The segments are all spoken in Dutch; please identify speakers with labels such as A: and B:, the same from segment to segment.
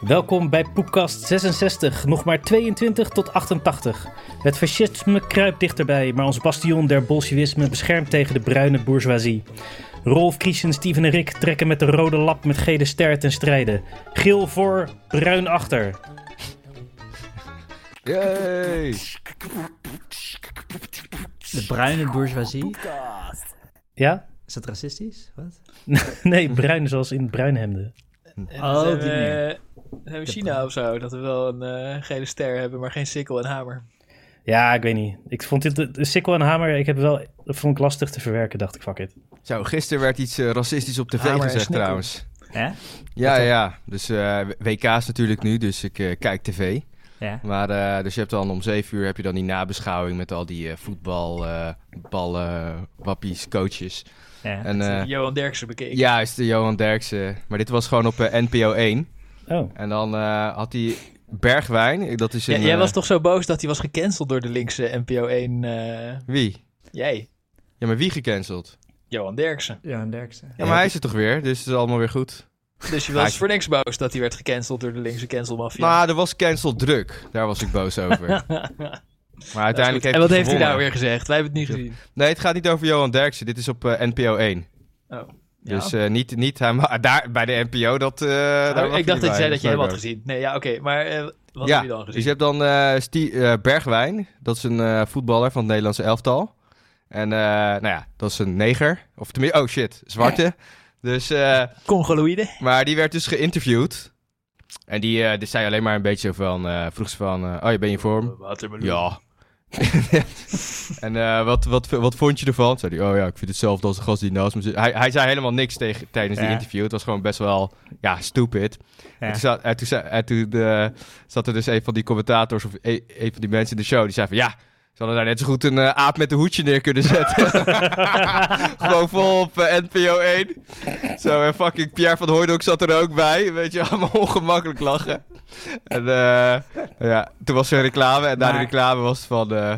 A: Welkom bij Poepkast 66, nog maar 22 tot 88. Het fascisme kruipt dichterbij, maar ons bastion der bolsjewisme beschermt tegen de bruine bourgeoisie. Rolf, Kriesen, Steven en Rick trekken met de rode lap met gele ster ten strijde. Geel voor, bruin achter.
B: Yay!
C: De bruine bourgeoisie.
A: Ja?
C: Is dat racistisch? Wat?
A: Nee, bruin zoals in bruinhemden.
C: Oh,
D: zijn
C: op die
D: we- eh,
C: manier.
D: zijn we China of zo, dat we wel een eh, gele ster hebben, maar geen sikkel en hamer.
B: Eh,
A: Ja, ik weet niet. Ik vond dit, de, de sikkel en hamer, ik heb wel, dat vond ik lastig te verwerken, dacht ik, fuck it.
B: Zo, gisteren werd iets eh, racistisch op tv
D: Hamer en
B: gezegd
D: snikkel.
B: trouwens.
C: Ja?
B: Ja, ja. Dus eh, WK is natuurlijk nu, dus ik eh, kijk tv.
C: Ja.
B: Maar eh, dus je hebt dan om 7 uur heb je dan die nabeschouwing met al die eh, voetbal, eh, ballen, wappies, coaches.
C: ja.
B: En eh,
D: Johan Derksen bekeken.
B: juist, de Johan Derksen. Maar dit was gewoon op eh, NPO 1.
A: Oh,
B: En dan eh, had hij Bergwijn. Dat is
D: Ja,
B: een...
D: jij
B: eh,
D: was toch zo boos dat hij was gecanceld door de linkse NPO 1? eh,
B: Wie?
D: jij,
B: Ja, maar wie gecanceld?
D: Johan Derksen.
C: Johan Derksen.
B: Ja, maar hij is er toch weer, dus het is allemaal weer goed.
D: Dus je
B: Ah,
D: was
B: ik-
D: voor niks boos dat hij werd gecanceld door de linkse cancelmafia.
B: Nou, er was cancel druk. Daar was ik boos over. maar
D: Dat is
B: uiteindelijk heeft
D: goed. en wat heeft hij
B: gewonnen.
D: nou weer gezegd? Wij hebben het niet gezien.
B: Nee, het gaat niet over Johan Derksen. Dit is op eh, NPO 1.
D: Oh. Ja.
B: Dus eh, niet, niet hij, maar daar bij de NPO. Dat, eh, daar
D: Oh,
B: was
D: ik dacht
B: hij
D: dat je zei
B: bij.
D: dat je hem had
B: boos.
D: gezien. Nee, ja, oké. maar eh, wat
B: ja,
D: heb je dan gezien?
B: dus je hebt dan eh, Stie- eh, Bergwijn. Dat is een eh, voetballer van het Nederlandse elftal. En eh, nou ja, dat is een neger. Of tenminste, oh shit, zwarte. Dus, eh,
D: Congoloïde?
B: maar die werd dus geïnterviewd. En die, eh, die zei alleen maar een beetje van, eh, vroeg ze van, eh, oh, je bent in vorm?
D: Watermeloen.
B: Ja. en eh, wat, wat, wat vond je ervan? Zei hij, oh ja, ik vind hetzelfde als de gast die naast me zit. Hij, hij zei helemaal niks tegen, tijdens die
C: Ja.
B: interview. Het was gewoon best wel, ja, stupid. En
C: Ja.
B: toen, zat, en toen, zei- en toen eh, zat er dus een van die commentators of e- een van die mensen in de show. Die zei van, ja, ze hadden daar net zo goed een eh, aap met een hoedje neer kunnen zetten. gewoon vol op eh, NPO 1. Zo, en fucking Pierre van Hooydonk zat er ook bij. Weet je, allemaal ongemakkelijk lachen. En eh, ja, toen was er een reclame. En na de
C: Maar-
B: reclame was het van... eh,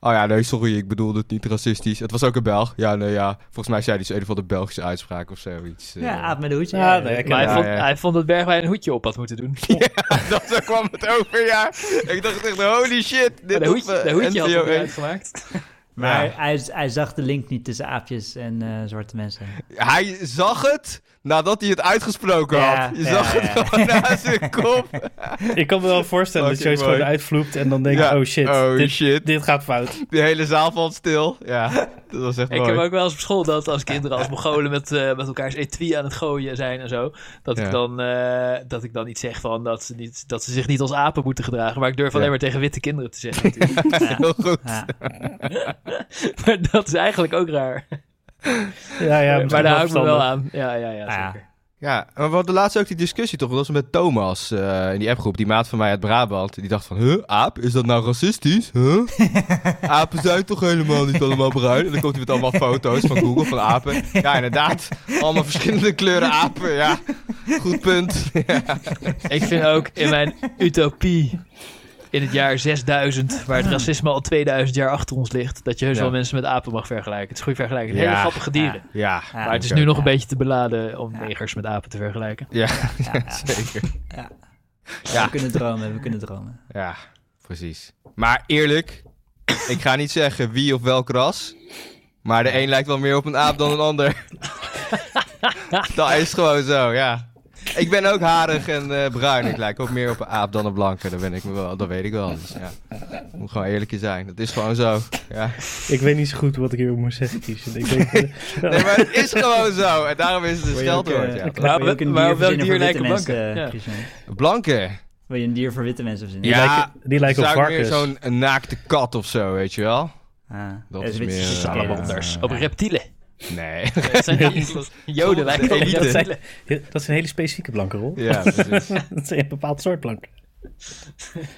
B: oh ja, nee, sorry, ik bedoelde het niet racistisch. Het was ook een Belg. Ja, nee, ja. Volgens mij zei hij zo een of andere Belgische uitspraak of zoiets. eh.
C: Ja, aap met een hoedje.
A: Ja, nee, ik-
D: Maar hij,
B: Ja,
D: vond,
B: ja.
D: hij vond dat Bergwijn een hoedje op had moeten doen.
B: dat, zo kwam het over, ja. Ik dacht echt, holy shit. Dit op,
D: de hoedje, de
B: eh,
D: hoedje had
B: NPO
D: hem
B: 1.
D: eruit gemaakt.
C: Maar
B: Ja.
C: hij, hij zag de link niet tussen aapjes en eh, zwarte mensen.
B: Hij zag het nadat hij het uitgesproken
C: Ja,
B: had. Je
C: ja,
B: zag
C: ja.
B: het gewoon naast zijn kop.
A: ik kan me wel voorstellen dat je
B: Fucking
A: iets gewoon
B: mooi.
A: uitvloept en dan denk je,
B: Ja.
A: oh shit,
B: Oh
A: dit,
B: shit.
A: dit gaat fout.
B: De hele zaal valt stil. Ja, dat was echt
D: Ik
B: mooi.
D: heb ook wel eens op school dat als kinderen als Mongolen met, eh met elkaars etui aan het gooien zijn en zo. Dat,
B: Ja.
D: ik, dan, eh, dat ik dan niet zeg van dat ze, niet, dat ze zich niet als apen moeten gedragen. Maar ik durf
B: Ja.
D: alleen maar tegen witte kinderen te zeggen. natuurlijk.
B: Heel goed.
C: Ja.
D: maar dat is eigenlijk ook raar.
A: Ja, ja,
D: maar daar hou ik me wel
A: verstandig.
D: aan. Ja, ja, ja,
C: Ah,
D: zeker.
B: Ja, maar we hadden laatst ook die discussie toch? Dat was met Thomas eh, in die appgroep, die maat van mij uit Brabant. Die dacht van, huh, aap, is dat nou racistisch? Huh? Apen zijn toch helemaal niet allemaal bruin? En dan komt hij met allemaal foto's van Google van apen. Ja, inderdaad. Allemaal verschillende kleuren apen, ja. Goed punt.
D: Ik vind ook in mijn utopie in het jaar 6000, waar het racisme al 2000 jaar achter ons ligt, dat je heus
B: Ja.
D: wel mensen met apen mag vergelijken. Het is goed vergelijken.
B: Ja.
D: Hele grappige dieren.
B: Ja,
C: Ja.
D: Maar het is
B: Ah, oké.
D: nu nog een beetje te beladen om negers met apen te vergelijken.
B: Ja,
C: Ja, ja.
B: zeker.
C: We kunnen dromen, we kunnen dromen.
B: Ja, precies. Maar eerlijk, ik ga niet zeggen wie of welk ras. Maar de een lijkt wel meer op een aap dan een ander. dat is gewoon zo, ja. Ik ben ook harig en eh, bruin. Ik lijk ook meer op een aap dan een blanke. Dat, ben ik me wel, dat weet ik wel. Dus, ja. Moet gewoon eerlijk in zijn. Dat is gewoon zo. Ja.
A: Ik weet niet zo goed wat ik hierover moet zeggen, Kiesje. Ik denk, eh,
B: Nee, maar het is gewoon zo. En daarom is het een
C: Wil je ook,
B: scheldwoord.
C: eh,
B: Ja.
C: wil je ook
D: Maar-
C: een
D: maar
C: dier
D: welk
C: verzinnen
D: dier
C: voor witte
D: lijken
C: mensen,
D: blanken?
C: eh,
D: Ja.
C: Christian?
B: Blanke.
C: Wil je een dier voor witte mensen verzinnen?
A: die
B: Ja,
A: lijken, die lijken op
B: Zou ik meer
A: varkens.
B: zo'n naakte kat of zo, weet je wel?
C: Ah,
B: Dat
C: het
B: is
C: witte
B: meer, eh,
C: schimmel.
D: salamanders.
C: Ja.
D: op reptielen.
B: Nee.
D: Dat zijn joden lijken wel op
B: Elite.
D: reptielen.
A: Ja, Dat is een hele specifieke blanke rol.
B: Ja, precies.
A: Dat is een bepaald soort blank.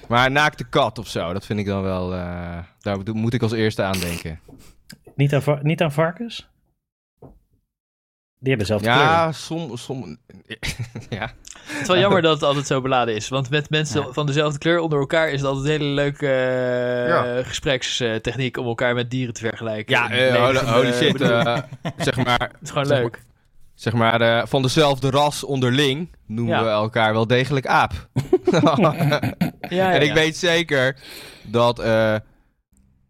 B: Maar een naakte kat of zo, dat vind ik dan wel. eh, daar moet- moet ik als eerste aan denken.
A: Niet aan, va- niet aan varkens? Die hebben zelf kleuren.
B: Ja, som, som, ja.
D: Het is wel jammer dat het altijd zo beladen is. Want met mensen
C: Ja.
D: van dezelfde kleur onder elkaar is het altijd een hele leuke eh,
B: Ja.
D: gesprekstechniek om elkaar met dieren te vergelijken.
B: ja
D: In
B: eh, holy,
D: levende,
B: holy shit.
D: bedoel-
B: eh, zeg maar.
D: het is gewoon
B: zeg
D: leuk.
B: zeg maar, eh, van dezelfde ras onderling noemen
D: Ja.
B: we elkaar wel degelijk aap.
D: Ja,
B: En ik weet zeker dat eh,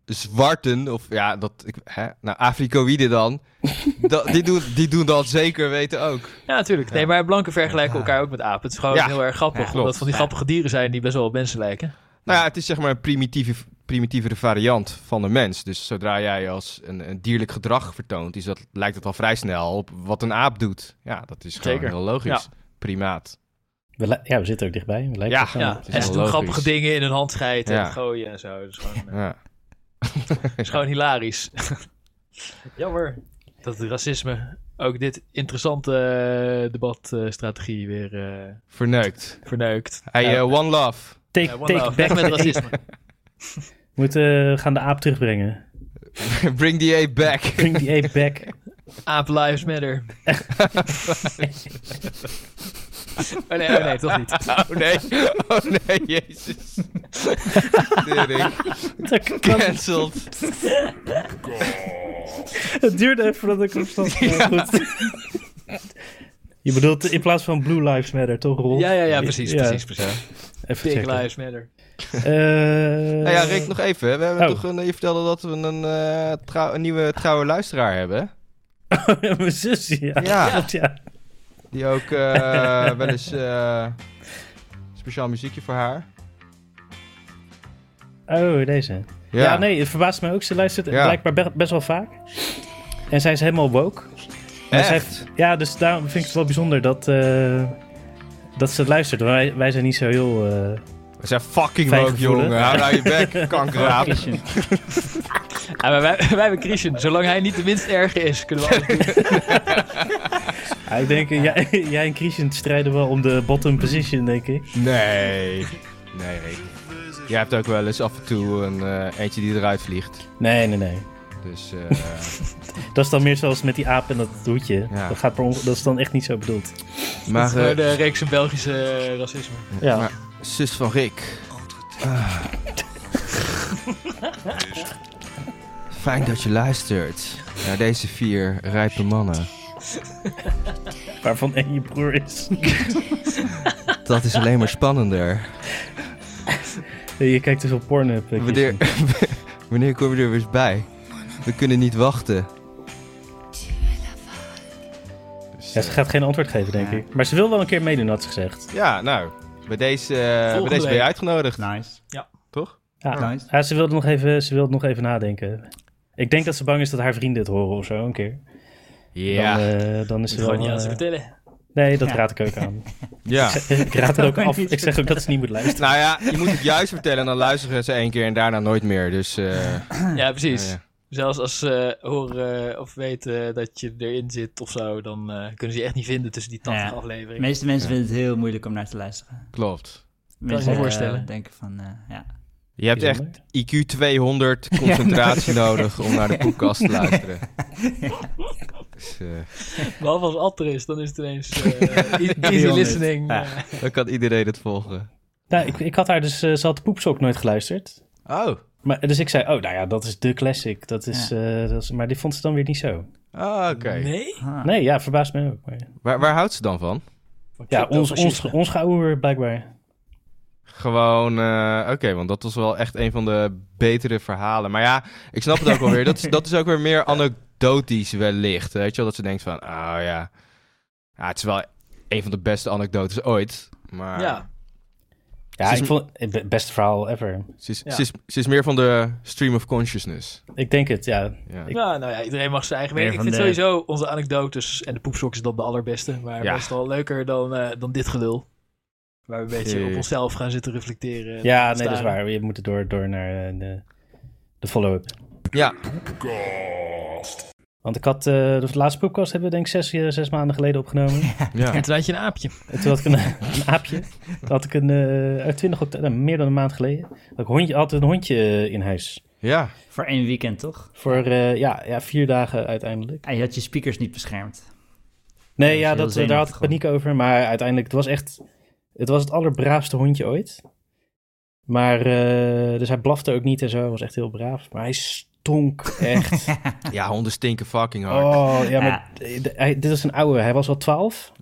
B: zwarten, of ja, dat, ik, hè, nou, Afrikoïden dan, dat, die, doen, die doen dat zeker weten ook.
D: Ja, natuurlijk. Nee, maar blanken vergelijken
C: Ja.
D: elkaar ook met apen. Het is gewoon
B: Ja.
D: heel erg grappig.
C: Ja,
D: omdat
B: klopt.
D: van die
B: Ja.
D: grappige dieren zijn die best wel op mensen lijken.
B: Nou ja, het is zeg maar een primitieve, primitievere variant van een mens. Dus zodra jij als een, een dierlijk gedrag vertoont, is dat, lijkt het al vrij snel op wat een aap doet. Ja, dat is gewoon
D: Zeker.
B: heel logisch. Primaat.
A: We li- ja, we zitten ook dichtbij. We lijken
B: Ja.
A: elkaar.
D: ja.
B: is
D: En
B: wel
D: ze doen
B: logisch.
D: grappige dingen in hun handscheit en
B: Ja.
D: gooien en zo. Dat is gewoon, eh,
B: Ja.
D: dat is gewoon hilarisch. Jammer dat het racisme ook dit interessante eh, debatstrategie weer eh,
B: Verneukt.
D: verneukt.
B: Hey,
D: Ja.
B: eh, one love.
A: Take,
D: Ja, one
A: take
D: love.
A: back.
D: Weg met racisme.
A: We moeten, eh, gaan de aap terugbrengen.
B: Bring the ape back.
A: Bring the ape back.
D: Aap lives matter. oh nee, oh nee, toch niet.
B: Oh nee. Oh nee, jezus. Tering.
A: Dat kan-
D: Eh.
B: Cancelled.
A: Het duurde even voordat ik op stond. Ja. Goed. Je bedoelt in plaats van Blue Lives Matter, toch Rolf?
D: Ja, ja, ja, precies, precies, precies.
A: Even
D: Big
A: checken.
D: lives matter.
A: Eh,
B: Nou ja, Rick, nog even. We hebben
A: Oh.
B: toch een, je vertelde dat we een, eh, trouw- een nieuwe trouwe luisteraar hebben.
A: Mijn zus, ja.
B: Ja.
A: Klopt, ja.
B: Die ook eh, wel eens eh, speciaal muziekje voor haar.
A: Oh, deze. Ja. nee, het verbaast mij ook. Ze luistert
B: Ja.
A: blijkbaar be- best wel vaak. En zij is helemaal woke. Maar zij
B: Echt?
A: heeft- ja, dus daarom vind ik het wel bijzonder dat, eh, dat ze het luistert. Wij, wij zijn niet zo heel... eh,
B: We zijn fucking
A: Fijn
B: woke,
A: gevoel, hè?
B: jongen. Hou nou je bek, kankeraap.
D: Ja, maar wij, wij hebben Christian. Zolang hij niet de minst erge is, kunnen we alles doen.
A: ja,
B: Ah,
A: ik denk, eh, jij, jij en Christian strijden wel om de bottom position, denk ik.
B: Nee. Nee, Rick. Jij hebt ook wel eens af en toe een eh, eentje die eruit vliegt.
A: Nee, nee, nee.
B: Dus eh,
A: Dat is dan meer zoals met die aap en dat hoedje.
B: Ja.
A: Dat, gaat per onge- dat is dan echt niet zo bedoeld.
B: maar,
D: Gewoon
B: eh,
D: de reeks van Belgische eh, racisme.
A: Ja.
B: maar zus van Rick. Ah. Fijn dat je luistert naar deze vier rijpe mannen.
A: Waarvan één je broer is.
B: Dat is alleen maar spannender.
A: je kijkt te veel porno.
B: Wanneer, wanneer kom je er weer eens bij? We kunnen niet wachten. Dus,
A: Ja, ze
B: eh,
A: gaat geen antwoord geven, denk
C: Ja.
A: ik. Maar ze wil wel een keer meedoen, had ze gezegd.
B: Ja, nou, bij deze, eh, bij
D: Volgende
B: deze ben je
D: week.
B: uitgenodigd,
C: Nice.
B: toch?
A: Ja,
C: Nice.
A: ja ze, wilde nog even, ze wilde nog even nadenken. Ik denk dat ze bang is dat haar vrienden het horen of zo, een keer. Dan, eh, dan is
D: Dat
A: ze
D: is
A: wel...
D: gewoon niet aan te
A: eh,
D: vertellen.
A: nee, dat
C: Ja.
A: raad ik ook aan.
B: ja.
A: ik raad het ook af.
C: Niet
A: Ik zeg ook dat ze niet moet luisteren.
B: Nou ja, je moet het juist vertellen en dan luisteren ze één keer en daarna nooit meer. Dus eh,
D: Ja, precies.
B: nou ja.
D: Zelfs als ze eh, horen eh, of weten dat je erin zit of zo, dan eh, kunnen ze je echt niet vinden tussen die 80
C: Ja. De
D: afleveringen.
C: meeste mensen vinden het heel moeilijk om naar te luisteren.
B: klopt.
C: De
D: me
C: mensen, eh,
D: voorstellen.
C: denken van, eh, ja.
B: Je hebt echt IQ 200 concentratie nodig om naar de podcast te luisteren. Dus, eh,
D: Behalve als Atter is, dan is het ineens eh, e- easy
C: 300.
D: listening.
C: Ja.
D: eh.
B: dan kan iedereen het volgen.
A: Nou, ik, ik had haar dus... eh, ze had Poepsok nooit geluisterd.
B: Oh,
A: Maar, dus ik zei, oh, nou ja, dat is de classic. Dat is, eh, dat is, maar die vond ze dan weer niet zo.
B: oh oké.
D: Nee?
C: Ah.
A: Nee, ja, verbaast me ook. Maar,
B: Waar, waar houdt ze dan van?
A: ja, ons, ons,
D: fascisme.
A: ons geouwer blijkbaar.
B: Gewoon, eh, oké, want dat was wel echt een van de betere verhalen. Maar ja, ik snap het ook wel weer. Dat is, dat is ook weer meer anekdotisch wellicht. Weet je wel, dat ze denkt van, oh ja. ja, het is wel een van de beste anekdotes ooit. Maar
D: Ja,
A: Ja,
B: Ze is
A: ik
B: m-
A: vond het be- beste verhaal ever.
B: ze, is,
D: Ja.
B: ze, is, ze is meer van de stream of consciousness.
A: Ik denk het, ja.
B: Ja,
A: Ik-
D: Ja, nou ja, iedereen mag zijn eigen
C: Meer
D: mening. Ik
C: van
D: vind
C: de-
D: sowieso onze anekdotes en de poepsok is dan de allerbeste. Maar
B: Ja.
D: meestal leuker dan, eh, dan dit gelul. Waar we een beetje
B: Zeker.
D: op onszelf gaan zitten reflecteren.
A: Ja,
D: en
A: nee, dat is
D: staren.
A: waar. Je moet er door, door naar eh, de, de follow-up.
B: ja.
A: Want ik had eh, de laatste podcast hebben we denk ik zes, eh, zes maanden geleden opgenomen.
B: ja.
D: En toen had je een aapje.
A: En toen had ik een, een aapje. Toen had ik een, eh, uit 20 oktober, nou, meer dan een maand geleden, had ik hondje, had een hondje eh, in huis.
B: ja.
C: Voor één weekend, toch?
A: Voor eh, ja, ja, vier dagen uiteindelijk.
C: En je had je speakers niet beschermd.
A: Nee,
C: Dat is
A: ja, dat,
C: heel
A: daar had ik
C: zenuwachtig
A: paniek over. Maar uiteindelijk, het was echt... Het was het allerbraafste hondje ooit. Maar, eh, dus hij blafte ook niet en zo. Hij was echt heel braaf. Maar hij stonk echt.
B: Ja, honden stinken fucking hard.
A: Oh, ja, maar d- d- hij- dit is een oude. Hij was al 12.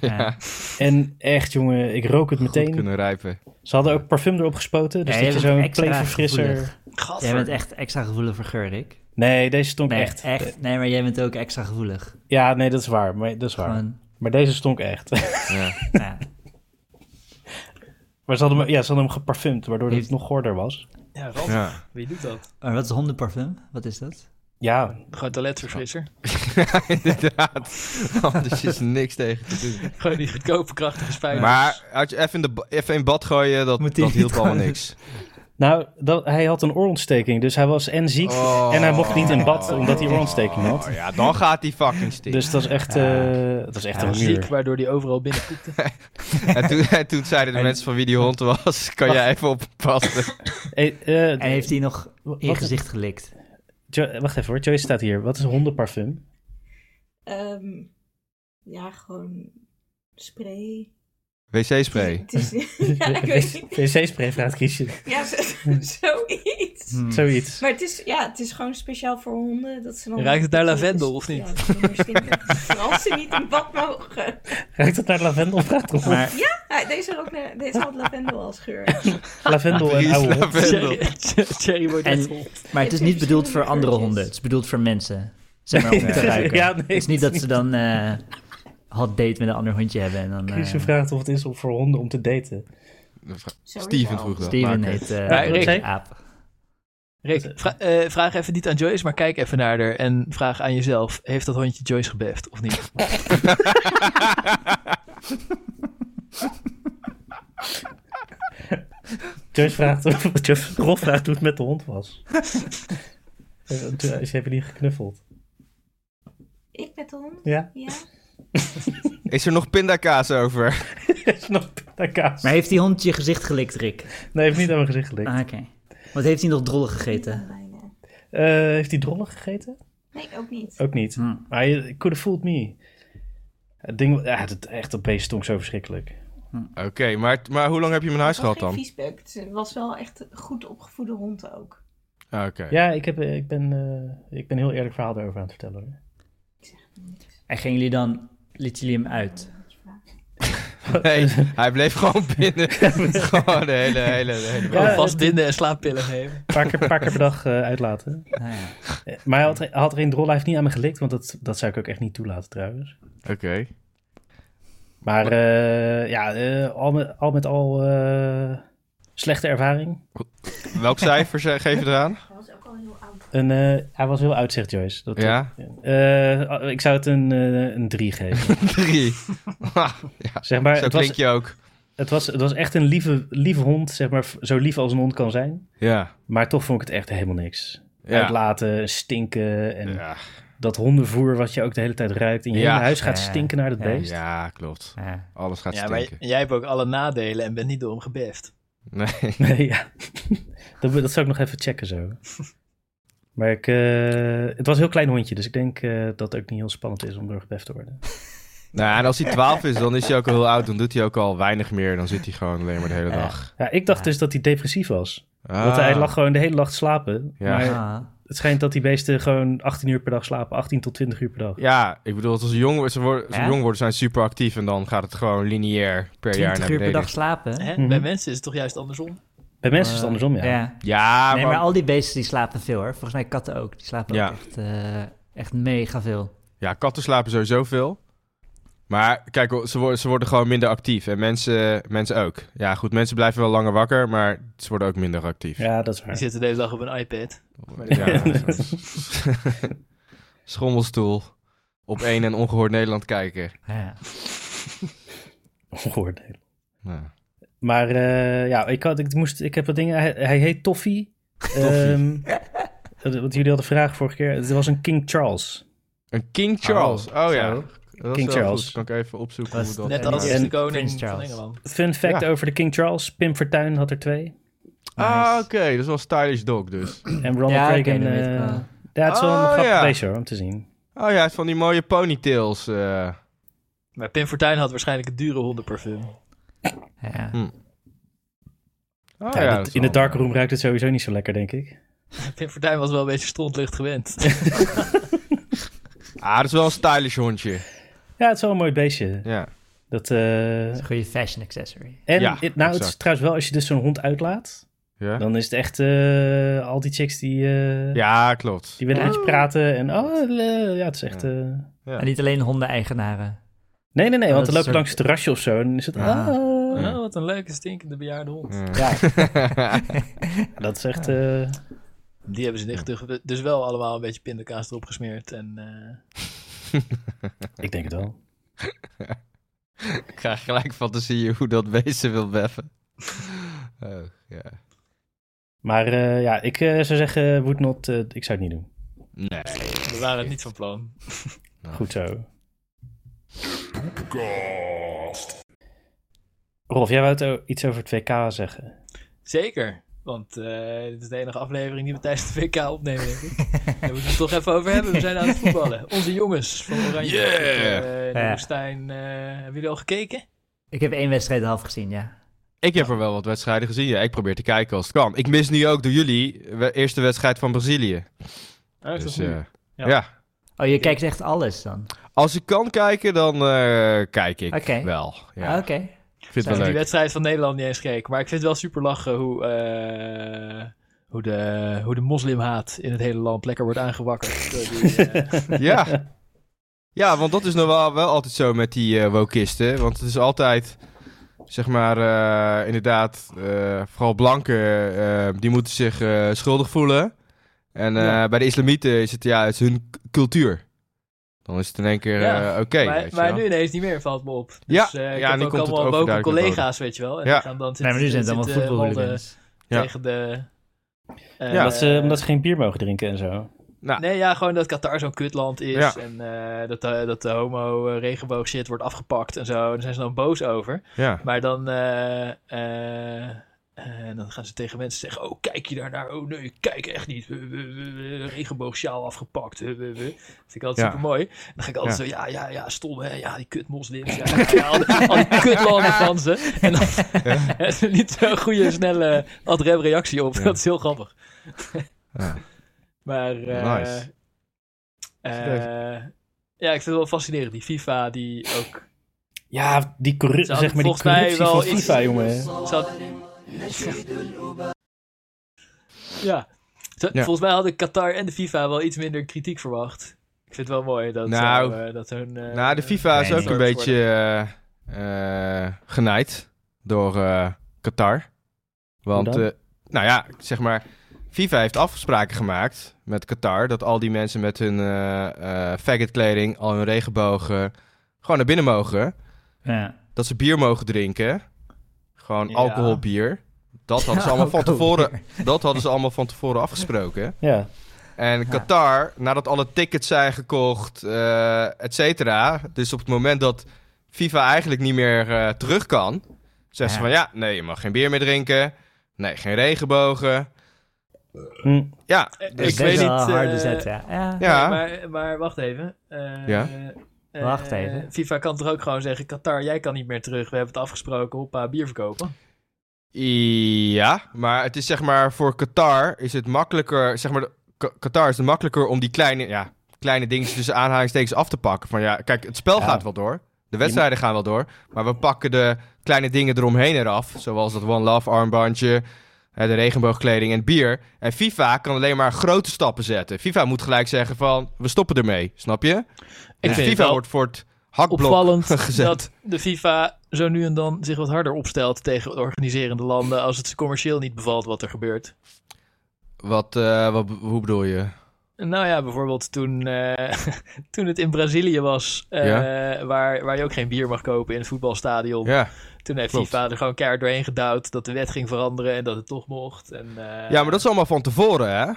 C: Ja.
A: En echt, jongen, ik rook het
B: Goed
A: meteen.
B: kunnen rijpen.
A: Ze hadden ook parfum erop gespoten. Dus
C: Ja,
A: dat je
C: jij bent
A: zo'n
C: extra
A: klein verfrisser...
C: gevoelig. Jij
D: Gadver.
C: bent echt extra gevoelig voor geur, Rick.
A: Nee, deze stonk
C: Nee,
A: echt.
C: Nee, maar jij bent ook extra gevoelig.
A: Ja, nee, dat is waar. Maar, dat is waar.
C: Gewoon,
A: Maar deze stonk echt.
B: Ja.
C: nou ja.
A: maar ze hadden, hem- ja, ze hadden hem geparfumd, waardoor het
C: Heeft-
A: nog gorder was.
D: Ja, Ralf,
B: Ja.
D: wie doet dat?
C: Maar Oh, wat is hondenparfum? Wat is dat?
A: Ja,
D: Gewoon toiletverfrisser.
B: Inderdaad. Anders is niks tegen te doen.
D: Gewoon die goedkope krachtige spuiters.
B: Maar als je even in, de, ba- even in bad gooien, dat,
C: Moet
B: dat
C: die
B: hielp
C: niet
B: allemaal
C: gewoon-
B: niks.
A: nou, dat, hij had een oorontsteking. Dus hij was en ziek
B: Oh.
A: en hij mocht niet in bad, omdat hij oorontsteking had.
B: Oh ja, dan gaat die fucking stinken.
A: Dus dat is echt, eh, dat is echt
C: Ja,
A: een
D: ziek,
A: muur.
D: waardoor die overal binnen poepte.
B: En, toen, en toen zeiden de
A: En-
B: mensen van wie die hond was, kan jij even oppassen.
A: Hey, eh,
C: En heeft hij nog in je
A: wat-
C: gezicht gelikt?
A: Jo- wacht even hoor, Joyce staat hier. Wat is hondenparfum?
E: Ehm, ja, gewoon spray.
B: Wc-spray.
E: Het is, ja, ik weet niet.
A: Wc-spray vraagt Kiesje.
E: Ja, z- zoiets.
C: Hmm.
A: Zoiets.
E: Maar het is, ja, het is gewoon speciaal voor honden. Dat ze dan
D: Ruikt het naar lavendel, of niet?
E: Ja, het is minder stinkend. Vooral als ze niet in bad mogen.
A: Ruikt het naar lavendel? Vraagt om.
C: Maar
E: Ah, deze, had ook naar, deze had lavendel als geur.
A: Lavendel en
B: Dries
A: oude hond.
B: Lavendel.
D: Cherry wordt
C: En-
D: net hond.
C: Maar het is
E: Het
C: niet
E: is
C: bedoeld voor
E: verschillende
C: andere
E: geurtjes.
C: honden. Het is bedoeld voor mensen. Zeg maar om
A: Nee,
C: te ruiken.
A: ja, nee,
C: het is niet dat ze dan eh hot date met een ander hondje hebben. En dan, eh,
A: Kiesje vraagt of het is om voor honden om te daten.
E: Sorry.
B: Steven vroeg dat.
C: Steven
B: maar-
C: heet eh,
D: Maar
A: Rick-
C: een aap.
A: Dus,
D: Rick, vra- eh, vraag even niet aan Joyce, maar kijk even naar haar en vraag aan jezelf: heeft dat hondje Joyce gebeft of niet?
A: Joyce vraagt of Joyce- Rolf vraagt hoe het met de hond was. Eh, Ze hebben die geknuffeld.
E: Ik met de hond?
A: Ja.
E: Ja.
B: Is er nog pindakaas over?
A: Snap dat kaas.
C: Maar heeft die hond je gezicht gelikt, Rick?
A: Nee, heeft niet aan mijn gezicht gelikt.
C: Ah, oké. Wat heeft hij nog drollen gegeten?
E: Bijna.
A: Eh, heeft hij drollen gegeten?
E: Nee, ook niet.
A: Ook niet.
C: Hm.
A: Maar je could have fooled me. Het ding, ja, het, echt dat beest stonk zo verschrikkelijk.
B: Oké, maar, maar hoe lang heb je hem in huis
E: Het was
B: gehad dan?
E: geen viesbeuk. Het was wel echt een goed opgevoede hond ook.
B: Ah, Oké.
A: Ja, ik, heb, eh, ik, ben, eh, ik ben een heel eerlijk verhaal daarover aan het vertellen. hoor.
C: En gingen jullie dan, lieten jullie hem uit?
B: Nee, hij bleef gewoon binnen. gewoon de hele, hele, de hele...
A: Ja,
D: Gewoon
A: het-
D: vastbinden en slaappillen geven.
A: Een paar keer, paar keer per dag eh, uitlaten.
C: Nou ja.
A: Eh, Maar hij had, hij had er een drol, hij heeft niet aan me gelikt, want dat, dat zou ik ook echt niet toelaten trouwens.
B: Oké.
A: Maar eh, ja, eh, al, met, al met al eh, slechte ervaring.
B: Welk cijfer ze- geef je eraan?
E: Hij was ook al heel oud.
A: Een, eh, hij was heel oud, zegt Joyce. Dat,
B: Ja?
A: Eh, ik zou het een, eh, een 3 geven.
B: Drie. Ha,
A: Zeg maar,
B: Zo
A: het was,
B: klink je ook.
A: het, was, het was echt een lieve, lieve hond, zeg maar, zo lief als een hond kan zijn.
B: Ja.
A: Maar toch vond ik het echt helemaal niks.
B: Ja.
A: Uitlaten, stinken en
B: Ja.
A: dat hondenvoer wat je ook de hele tijd ruikt. In je
B: Ja.
A: hele huis gaat
C: Ja, ja.
A: stinken naar dat
C: Ja,
A: beest.
B: ja, klopt.
C: Ja.
B: Alles gaat
D: Ja, maar j-
B: stinken.
D: jij hebt ook alle nadelen en bent niet door hem gebeft.
B: Nee.
A: Nee, ja. dat, dat zou ik nog even checken zo. Maar ik, eh, het was een heel klein hondje, dus ik denk eh, dat het ook niet heel spannend is om door gebeft te worden.
B: Nou, en als hij 12 is, dan is hij ook al heel oud. Dan doet hij ook al weinig meer. Dan zit hij gewoon alleen maar de hele dag.
A: Ja, ik dacht
C: Ja.
A: dus dat hij depressief was.
B: Ah.
A: Want hij lag gewoon de hele nacht slapen.
B: Ja.
A: Maar
C: Ah.
A: het schijnt dat die beesten gewoon 18 uur per dag slapen, 18 tot 20 uur per dag.
B: Ja, ik bedoel, als ze jong, als ze worden, als ze
C: Ja?
B: jong worden, zijn ze super actief. En dan gaat het gewoon lineair per jaar
C: 20
B: naar
C: uur per
B: beneden.
C: dag slapen?
D: Hè?
A: Mhm.
D: Bij mensen is het toch juist andersom?
A: Bij mensen is het andersom, ja.
C: ja.
B: Ja,
C: Nee,
B: maar...
C: maar al die beesten die slapen veel hoor. Volgens mij katten ook. Die slapen
B: Ja.
C: ook echt, eh, echt mega veel.
B: Ja, katten slapen sowieso veel. Maar kijk, ze worden, ze worden gewoon minder actief. En mensen, mensen ook. Ja, goed, mensen blijven wel langer wakker, maar ze worden ook minder actief.
A: Ja, dat is
D: Die
A: waar.
D: zitten de hele dag op een iPad.
B: Ja, Schommelstoel. Op één en ongehoord Nederland kijken.
C: Ja.
A: Ongehoord. nee.
B: Ja.
A: Maar eh, ja, ik, had, ik, moest, ik heb wat dingen. Hij, hij heet Toffee.
B: Toffee.
A: Ehm, want jullie hadden vragen vorige keer. Het was een King Charles.
B: Een King Charles. Oh, ja.
C: zo.
B: Dat is
A: King
B: wel
A: Charles.
B: goed. Kan ik even opzoeken
C: Dat
B: hoe
C: is
B: dat...
D: Net
C: En-
D: als
A: en
D: de koning
C: Prins
D: van
C: Charles.
D: Engeland.
A: Fun fact
B: Ja.
A: over de King Charles. Pim Fortuyn had er twee.
B: Ah, oké. Dat is wel een stylish dog dus.
A: En Ronald
C: Ja, oké,
A: Reagan.
C: dat weet ik
A: eh,
C: wel.
A: ja, het is wel een
B: Oh,
A: grappig
B: ja.
A: beestje hoor, om te zien.
B: Oh ja, hij heeft van die mooie ponytails. eh.
D: Maar Pim Fortuyn had waarschijnlijk een dure hondenparfum.
C: Ja.
B: Oh,
A: Ja,
B: ja,
A: dat-
B: dat is
A: in de
B: wel-
A: darkroom ruikt het sowieso niet zo lekker, denk ik.
D: Tim Fortuyn was wel een beetje strontlicht gewend.
B: Ah, dat is wel een stylish hondje.
A: Ja, het is wel een mooi beestje.
B: Ja.
A: Dat, eh,
C: is een goede fashion accessory.
A: en
B: Ja,
A: het- nou, het is
B: exact.
A: trouwens wel, als je dus zo'n hond uitlaat,
B: Ja,
A: dan is het echt eh, al die chicks die, eh,
B: ja klopt.
A: die willen met je praten. En oh, eh, ja, het is echt...
B: Ja.
A: eh,
B: Ja.
C: En niet alleen hondeneigenaren.
A: Nee, nee, nee,
C: Ja,
A: want dan
C: dat is
A: loop je
C: een-
A: langs het terrasje of zo en dan is het...
C: Ah.
A: ah.
D: Oh, wat een leuke stinkende bejaarde hond.
A: Ja, dat is echt... eh,
D: Die hebben ze dicht. terug- Dus wel allemaal een beetje pindakaas erop gesmeerd. En eh,
A: ik denk het wel.
B: Ik ga gelijk fantasieën hoe dat beestje wil beffen. Oh, ja.
A: Maar eh, ja, ik eh, zou zeggen, would not, eh, ik zou het niet doen.
B: Nee.
D: we waren het niet van plan.
A: Goed zo. Rolf, jij wou het o- iets over het WK zeggen.
D: Zeker. Want eh, dit is de enige aflevering die we tijdens de WK opnemen, denk ik. Daar moeten we het toch even over hebben. We zijn aan het voetballen. Onze jongens van Oranje.
B: Yeah!
D: eh, in de
C: Ja.
D: woestijn. eh, hebben jullie al gekeken?
C: Ik heb één wedstrijd half gezien, ja.
B: Ik heb er wel wat wedstrijden gezien. Ja. Ik probeer te kijken als het kan. Ik mis nu ook door jullie we- eerste wedstrijd van Brazilië.
D: Oh, is dat
B: Dus,
D: nu?
B: eh,
D: Ja.
B: ja.
C: Oh, je kijkt echt alles dan?
B: Als ik kan kijken, dan eh, kijk ik
C: Oké.
B: wel. Ja.
C: Ah, Oké.
B: Ik vind
D: Ik
B: het
D: heb
B: wel leuk.
D: die wedstrijd van Nederland niet eens gekeken. Maar ik vind het wel super lachen hoe, eh, hoe, de, hoe de moslimhaat in het hele land lekker wordt aangewakkerd. Door die, eh,
B: Ja. ja, want dat is nou wel, wel altijd zo met die eh, wokisten. Want het is altijd, zeg maar, eh, inderdaad, eh, vooral blanken, eh, die moeten zich eh, schuldig voelen. En eh, bij de islamieten is het, ja, het is hun c- cultuur. Dan is het in één keer
D: Ja,
B: eh, oké.
D: maar,
B: weet je
D: maar
B: wel.
D: nu ineens niet meer, valt me op. Dus,
B: Ja,
D: eh, ik
B: ja,
D: heb
B: nu
D: ook
B: komt het
D: allemaal woke
B: overduidelijk
D: collega's, weet je wel. En
B: Ja.
D: die gaan dan
C: Nee, maar nu zijn het
D: zitten-
C: allemaal
D: zitten
C: voetbalhooligans.
D: rollen
B: Ja.
D: tegen de... eh,
B: Ja.
A: Omdat, ze, omdat ze geen bier mogen drinken en zo.
D: Nee, ja, gewoon dat Qatar zo'n kutland is.
B: Ja.
D: En eh, dat, de- dat de homo-regenboog shit wordt afgepakt en zo. En daar zijn ze dan boos over.
B: Ja.
D: Maar dan, eh, eh, eh, dan gaan ze tegen mensen zeggen: Oh, kijk je daarnaar? Oh nee, ik kijk echt niet. Eh, eh, eh, Regenboogsjaal afgepakt. Eh, eh, eh. Vind ik altijd
B: Ja.
D: super mooi. Dan ga ik altijd zo: Ja, ja, ja, stom. Hè? Ja, die kut moslims. Ja, ja, al, die, al die kutlanden van ze. En dan en ze niet zo'n goede, snelle ad-rem reactie op.
B: Ja.
D: Dat is heel grappig.
B: Ja.
D: Maar. eh,
B: Nice.
D: eh, ja, ik vind het wel fascinerend. Die FIFA, die ook
A: Ja, die, corru-
D: Ze hadden
A: zeg maar, die
D: volgens mij
A: corruptie
D: wel
A: van
D: iets-
A: FIFA, jongen.
D: Zat... Ja. Zo-
B: Ja.
D: Volgens mij hadden Qatar en de FIFA wel iets minder kritiek verwacht. Ik vind het wel mooi dat,
B: Nou,
D: zo, eh, dat hun... eh,
B: Nou, de FIFA is
C: Nee,
B: ook
D: niet.
B: een beetje eh, eh, genaaid door eh, Qatar. Want,
A: Hoe dan?
B: eh, nou ja, zeg maar, FIFA heeft afspraken gemaakt met Qatar dat al die mensen met hun eh eh faggotkleding, al hun regenbogen, gewoon naar binnen mogen.
C: Ja.
B: Dat ze bier mogen drinken. Gewoon
D: Ja.
B: alcoholbier. Dat hadden, ze allemaal van
C: Alcohol.
B: tevoren, dat hadden ze allemaal van tevoren afgesproken.
A: Ja.
B: En Qatar, nadat alle tickets zijn gekocht, eh et cetera. Dus op het moment dat FIFA eigenlijk niet meer eh, terug kan, zeggen ze
C: Ja.
B: van ja, nee, je mag geen bier meer drinken. Nee, geen regenbogen.
A: Hm.
B: Ja,
D: Eh,
B: dus
C: Ik
B: ik
C: weet
B: weet
C: wel
B: niet.
C: een harde
D: eh,
C: zet, ja. ja.
B: Ja,
D: Maar, maar wacht even. Eh,
B: Ja?
D: eh,
C: Wacht even.
D: FIFA kan toch ook gewoon zeggen... Qatar, jij kan niet meer terug. We hebben het afgesproken. Hoppa, bier verkopen.
B: ja, maar het is zeg maar voor Qatar is het makkelijker, zeg maar, Q- Qatar is het makkelijker om die kleine, ja, kleine dingetjes tussen aanhalingstekens af te pakken. Van ja, kijk, het spel
A: Ja.
B: gaat wel door. De wedstrijden gaan wel door. Maar we pakken de kleine dingen eromheen eraf. Zoals dat One Love armbandje, hè, de regenboogkleding en het bier. En FIFA kan alleen maar grote stappen zetten. FIFA moet gelijk zeggen van, we stoppen ermee. Snap je? En
D: vind het
B: FIFA
D: wel
B: wordt voor het hakblok
D: opvallend
B: gezet.
D: dat de FIFA zo nu en dan zich wat harder opstelt tegen de organiserende landen als het ze commercieel niet bevalt wat er gebeurt.
B: Wat, eh, wat, hoe bedoel je?
D: Nou ja, bijvoorbeeld toen, eh, toen het in Brazilië was, eh, waar, waar je ook geen bier mag kopen in het voetbalstadion.
B: Ja.
D: Toen heeft
B: klopt.
D: FIFA er gewoon keihard doorheen gedouwd dat de wet ging veranderen en dat het toch mocht. En, eh,
B: ja, maar dat is allemaal van tevoren, hè?
D: ja.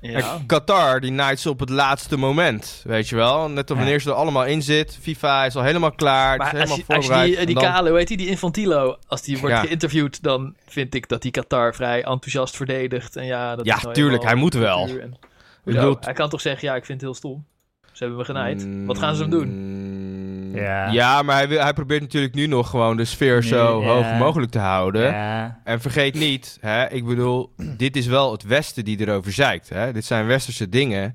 B: Kijk, Qatar, die naait ze op het laatste moment, weet je wel. Net op
C: Ja.
B: wanneer ze er allemaal in zit. FIFA is al helemaal klaar, het is
D: Maar als
B: helemaal
D: je, als je
B: voorbereid.
D: die, die
B: en dan-
D: kale, hoe heet die, die Infantilo, als die wordt
B: Ja.
D: geïnterviewd, dan vind ik dat die Qatar vrij enthousiast verdedigt. En ja, dat
B: Ja,
D: is nou
B: tuurlijk, hij
D: eenmaal
B: moet wel.
D: cultuur en- Hoezo?
B: bedoel-
D: Hij kan toch zeggen, ja, ik vind het heel stom. Ze hebben me genaaid. Wat gaan ze hem doen?
B: Mm,
C: Ja.
B: ja, maar hij, wil- hij probeert natuurlijk nu nog gewoon de sfeer
C: Nee,
B: zo
C: ja.
B: hoog mogelijk te houden.
C: Ja.
B: En vergeet niet, hè, ik bedoel, dit is wel het Westen die erover zeikt. Hè? Dit zijn Westerse dingen.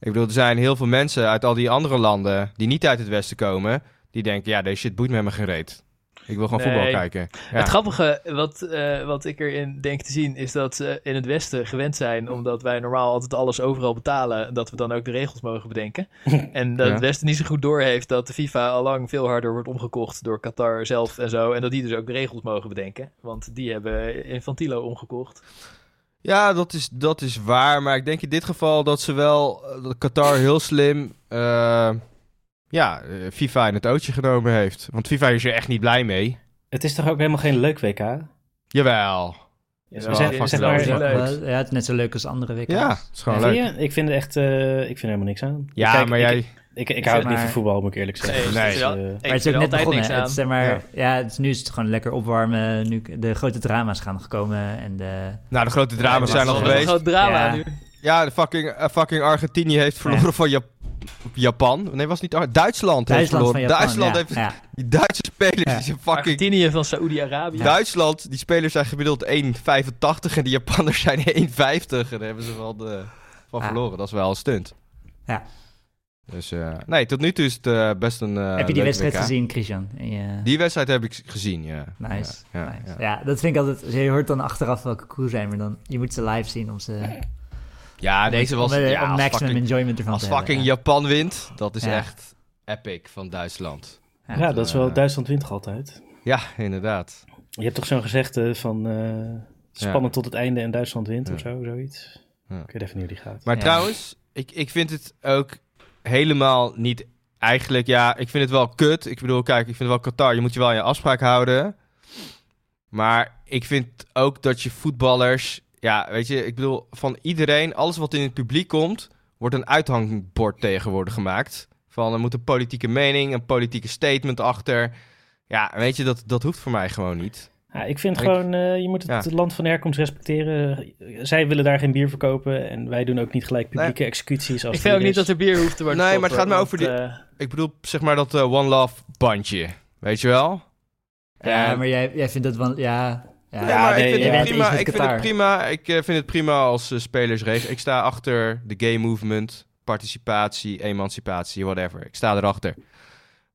B: Ik bedoel, er zijn heel veel mensen uit al die andere landen die niet uit het Westen komen, die denken, ja, deze shit boeit me maar geen reet. Ik wil gewoon
D: Nee.
B: voetbal kijken. Ja.
D: Het grappige wat, eh, wat ik erin denk te zien is dat ze in het Westen gewend zijn, omdat wij normaal altijd alles overal betalen, dat we dan ook de regels mogen bedenken. en dat
B: Ja.
D: het Westen niet zo goed doorheeft dat de FIFA allang veel harder wordt omgekocht door Qatar zelf en zo. En dat die dus ook de regels mogen bedenken, want die hebben Infantilo omgekocht.
B: Ja, dat is, dat is waar. Maar ik denk in dit geval dat ze wel eh, dat Qatar heel slim eh, ja, eh, FIFA in het ootje genomen heeft. Want FIFA is er echt niet blij mee.
A: Het is toch ook helemaal geen leuk WK?
B: Jawel.
D: Ja,
B: Ze zijn-
D: dat
A: zeg
D: is wel
A: maar-
D: heel
C: Ja,
D: leuk.
C: het is net zo leuk als andere wikkels.
B: Ja, het is gewoon
A: Vind
B: leuk.
A: je? Ik vind het echt, eh, ik vind er helemaal niks aan.
B: Ja,
A: Kijk,
B: maar
A: ik-
B: jij...
A: Ik, ik,
C: Zeg
A: hou het niet
C: maar-
A: van voetbal, moet ik eerlijk
D: Nee,
A: zeggen.
D: het
B: Nee.
D: is wel-
A: Dus, eh,
D: ik
C: Maar het is ook net
D: vind er
C: begonnen.
D: altijd niks
C: hè.
D: aan.
C: Het is, zeg maar, ja. het is, nu is het gewoon lekker opwarmen. Nu de grote drama's gaan gekomen. En de,
B: Nou, de grote drama's
C: Ja,
B: zijn
D: Dat
B: al
D: is
C: dat
D: wel een
B: geweest.
D: groot drama
C: Ja.
D: nu.
B: Ja, de fucking, eh, fucking Argentinië heeft verloren van Jap- Japan. Nee, was het niet Ar- Duitsland. heeft
C: Duitsland
B: verloren.
C: van Japan.
B: Duitsland
C: ja.
B: heeft...
C: Ja.
B: Die Duitse spelers,
C: Ja.
B: die zijn fucking...
D: Argentinië van Saoedi-Arabië.
B: Duitsland, die spelers zijn gemiddeld 1,85 en die Japanners zijn 1,50. En daar hebben ze wel de, van
C: Ah.
B: verloren. Dat is wel een stunt.
C: Ja.
B: Dus eh, nee, tot nu toe is het eh, best een. eh,
C: Heb je die
B: leuk
C: wedstrijd
B: WK.
C: gezien, Christian? En je-
B: Die wedstrijd heb ik s- gezien, ja.
C: Nice.
B: Ja, ja,
C: nice.
B: ja.
C: Ja. dat vind ik altijd. Je hoort dan achteraf welke crew zijn, maar dan je moet ze live zien om ze.
B: Ja, deze was.
C: om, eh,
B: ja,
C: om
B: als
C: maximum
B: fucking,
C: enjoyment ervan
B: als
C: te hebben,
B: fucking
C: ja.
B: Japan wint, dat is
C: Ja.
B: echt epic van Duitsland.
A: ja, dat is wel,
B: eh,
A: Duitsland wint toch altijd.
B: Ja, inderdaad.
A: Je hebt toch zo'n gezegde van eh, spannend
B: Ja.
A: tot het einde en Duitsland wint
B: Ja.
A: of zo, zoiets.
B: Ja.
A: Ik weet even niet hoe die gaat.
B: Maar
C: Ja.
B: trouwens, ik, ik vind het ook helemaal niet eigenlijk. Ja, ik vind het wel kut. Ik bedoel, kijk, ik vind het wel Qatar. Je moet je wel aan je afspraak houden. Maar ik vind ook dat je voetballers. Ja, weet je, ik bedoel, van iedereen, alles wat in het publiek komt, wordt een uithangbord tegenwoordig gemaakt. Van er moet een politieke mening, een politieke statement achter. Ja, weet je, dat, dat hoeft voor mij gewoon niet.
A: Ja, ik vind
B: Ik-
A: gewoon, eh, je moet het
B: ja.
A: land van herkomst respecteren. Zij willen daar geen bier verkopen en wij doen ook niet gelijk publieke executies. Als
D: Ik vind ook niet dat
A: het
D: er bier hoeft te worden
B: Nee, maar het
D: verkocht,
B: gaat me
D: hoor,
B: over
D: want, eh,
B: Ik bedoel, zeg maar dat eh, One Love bandje. Weet je wel?
C: Ja,
B: En-
C: maar jij, jij vindt dat wel. Ja, ja.
B: Ja, maar
A: nee,
B: ik, vind
A: je
B: het
A: bent
B: prima,
C: iets
B: ik
C: met
B: vind het
C: Qatar.
B: prima. Ik eh, vind het prima als eh, spelersregel. Ik sta achter de gay movement, participatie, emancipatie, whatever. Ik sta erachter.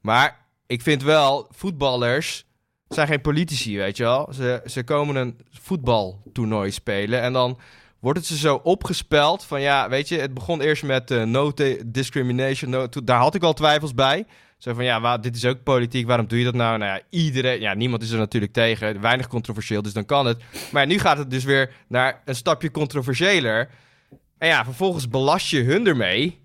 B: Maar ik vind wel, voetballers zijn geen politici, weet je wel. Ze, ze komen een voetbaltoernooi spelen en dan wordt het ze zo opgespeld van ja, weet je, het begon eerst met eh, no te- discrimination. No, to- daar had ik wel twijfels bij. Zo van ja, wa- dit is ook politiek, waarom doe je dat nou? Nou ja, iedereen, ja, niemand is er natuurlijk tegen, weinig controversieel, dus dan kan het. Maar nu gaat het dus weer naar een stapje controversiëler. En ja, vervolgens belast je hun ermee.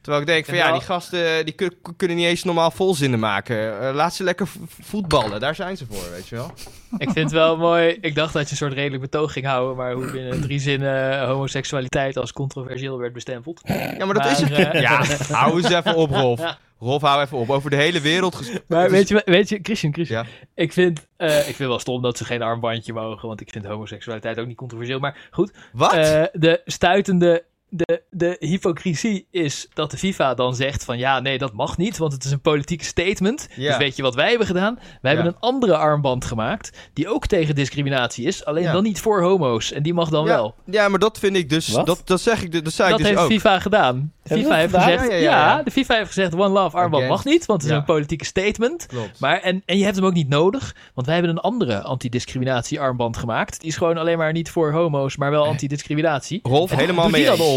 B: Terwijl ik denk van
D: En
B: ja,
D: wel-
B: die gasten die kun- kunnen niet eens normaal volzinnen maken. Eh, laat ze lekker v- voetballen, daar zijn ze voor, weet je wel.
D: eh, Ik vind het wel mooi. Ik dacht dat je een soort redelijk betoog ging houden, maar hoe binnen drie zinnen eh, homoseksualiteit als controversieel werd bestempeld.
B: Ja, maar dat
D: Maar,
B: is het.
D: eh,
B: Ja, hou eens even op, Rolf. Rolf, hou even op. Over de hele wereld gesproken.
D: Maar weet je, weet je Christian, Christian.
B: dus- Ja.
D: Ik, vind, eh, ik vind wel stom dat ze geen armbandje mogen, want ik vind homoseksualiteit ook niet controversieel. Maar goed,
B: Wat?
D: eh, de stuitende. De, de hypocrisie is dat de FIFA dan zegt van ja, nee, dat mag niet, want het is een politiek statement.
B: Ja.
D: Dus weet je wat wij hebben gedaan? Wij hebben een andere armband gemaakt, die ook tegen discriminatie is, alleen
B: Ja.
D: dan niet voor homo's. En die mag dan wel.
B: Ja, ja, maar dat vind ik dus.
A: Wat?
B: Dat, dat zeg ik, dus- dat zei
D: dat
B: ik dus
D: heeft
B: ook.
D: FIFA gedaan. De
A: Hebben
D: FIFA
A: we
D: heeft
A: dat
D: gezegd, ja,
B: gedaan? Ja, ja, ja, ja.
D: de FIFA heeft gezegd One Love armband
B: Against.
D: mag niet, want het is
B: Ja.
D: een politieke statement.
B: Klopt.
D: Maar, en, en je hebt hem ook niet nodig, want wij hebben een andere antidiscriminatie armband gemaakt. Die is gewoon alleen maar niet voor homo's, maar wel antidiscriminatie.
B: Rolf, helemaal
D: Doe
B: mee
D: die
B: eens.
D: dan om.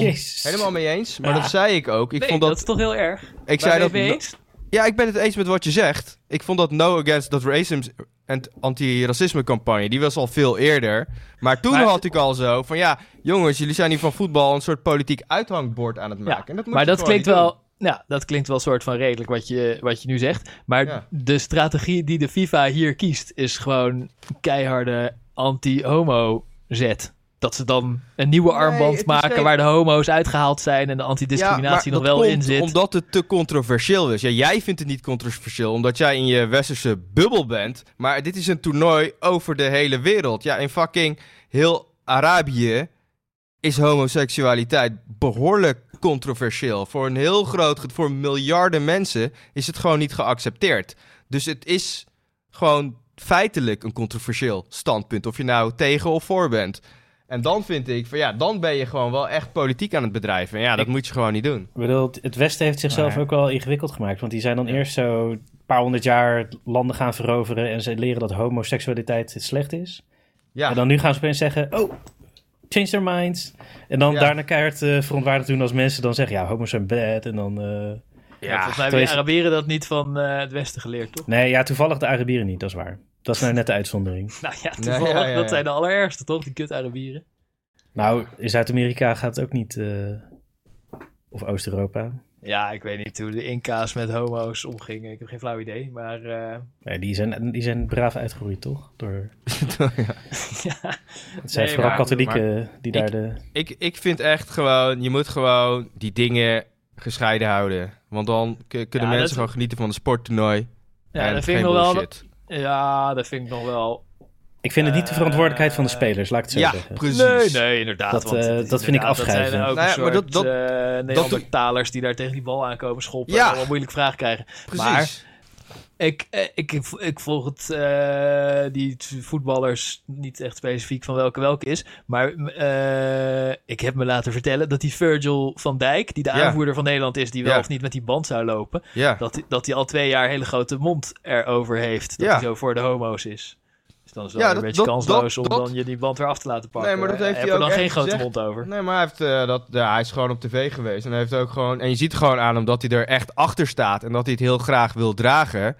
B: Helemaal mee eens. Maar
D: Ja.
B: dat zei ik ook. Ik
D: nee,
B: vond
D: dat...
B: dat.
D: is toch heel erg.
B: ik
D: Waar
B: zei
D: ben
B: E? dat.
D: je het mee eens?
B: Ja, ik ben het eens met wat je zegt. Ik vond dat No Against dat Racism en anti-racisme campagne, die was al veel eerder. Maar toen
D: Maar-
B: had ik al zo van ja, jongens, jullie zijn hier van voetbal een soort politiek uithangbord aan het maken.
D: Ja,
B: En dat moet
D: maar
B: je
D: dat
B: gewoon
D: klinkt
B: niet doen.
D: wel. Ja, dat klinkt wel soort van redelijk wat je, wat je nu zegt. Maar
B: Ja.
D: de strategie die de FIFA hier kiest, is gewoon keiharde anti-homo zet. Dat ze dan een nieuwe
B: Nee, het
D: armband
B: is
D: maken
B: geen-
D: waar de homo's uitgehaald zijn en de antidiscriminatie
B: Ja, maar
D: nog wel
B: dat
D: in
B: komt
D: zit.
B: Omdat het te controversieel is. Ja, jij vindt het niet controversieel, omdat jij in je westerse bubbel bent. Maar dit is een toernooi over de hele wereld. Ja, in fucking heel Arabië is homoseksualiteit behoorlijk controversieel. Voor een heel groot, ge- voor miljarden mensen is het gewoon niet geaccepteerd. Dus het is gewoon feitelijk een controversieel standpunt. Of je nou tegen of voor bent. En dan vind ik van ja, dan ben je gewoon wel echt politiek aan het bedrijven. En ja, dat
A: Ik-
B: moet je gewoon niet doen.
A: Ik bedoel, het- het Westen heeft zichzelf
C: Maar-
A: ook wel ingewikkeld gemaakt. Want die zijn dan eerst zo een paar honderd jaar landen gaan veroveren. En ze leren dat homoseksualiteit slecht is.
B: Ja,
A: En dan nu gaan ze opeens zeggen: Oh, change their minds. En dan
B: Ja.
A: daarna keihard eh verontwaardigd doen als mensen dan zeggen: Ja, homo's zijn bad. En dan. eh,
D: Ja, volgens mij hebben
A: terwijl-
D: de Arabieren dat niet van eh, het Westen geleerd, toch?
A: Nee, ja, toevallig de Arabieren niet, dat is waar. Dat is nou net de uitzondering.
D: Nou ja, toevallig,
B: ja, ja, ja.
D: dat zijn de allerergste, toch? Die kut Arabieren.
A: Nou, in Zuid-Amerika gaat het ook niet. eh, of Oost-Europa.
D: Ja, ik weet niet hoe de Inca's met homo's omgingen. Ik heb geen flauw idee, maar... eh,
A: Nee, die zijn, die zijn braaf uitgeroeid, toch? Door,
D: ja.
A: het zijn
D: Nee,
A: vooral
D: maar-
A: katholieken die daar
B: ik-
A: de...
B: ik, ik vind echt gewoon, je moet gewoon die dingen gescheiden houden. Want dan k- kunnen
D: dat
B: mensen
D: is-
B: gewoon genieten van een sporttoernooi.
D: Ja,
B: en
D: dat vind ik
B: geen
D: nog wel...
B: bullshit.
D: Ja, dat vind ik nog wel...
A: Ik vind het niet de verantwoordelijkheid van de
D: Eh,
A: spelers, laat ik het zo
B: Ja,
A: zeggen.
B: precies.
D: Nee, nee, inderdaad.
A: Dat,
D: want
A: eh,
D: het is
A: dat vind ik
D: inderdaad- Dat zijn
A: afschuiven.
D: ook
B: Nou ja,
D: een
B: maar
D: soort
B: dat- dat-
D: eh, Neandertalers die daar tegen die bal aankomen schoppen.
B: Ja.
D: En allemaal moeilijke vragen krijgen.
B: Precies.
D: Ik, eh, ik, ik volg het, eh, die t- voetballers niet echt specifiek van welke welke is. Maar m, eh, ik heb me laten vertellen dat die Virgil van Dijk, die de
B: Ja.
D: aanvoerder van Nederland is, die wel
B: Ja.
D: of niet met die band zou lopen,
B: ja.
D: dat, die- dat hij al twee jaar hele grote mond erover heeft. Dat
B: Ja.
D: hij zo voor de homo's is. Dus dan is het
B: Ja,
D: wel
B: dat-
D: een beetje
B: dat-
D: kansloos
B: dat-
D: om
B: dat-
D: dan je die band weer af te laten pakken.
B: Nee, maar dat heeft
D: Heb
B: hij
D: er
B: ook
D: dan geen
B: echt
D: grote
B: gezegd.
D: mond over.
B: Nee, maar hij, heeft, eh, dat, ja, hij is gewoon op tv geweest. En, hij heeft ook gewoon, en je ziet gewoon aan hem dat hij er echt achter staat. En dat hij het heel graag wil dragen.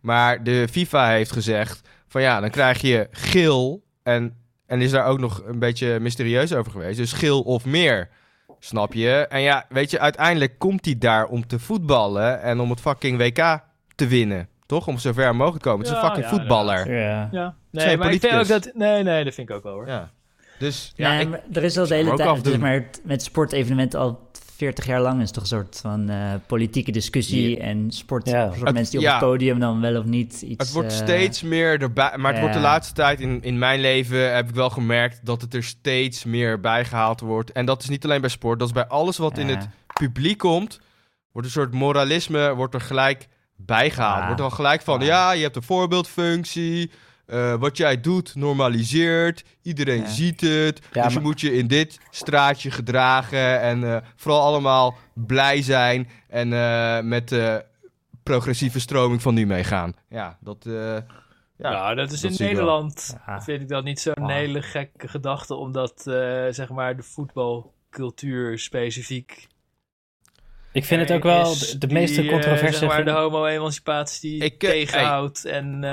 B: Maar de FIFA heeft gezegd: van ja, dan krijg je geel. En, en is daar ook nog een beetje mysterieus over geweest. Dus geel of meer. Snap je? En ja, weet je, uiteindelijk komt hij daar om te voetballen. En om het fucking WK te winnen. Toch? Om zo ver mogelijk te komen. Het is
D: Ja,
B: een fucking
D: ja,
B: voetballer.
A: Ja.
D: Ja.
B: Zijn
D: Nee, maar ik vind ook
B: politicus.
D: dat... Nee, nee, dat vind ik ook wel hoor.
B: Ja. Dus ja,
C: Ja,
B: ik-
C: maar er is al de hele
B: ook
C: tijd,
B: afdoen.
C: zeg maar, het- met sportevenementen al 40 jaar lang is toch een soort van eh, politieke discussie
B: Ja.
C: en sport,
A: Ja.
C: soort
B: Het-
C: mensen die
B: ja.
C: op het podium dan wel of niet iets...
B: Het wordt
C: eh,
B: steeds meer erbij. Maar het wordt de
C: ja.
B: laatste tijd in, in mijn leven heb ik wel gemerkt dat het er steeds meer bij gehaald wordt. En dat is niet alleen bij sport, dat is bij alles wat in
C: ja.
B: het publiek komt. Wordt een soort moralisme, wordt er gelijk bijgehaald.
C: Ja.
B: Wordt er al gelijk van,
C: Ja.
B: ja, je hebt een voorbeeldfunctie. eh, wat jij doet, normaliseert. Iedereen
C: Ja.
B: ziet het.
A: Ja,
B: dus je
A: maar-
B: moet je in dit straatje gedragen. En eh, vooral allemaal blij zijn. En eh, met de progressieve stroming van nu meegaan. Ja, dat... eh,
D: Ja, dat is
B: dat
D: in
B: zie ik wel.
D: Nederland.
C: Ja.
D: Vind ik dat niet zo'n
C: Ah.
D: hele gekke gedachte, omdat eh, zeg maar de voetbalcultuur specifiek.
A: Ik vind het ook wel
D: is
A: de, de
D: die,
A: meeste
D: eh,
A: controverse...
D: zeg maar
A: vind-
D: de homo-emancipatie
B: Ik, eh,
D: tegenhoudt en eh,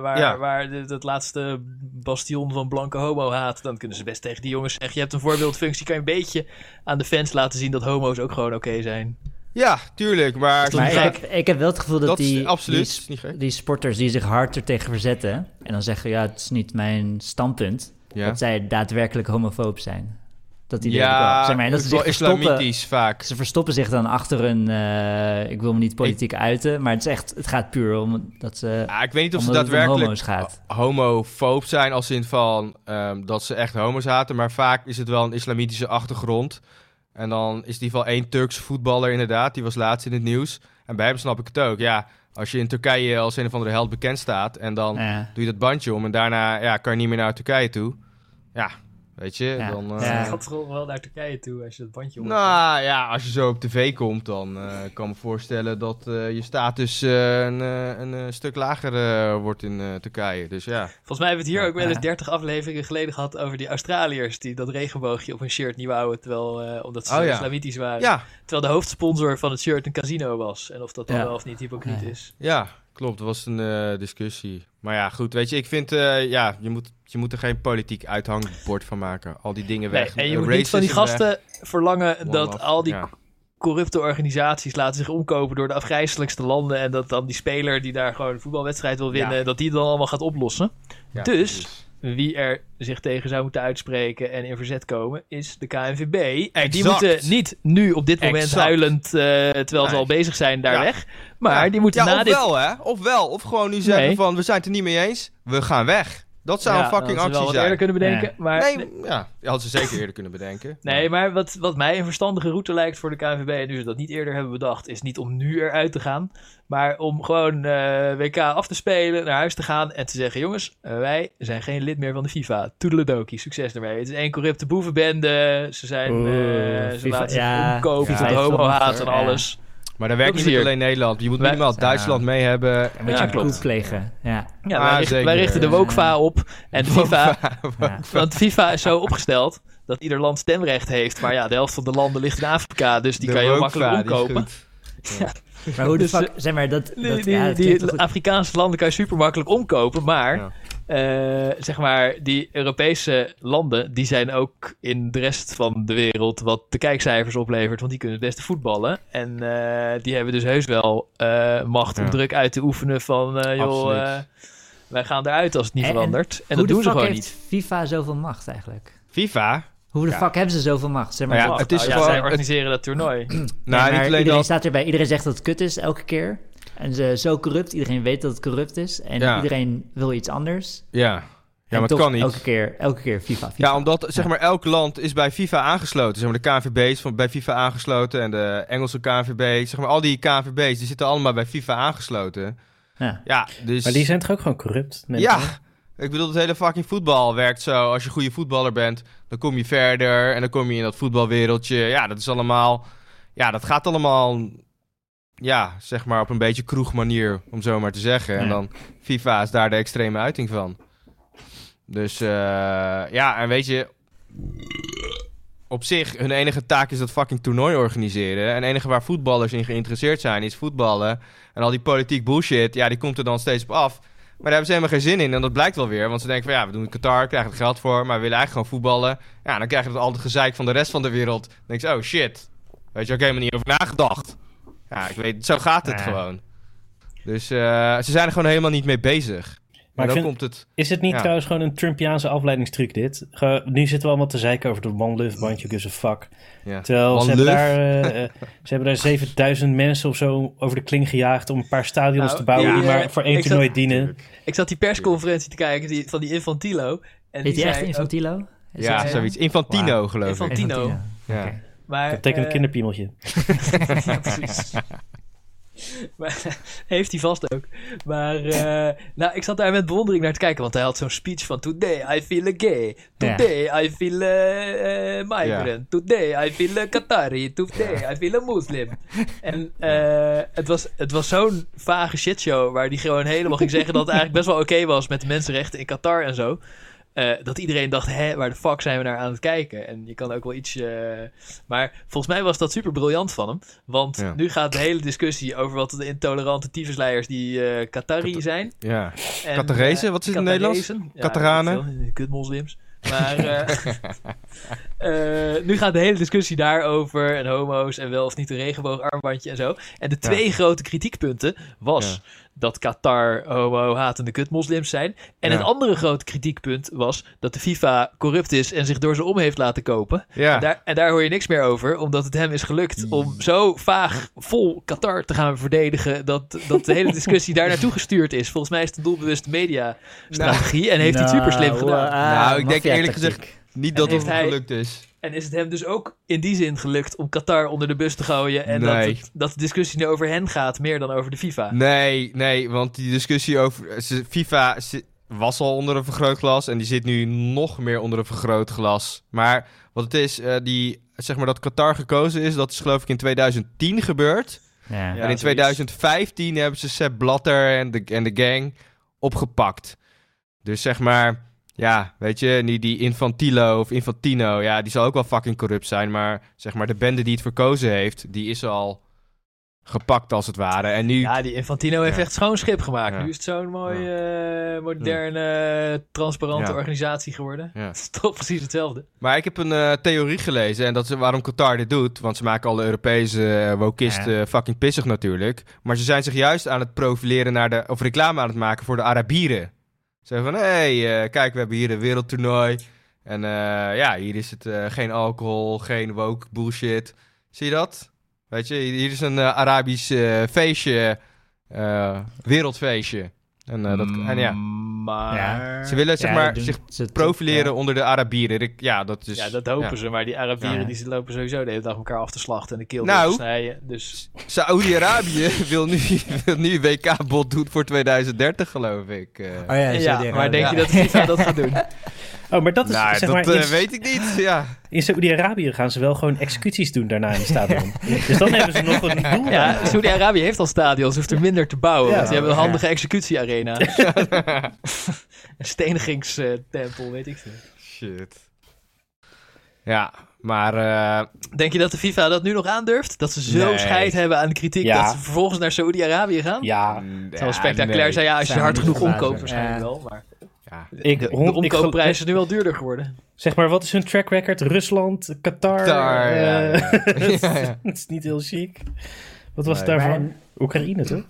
D: waar,
B: Ja.
D: waar de- dat laatste bastion van blanke homo-haat, dan kunnen ze best tegen die jongens zeggen: je hebt een voorbeeldfunctie, kan je een beetje aan de fans laten zien dat homo's ook gewoon oké zijn.
B: Ja, tuurlijk, maar...
D: Dat is
C: Maar ik
D: toch
C: heb, ik heb wel het gevoel dat,
B: Dat is
C: die,
B: absoluut
C: die, sp-
B: niet gek.
C: die sporters die zich hard er tegen verzetten en dan zeggen, ja, het is niet mijn standpunt,
B: Ja,
C: dat zij daadwerkelijk homofoob zijn. Dat die
B: ja
C: wel. Zeg maar, en dat
B: het
C: ze
B: is
C: zich
B: wel
C: verstoppen,
B: islamitisch vaak.
C: Ze verstoppen zich dan achter een. eh, ik wil me niet politiek uiten, maar het, is echt, het gaat puur om dat ze.
B: Ja, Ah, ik weet niet of ze
C: omdat het om
B: daadwerkelijk
C: homo's gaat.
B: homofoob zijn als in van ehm, dat ze echt homo's haten, maar vaak is het wel een islamitische achtergrond. En dan is die wel één Turks voetballer inderdaad, die was laatst in het nieuws. En bij hem snap ik het ook. Ja, als je in Turkije als een of andere held bekend staat en dan
C: Ja.
B: doe je dat bandje om en daarna ja, kan je niet meer naar Turkije toe. Ja, weet je,
C: Ja.
B: dan... eh,
D: Ik
C: Ja.
D: gaat gewoon wel naar Turkije toe als je dat bandje om.
B: Nou ja, als je zo op tv komt, dan eh, kan ik me voorstellen dat eh, je status eh, een, eh, een eh, stuk lager eh, wordt in eh, Turkije. Dus ja.
D: Volgens mij hebben we het hier ook wel eens
C: Ja.
D: 30 afleveringen geleden gehad over die Australiërs die dat regenboogje op hun shirt niet wouden, terwijl, eh, omdat ze
B: Oh
D: zo
B: ja.
D: islamitisch waren.
B: Ja,
D: Terwijl de hoofdsponsor van het shirt een casino was. En of dat dan
C: Ja.
D: wel of niet hypocriet
C: Ja.
D: is.
B: ja klopt. Er was een eh, discussie. Maar ja, goed. Weet je, ik vind, eh, ja, je moet, je moet er geen politiek uithangbord van maken. Al die dingen
D: Nee,
B: weg.
D: en je
B: Eh,
D: moet niet van die
B: racism
D: gasten
B: weg,
D: verlangen dat
B: one-off.
D: al die
B: Ja.
D: corrupte organisaties laten zich omkopen door de afgrijzelijkste landen. En dat dan die speler die daar gewoon een voetbalwedstrijd wil winnen, dat die het dan allemaal gaat oplossen.
B: Ja,
D: dus- Wie er zich tegen zou moeten uitspreken en in verzet komen, is de KNVB. En die
B: Exact.
D: moeten niet nu op dit moment
B: Exact.
D: huilend, eh, terwijl ze
B: Nee.
D: al bezig zijn, daar
B: Ja.
D: weg. Maar die moeten
B: ja,
D: na dit...
B: ofwel, hè? Ofwel. Of gewoon nu zeggen
D: Nee.
B: van, we zijn het er niet mee eens. We gaan weg. Dat zou
D: Ja, nou,
B: een fucking
D: dat hadden ze wel
B: actie
D: wat
B: zijn.
D: eerder kunnen bedenken. Maar, nee,
B: Nee, ja, dat hadden ze zeker eerder kunnen bedenken.
D: nee, maar wat, wat mij een verstandige route lijkt voor de KNVB... en nu ze dat niet eerder hebben bedacht... is niet om nu eruit te gaan... maar om gewoon eh, WK af te spelen, naar huis te gaan... en te zeggen... jongens, eh, wij zijn geen lid meer van de FIFA. Toedeledoki, succes ermee. Het is één corrupte boevenbende. Ze zijn...
A: Oeh,
D: eh, ze
C: FIFA,
D: laten zich
C: ja,
D: omkopen
C: FIFA
D: tot
C: heeft dat
D: homohaat
C: nog, ja.
D: en alles.
B: Maar daar werkt
D: Dat is
B: niet
D: hier.
B: alleen Nederland. Je moet
D: Wij-
B: minimaal
C: Ja.
B: Duitsland mee hebben.
C: Een beetje
D: Ja,
C: ja,
D: klopt.
C: plegen. Ja.
D: Ja,
B: Ah,
D: wij, richten, wij
B: zeker.
D: richten de wokva op. En de FIFA,
C: ja.
D: want FIFA is zo opgesteld dat ieder land stemrecht heeft. Maar ja, de helft van de landen ligt in Afrika, dus die
B: De
D: kan je heel
B: Roquefort,
D: makkelijk
B: die is
D: omkopen.
B: goed.
C: Maar hoe de
D: Dus,
C: fuck, zeg maar, dat...
D: Die,
C: dat
D: die,
C: ja, dat
D: die
C: klinkt toch goed.
D: Afrikaanse landen kan je super makkelijk omkopen. Maar
B: Ja.
D: eh, zeg maar, die Europese landen, die zijn ook in de rest van de wereld wat de kijkcijfers oplevert. Want die kunnen het beste voetballen. En eh, die hebben dus heus wel eh, macht om
B: Ja.
D: druk uit te oefenen van eh, joh,
B: Absoluut.
D: eh, wij gaan eruit als het niet
C: En- en
D: verandert.
C: Hoe
D: En dat
C: de
D: doen ze
C: fuck
D: gewoon
C: heeft
D: niet.
C: FIFA zoveel macht eigenlijk?
B: FIFA?
C: Hoe de
B: Ja.
C: fuck hebben ze zoveel macht? Zeg maar,
B: Nou ja,
C: dat-
B: het is
D: Nou
B: gewoon-
D: zij organiseren dat toernooi.
C: Nee,
B: Nou,
C: maar
B: niet alleen
C: iedereen
B: dat.
C: staat erbij. Iedereen zegt dat het kut is elke keer. En ze zo corrupt. Iedereen weet dat het corrupt is. En
B: Ja.
C: iedereen wil iets anders.
B: Ja. ja,
C: En
B: maar het
C: toch
B: kan niet.
C: Elke keer, elke keer FIFA, FIFA.
B: Ja, omdat zeg maar elk land is bij FIFA aangesloten. Zeg maar de KNVB is van, bij FIFA aangesloten en de Engelse KNVB. Zeg maar al die KNVB's die zitten allemaal bij FIFA aangesloten.
C: Ja.
B: Ja, dus...
A: Maar die zijn toch ook gewoon corrupt? neem ik
B: ja,
A: aan?
B: ik bedoel, het hele fucking voetbal werkt zo. Als je een goede voetballer bent, dan kom je verder en dan kom je in dat voetbalwereldje. Ja, dat is allemaal... Ja, dat gaat allemaal... Ja, zeg maar op een beetje kroegmanier, om zo maar te zeggen. En
C: Ja.
B: dan FIFA is daar de extreme uiting van. Dus eh, ja, en weet je... Op zich, hun enige taak is dat fucking toernooi organiseren. En het enige waar voetballers in geïnteresseerd zijn, is voetballen. En al die politiek bullshit, ja, die komt er dan steeds op af. Maar daar hebben ze helemaal geen zin in. En dat blijkt wel weer. Want ze denken van ja, we doen Qatar, krijgen er geld voor. Maar we willen eigenlijk gewoon voetballen. Ja, dan krijgen we al het gezeik van de rest van de wereld. Dan denk je, oh shit. Weet je, ook helemaal niet over nagedacht. Ja, ik weet, zo gaat het
C: Ja.
B: gewoon. Dus eh, ze zijn er gewoon helemaal niet mee bezig.
A: Maar
B: Maar
A: ik
B: dan
A: vind-
B: komt het.
A: Is het niet
B: Ja.
A: trouwens gewoon een Trumpiaanse afleidingstruc dit? Ge- nu zitten we allemaal te zeiken over de One Love bandje, gives a fuck.
B: Ja.
A: Terwijl
B: One
A: ze hebben,
B: love.
A: daar, eh, eh, ze hebben daar 7000 mensen of zo over de kling gejaagd om een paar stadions
D: Nou,
A: te bouwen
D: ja,
A: die maar voor één
D: ik zat-
A: toernooi dienen.
B: Tuurlijk.
D: Ik zat die persconferentie te kijken die, van die Infantilo. En
C: Heet hij
D: die
C: echt
B: eh,
D: zei ook-
C: Infantilo? Is
B: Ja,
C: dat zo?
B: zoiets. Infantino,
C: Wauw.
B: geloof ik.
D: Infant- Infantino.
C: Infantino.
B: Ja.
C: Oké.
D: maar,
A: Dat betekent
D: eh,
A: een kinderpiemeltje.
D: ja, precies. maar, heeft hij vast ook. Maar eh, nou, ik zat daar met bewondering naar te kijken. Want hij had zo'n speech van... Today I feel a gay. Today I feel a eh, migrant. Today I feel a Qatari. Today I feel a Muslim. En eh, het was, het was zo'n vage shitshow... waar die gewoon helemaal ging zeggen... dat het eigenlijk best wel oké was met de mensenrechten in Qatar en zo. Eh, dat iedereen dacht, hè, waar de fuck zijn we naar aan het kijken? En je kan ook wel iets... eh, maar volgens mij was dat super briljant van hem. Want
B: Ja.
D: nu gaat de hele discussie over wat de intolerante tyfusleiers die eh Qatari
B: Qata-
D: zijn.
B: ja.
D: En,
B: Qatarezen?
D: eh,
B: Wat is het in het
D: Qatarezen.
B: Nederlands?
D: Ja,
B: Qataranen?
D: weet ik veel. Kutmoslims. Maar eh, eh, nu gaat de hele discussie daarover. En homo's en wel of niet een regenboogarmbandje en zo. En de twee grote kritiekpunten was dat Qatar homo-hatende kutmoslims zijn. En
B: Ja.
D: het andere grote kritiekpunt was dat de FIFA corrupt is en zich door ze om heeft laten kopen.
B: Ja.
D: Daar, en daar hoor je niks meer over, omdat het hem is gelukt om zo vaag vol Qatar te gaan verdedigen. dat, dat de hele discussie daar naartoe gestuurd is. Volgens mij is het een doelbewuste mediastrategie en heeft hij het super slim gedaan.
C: ah,
B: Nou, ik denk eerlijk
C: gezegd...
B: Niet dat
D: En
B: het
D: heeft hij-
B: gelukt is.
D: En is het hem dus ook in die zin gelukt om Qatar onder de bus te gooien. en
B: Nee.
D: dat, het- dat de discussie nu over hen gaat, meer dan over de FIFA.
B: Nee, nee, want die discussie over ze- FIFA zi- was al onder een vergrootglas en die zit nu nog meer onder een vergrootglas. Maar wat het is, eh, die, zeg maar dat Qatar gekozen is, dat is geloof ik in 2010 gebeurd.
C: Ja.
D: Ja.
B: en in
D: zoiets.
B: 2015 hebben ze Sepp Blatter en de, en de gang opgepakt. Dus zeg maar, ja, weet je, die, die Infantilo of Infantino, ja, die zal ook wel fucking corrupt zijn. Maar zeg maar, de bende die het verkozen heeft, die is al gepakt als het ware. En nu...
D: Ja, die Infantino heeft
B: Ja.
D: echt schoon schip gemaakt.
B: Ja.
D: Nu is het zo'n mooie, eh, moderne, transparante
B: Ja.
D: organisatie geworden.
B: Ja.
D: Het is toch precies hetzelfde.
B: Maar ik heb een eh, theorie gelezen en dat is waarom Qatar dit doet. Want ze maken alle Europese eh, wokisten eh, fucking pissig natuurlijk. Maar ze zijn zich juist aan het profileren naar de, of reclame aan het maken voor de Arabieren. Ze zeggen van, hé, hey, eh, kijk, we hebben hier een wereldtoernooi. En eh, ja, hier is het eh, geen alcohol, geen woke bullshit. Zie je dat? Weet je, hier is een eh, Arabisch eh, feestje, eh, wereldfeestje. En, eh, dat, en ja,
D: Maar...
C: Ja.
B: Ze willen zeg
C: Ja,
B: maar
C: doen
B: zich
C: ze het-
B: profileren
C: ja.
B: onder de Arabieren. Ik- Ja, dat is...
D: Dus, ja, dat hopen
B: ja.
D: ze. Maar die Arabieren
C: Ja.
D: die lopen sowieso de hele dag elkaar af te slachten en de keel
B: Nou.
D: door te snijden. Dus
B: Saoedi-Arabië wil nu, wil nu WK-bod doen voor 2030, geloof ik. eh.
C: Oh ja,
D: ja,
C: Saudi-Arabië.
D: maar denk je dat FIFA dat gaat doen?
A: Oh, maar dat is
B: nou,
A: zeg
B: dat
A: maar...
B: eh,
A: in-
B: weet ik niet. Ja.
A: In Saoedi-Arabië gaan ze wel gewoon executies doen daarna in het stadion. Dus dan hebben ze nog een doel.
D: Ja, Saudi-Arabië heeft al stadions, hoeft er minder te bouwen.
A: Ja.
D: want die hebben een
C: Ja.
D: handige executiearena. een stenigingstempel, weet ik veel.
B: Shit. Ja, maar eh,
D: Denk je dat de FIFA dat nu nog aandurft? Dat ze zo
B: Nee.
D: scheid hebben aan de kritiek
A: Ja.
D: dat ze vervolgens naar Saudi-Arabië gaan?
A: Ja,
B: mm,
D: Het zal wel
B: ja,
D: spectaculair
B: nee.
D: zijn. Ja, als je
C: Zou
D: hard
C: me
D: genoeg
C: niet verbazen.
D: omkoopt waarschijnlijk
C: Ja.
D: wel. Maar
B: Ja.
A: ik,
D: de,
A: hond-
D: de
A: ik gel-
D: omkoopprijs is nu wel duurder geworden.
A: zeg maar, wat is hun track record? Rusland, Qatar.
B: Qatar,
A: eh,
B: ja, ja.
A: het,
B: Ja, ja.
A: het is niet heel chic. Wat was het
B: Nee.
A: daarvan?
C: Maar-
A: Oekraïne, toch?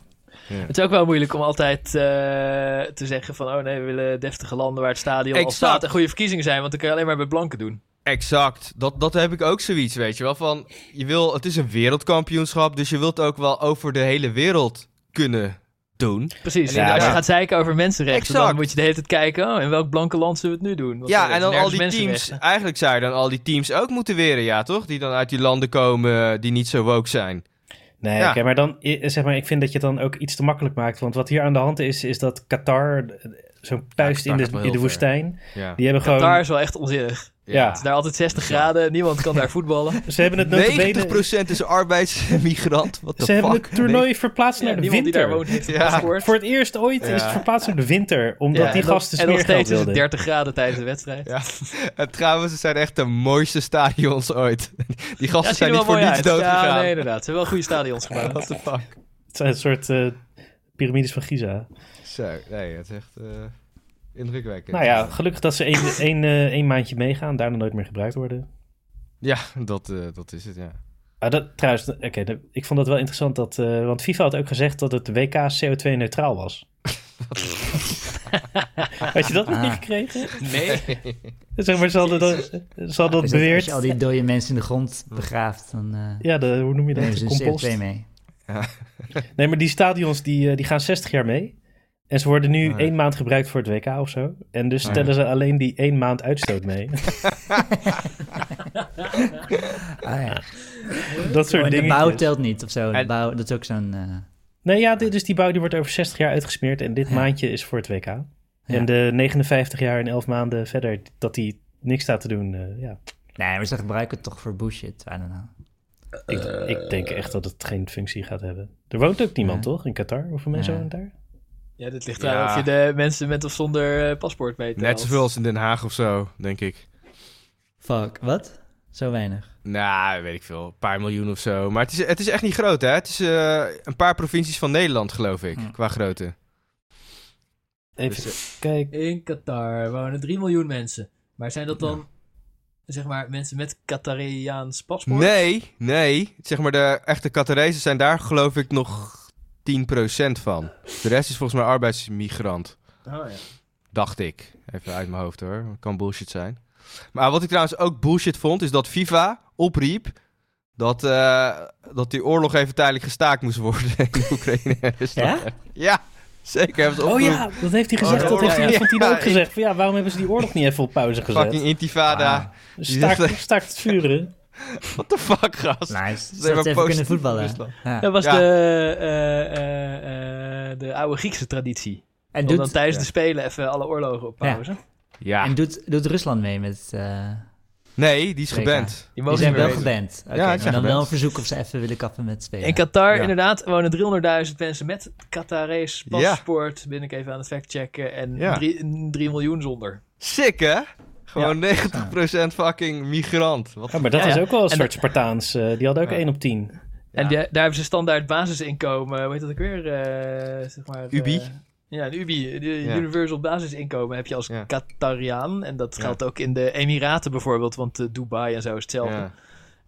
D: Het is ook wel moeilijk om altijd eh, te zeggen van... oh nee, we willen deftige landen waar het stadion al
B: Exact.
D: staat... en goede verkiezingen zijn, want dan kan je alleen maar met blanken doen.
B: Exact. Dat, dat heb ik ook zoiets, weet je wel. Van, je wil, het is een wereldkampioenschap, dus je wilt ook wel over de hele wereld kunnen doen.
D: Precies.
A: Ja,
D: en als je
A: maar-
D: gaat zeiken over mensenrechten,
B: Exact.
D: dan moet je de hele tijd kijken... oh, in welk blanke land zullen we het nu doen? Want
B: ja,
D: er
B: en dan
D: is
B: al
D: nergens
B: die teams.
D: mensenrechten.
B: Eigenlijk zou je dan al die teams ook moeten weren, ja, toch? Die dan uit die landen komen eh, die niet zo woke zijn.
A: Nee,
B: Ja.
A: oké, maar dan eh, zeg maar, ik vind dat je het dan ook iets te makkelijk maakt. Want wat hier aan de hand is, is dat Qatar, eh, zo'n puist
B: Qatar
A: in,
B: gaat wel
A: de, in de
B: heel ver.
A: woestijn,
B: Ja.
A: die hebben
D: Qatar
A: gewoon.
D: is wel echt onzinnig. Het
A: Ja.
D: is daar altijd 60 graden, niemand kan daar voetballen.
A: Ze hebben het notabene-
B: 90% is arbeidsmigrant. Wat de
A: Ze hebben
B: fuck?
A: het toernooi verplaatst
D: Ja,
A: naar de
D: niemand die daar
A: winter.
D: woont heeft een
B: Ja.
D: paspoort.
A: Voor het eerst ooit
B: Ja.
A: is het verplaatst naar de winter, omdat
D: Ja,
A: die
D: en dan-
A: gasten
D: En nog
A: smeergeld
D: steeds is het
A: wilden.
D: 30 graden tijdens de wedstrijd.
B: Ja. En Eh, trouwens, het zijn echt de mooiste stadions ooit. Die gasten
D: Ja, ziet
B: zijn
D: er
B: niet
D: wel
B: voor
D: mooi
B: niets
D: uit.
B: doodgegaan.
D: Ja, nee, inderdaad. Ze hebben wel goede stadions gebouwd.
B: What the fuck?
A: Het zijn een soort eh, piramides van Giza.
B: Zo, nee, het is echt eh, indrukwekkend.
A: Nou ja, gelukkig dat ze één, één, eh, één maandje meegaan, daarna nooit meer gebruikt worden.
B: Ja, dat, eh, dat is het, ja.
A: Ah, dat, trouwens, oké, de- ik vond dat wel interessant, dat, eh, want FIFA had ook gezegd dat het WK CO2-neutraal was. Had je dat nog niet
C: Ah.
A: gekregen?
D: Nee.
A: Zeg maar, ze hadden dat, ze hadden dat
C: Dus dat als
A: beweerd.
C: je al die dode mensen in de grond begraaft, dan eh,
A: Ja, de, hoe noem je dat?
C: nemen
A: De
C: ze
A: compost.
C: CO2 mee.
A: Nee, maar die stadions die, eh, die gaan 60 jaar mee. En ze worden nu
B: Ah, ja.
A: één maand gebruikt voor het WK of zo. En dus
B: Ah, ja.
A: stellen ze alleen die één maand uitstoot mee.
C: Ah, ja.
A: dat soort
C: Oh, en de
A: dingen.
C: bouw telt niet of zo. De
B: En-
C: bouw, dat is ook zo'n... eh,
A: Nee, ja, dit, dus die bouw die wordt over 60 jaar uitgesmeerd. En dit maandje is voor het WK. En de 59 jaar en 11 maanden verder dat die niks staat te doen. eh, ja.
C: nee, maar ze gebruiken het toch voor bullshit. I don't know.
A: ik, ik denk echt dat het geen functie gaat hebben. Er woont ook niemand,
C: Nee.
A: toch? In Qatar? Hoeveel mensen
C: Nee.
A: wonen daar?
D: Ja, dit ligt
B: Ja.
D: eraan of je de mensen met of zonder eh, paspoort mee telt.
B: Net zoveel als in Den Haag of zo, denk ik.
C: Fuck, wat? Zo weinig.
B: Nou, weet ik veel. Een paar miljoen of zo. Maar het is, het is echt niet groot, hè? Het is eh, een paar provincies van Nederland, geloof ik,
C: Hm.
B: qua grootte.
A: Even kijken.
D: In Qatar wonen 3 miljoen mensen. Maar zijn dat dan, zeg maar, mensen met Qatariaans paspoort?
B: Nee, nee. Zeg maar, de echte Qatarese zijn daar, geloof ik, nog 10% van. De rest is volgens mij arbeidsmigrant,
D: Oh, ja.
B: dacht ik. Even uit mijn hoofd, hoor. Kan bullshit zijn. Maar wat ik trouwens ook bullshit vond, is dat FIFA opriep dat, eh, dat die oorlog even tijdelijk gestaakt moest worden in Oekraïne. en Rusland. Ja, zeker. Hebben ze
A: Oh
B: opgeroepen.
A: ja, dat heeft hij gezegd.
B: Oh,
A: dat
B: ja,
A: heeft
B: ja,
A: hij
B: ja.
A: Infantino
B: Ja,
A: ook
B: ik-
A: gezegd. Van, ja, waarom hebben ze die oorlog niet even op pauze gezet?
B: Fucking intifada.
A: Staak,
B: Wow.
A: staakt het vuren.
B: What the fuck, gast?
C: Nice.
B: Ze
C: Nou, Ze
B: hebben
C: dat ze even
B: positief
C: kunnen voetballen.
B: Rusland.
C: Ja.
D: Dat was
B: Ja.
D: De, eh, eh, eh, de oude Griekse traditie.
C: En,
D: Om dan
C: doet,
D: tijdens
B: ja.
D: de Spelen even alle oorlogen op
C: Ja.
D: pauze.
B: Ja.
C: en doet, doet Rusland mee met... eh
B: Nee, die is
C: Zeker.
B: geband.
D: Die
C: die
D: mogen
C: zijn
D: niet meer
C: wel
D: weten.
C: geband. Oké,
B: die
C: maar
B: zijn
C: dan wel
B: geband.
C: een verzoek of ze even willen kappen met spelen.
D: In Qatar
B: Ja.
D: inderdaad wonen 300.000 mensen met Qatarees paspoort. Ben ik even aan het factchecken. En
B: Ja.
D: 3 miljoen zonder.
B: Sick, hè? Gewoon 90% fucking migrant. Wat
A: Ja, maar dat
D: Ja,
A: is
D: ja.
A: ook wel een
D: En
A: soort Spartaans. eh, die hadden ook
B: Ja.
A: 1 op 10.
D: En
B: Ja.
D: die- daar hebben ze standaard basisinkomen. Weet dat ook weer? eh, zeg maar, eh,
B: Ubi.
D: ja, een UBI. De
B: Ja.
D: Universal basisinkomen heb je als
B: Ja.
D: Qatariaan. En dat
B: Ja.
D: geldt ook in de Emiraten bijvoorbeeld. Want eh, Dubai en zo is hetzelfde.
B: Ja.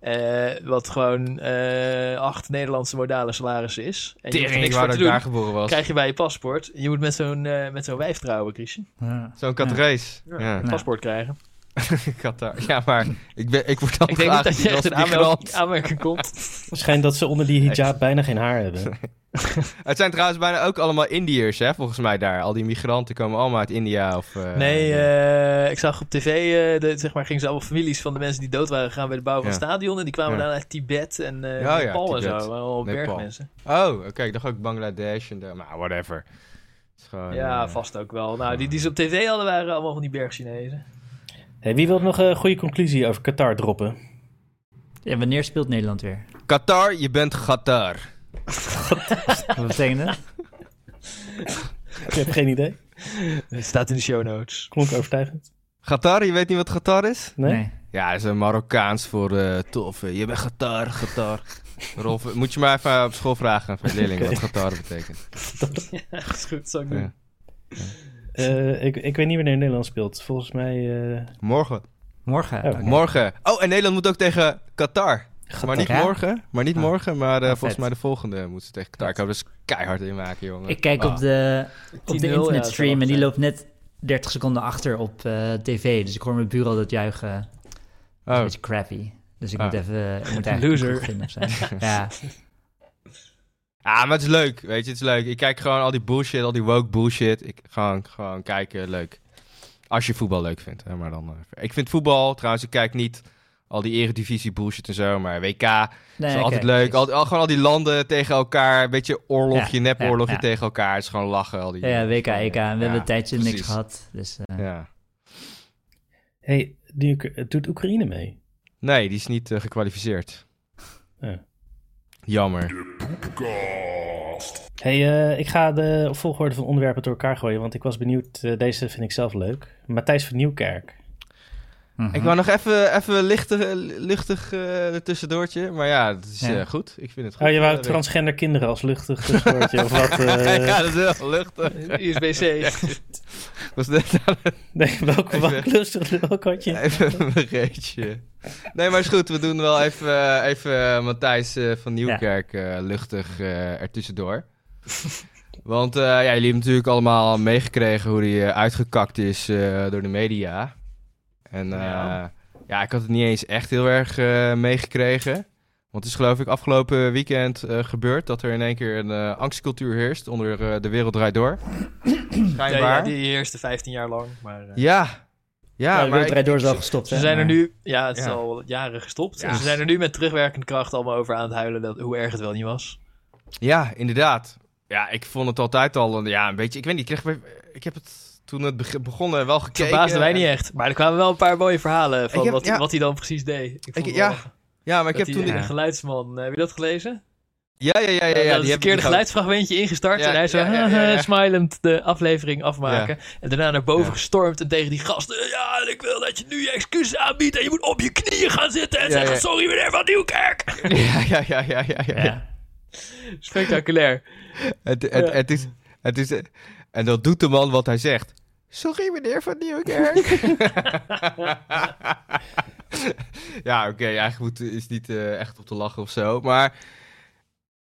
D: Eh, wat gewoon eh, acht Nederlandse modale salaris is. En je hoeft er
B: Tering, ik
D: niks
B: wou
D: voor
B: dat
D: te
B: ik
D: doen.
B: daar geboren was.
D: Krijg je bij je paspoort. Je moet met zo'n eh, met zo'n wijf trouwen, Christian.
C: Ja.
B: Zo'n Qatarese. Ja.
D: Ja. Een paspoort krijgen.
B: Qatar. Ja, maar ik, ben, ik word dan
D: Ik denk niet dat je
B: geacht als
D: echt een aanmerking,
B: migrant.
D: aanmerking komt.
A: Het schijnt dat ze onder die hijab bijna geen haar hebben.
B: Het zijn trouwens bijna ook allemaal Indiërs, hè, volgens mij daar. Al die migranten komen allemaal uit India of... eh,
D: Nee,
B: die-
D: eh, ik zag op tv, eh, de, zeg maar, gingen ze allemaal families van de mensen die dood waren gegaan bij de bouw van
B: Ja.
D: het stadion. En die kwamen
B: Ja.
D: dan uit Tibet en eh
B: Ja, ja,
D: Nepal en zo.
B: Tibet.
D: Waren Wel
B: Nepal.
D: bergmensen.
B: Oh, oké, ik dacht ook Bangladesh en... daar- Maar whatever. Het is gewoon,
D: ja,
B: eh,
D: vast ook wel. Nou, die die ze op tv hadden waren allemaal van die bergchinezen.
A: Hey, wie wil nog een goede conclusie over Qatar droppen?
C: Ja, wanneer speelt Nederland weer?
B: Qatar, je bent Qatar.
C: Wat betekent dat?
A: Ik heb geen idee.
D: Het staat in de show notes.
A: Klonk overtuigend.
B: Qatar, je weet niet wat Qatar is?
A: Nee?
B: Ja, dat is een Marokkaans voor eh toffe. Je bent Qatar, Qatar. Rolf, moet je maar even eh, op school vragen van je leerlingen wat Qatar betekent.
D: Ja, dat is goed, dat zal ik
B: Ja.
D: doen.
A: Eh, ik, ik weet niet wanneer Nederland speelt. Volgens mij... eh,
B: Morgen.
C: Morgen.
A: Oh.
C: Oké.
B: Morgen. Oh, en Nederland moet ook tegen Qatar. Maar niet
C: Ja?
B: morgen, maar niet
C: Ah.
B: morgen, maar eh,
C: Ah,
B: volgens
C: vet.
B: mij de volgende moeten ze tegen Qatar. Ik hoop dat ze keihard inmaken, jongen.
C: Ik kijk op
B: Ah.
C: de, op
D: 10-0,
C: de
D: ja,
C: internetstream
D: zou
C: en die
D: zijn.
C: loopt net 30 seconden achter op eh, tv. Dus ik hoor mijn buren al dat juichen. Het is
B: Oh,
C: Een beetje crappy. Dus ik
B: Ah.
C: moet even... Ik moet eigenlijk
D: Loser.
C: een kroeg vinden of zo. ja.
B: Ah, maar het is leuk, weet je, het is leuk. Ik kijk gewoon al die bullshit, al die woke bullshit. Ik gewoon, gewoon kijken, leuk. Als je voetbal leuk vindt, hè, maar dan... eh, ik vind voetbal, trouwens, ik kijk niet al die eredivisie bullshit en zo, maar WK
C: Nee,
B: is
C: oké,
B: altijd leuk.
C: precies.
B: Al, al- gewoon al die landen tegen elkaar, een beetje oorlogje,
C: Ja,
B: nep oorlogje
C: ja, ja.
B: tegen elkaar. Het is gewoon lachen, al die...
C: Ja, ja, WK, EK. We
B: Ja,
C: hebben een tijdje
B: precies.
C: niks gehad. Dus eh,
B: Ja.
A: hey, die Oek- doet Oekraïne mee?
B: Nee, die is niet eh, gekwalificeerd.
A: Ja.
B: Jammer.
A: Hey, eh, ik ga de volgorde van onderwerpen door elkaar gooien, want ik was benieuwd. eh, deze vind ik zelf leuk. Matthijs van Nieuwkerk.
C: mhm.
B: Ik wou nog even, even lichtig, eh, luchtig eh tussendoortje, maar ja, dat is
C: Ja.
B: eh, goed. Ik vind het goed.
A: Oh, je wou
B: Eh,
A: transgender kinderen als luchtig tussendoortje of wat? eh?
B: ja, dat is heel luchtig.
D: Eh, USB-C.
B: was net aan
A: Nee, welke
B: Even-
A: welk lustig welk had je?
B: even een reetje. Nee, maar is goed. We doen wel even, eh, even eh, Matthijs eh, van Nieuwkerk eh, luchtig eh ertussendoor. Want eh, ja, jullie hebben natuurlijk allemaal meegekregen hoe hij eh, uitgekakt is eh, door de media. En eh,
D: Ja.
B: ja. ik had het niet eens echt heel erg eh, meegekregen. Want het is geloof ik afgelopen weekend eh, gebeurd dat er in één keer een eh, angstcultuur heerst onder eh, de wereld draait door.
D: Ja,
B: Schijnbaar.
D: ja, die eerste 15 jaar lang. Maar, eh,
B: Ja. Ja,
C: Ja, de
B: maar ik-
C: Wereldrijd door is al gestopt.
D: Ze
C: hè,
D: zijn er
C: maar-
D: nu, ja, het is
B: Ja.
D: al jaren gestopt.
B: Ja.
D: En Ze zijn er nu met terugwerkende kracht allemaal over aan het huilen dat, hoe erg het wel niet was.
B: ja, inderdaad. Ja, ik vond het altijd al een, ja, een beetje... Ik weet niet, ik, kreeg, ik heb het toen het beg- begon eh, wel
D: Het
B: gekeken.
D: verbaasde mij niet echt. Maar er kwamen wel een paar mooie verhalen van
B: Ik heb-
D: wat,
B: ja.
D: wat hij dan precies deed. Ik vond
B: Ik-
D: wel
B: ja, Ja, maar ik
D: dat
B: heb
D: hij
B: toen...
D: een
B: Ja,
D: geluidsman, eh, heb je dat gelezen? Eh,
B: ja, ja, ja. ja,
D: dat
B: die
D: is een
B: heb ik
D: verkeerde
B: nog ook.
D: geluidsfragmentje ingestart
B: Ja,
D: en hij zo
B: ja, ja, ja, ja.
D: smilend de aflevering afmaken. En daarna naar boven
B: Ja.
D: gestormd en tegen die gasten. Ja, en ik wil dat je nu je excuses aanbiedt en je moet op je knieën gaan zitten en
B: Ja,
D: zeggen
B: ja.
D: sorry meneer Van Nieuwkerk.
B: Ja, ja, ja, ja, ja, ja.
C: Ja.
D: Spectaculair.
B: Het, het, het is... Het is eh, en dat doet de man wat hij zegt. Sorry, meneer Van Nieuwkerk. ja, oké, eigenlijk moet, is niet eh, echt op te lachen of zo. Maar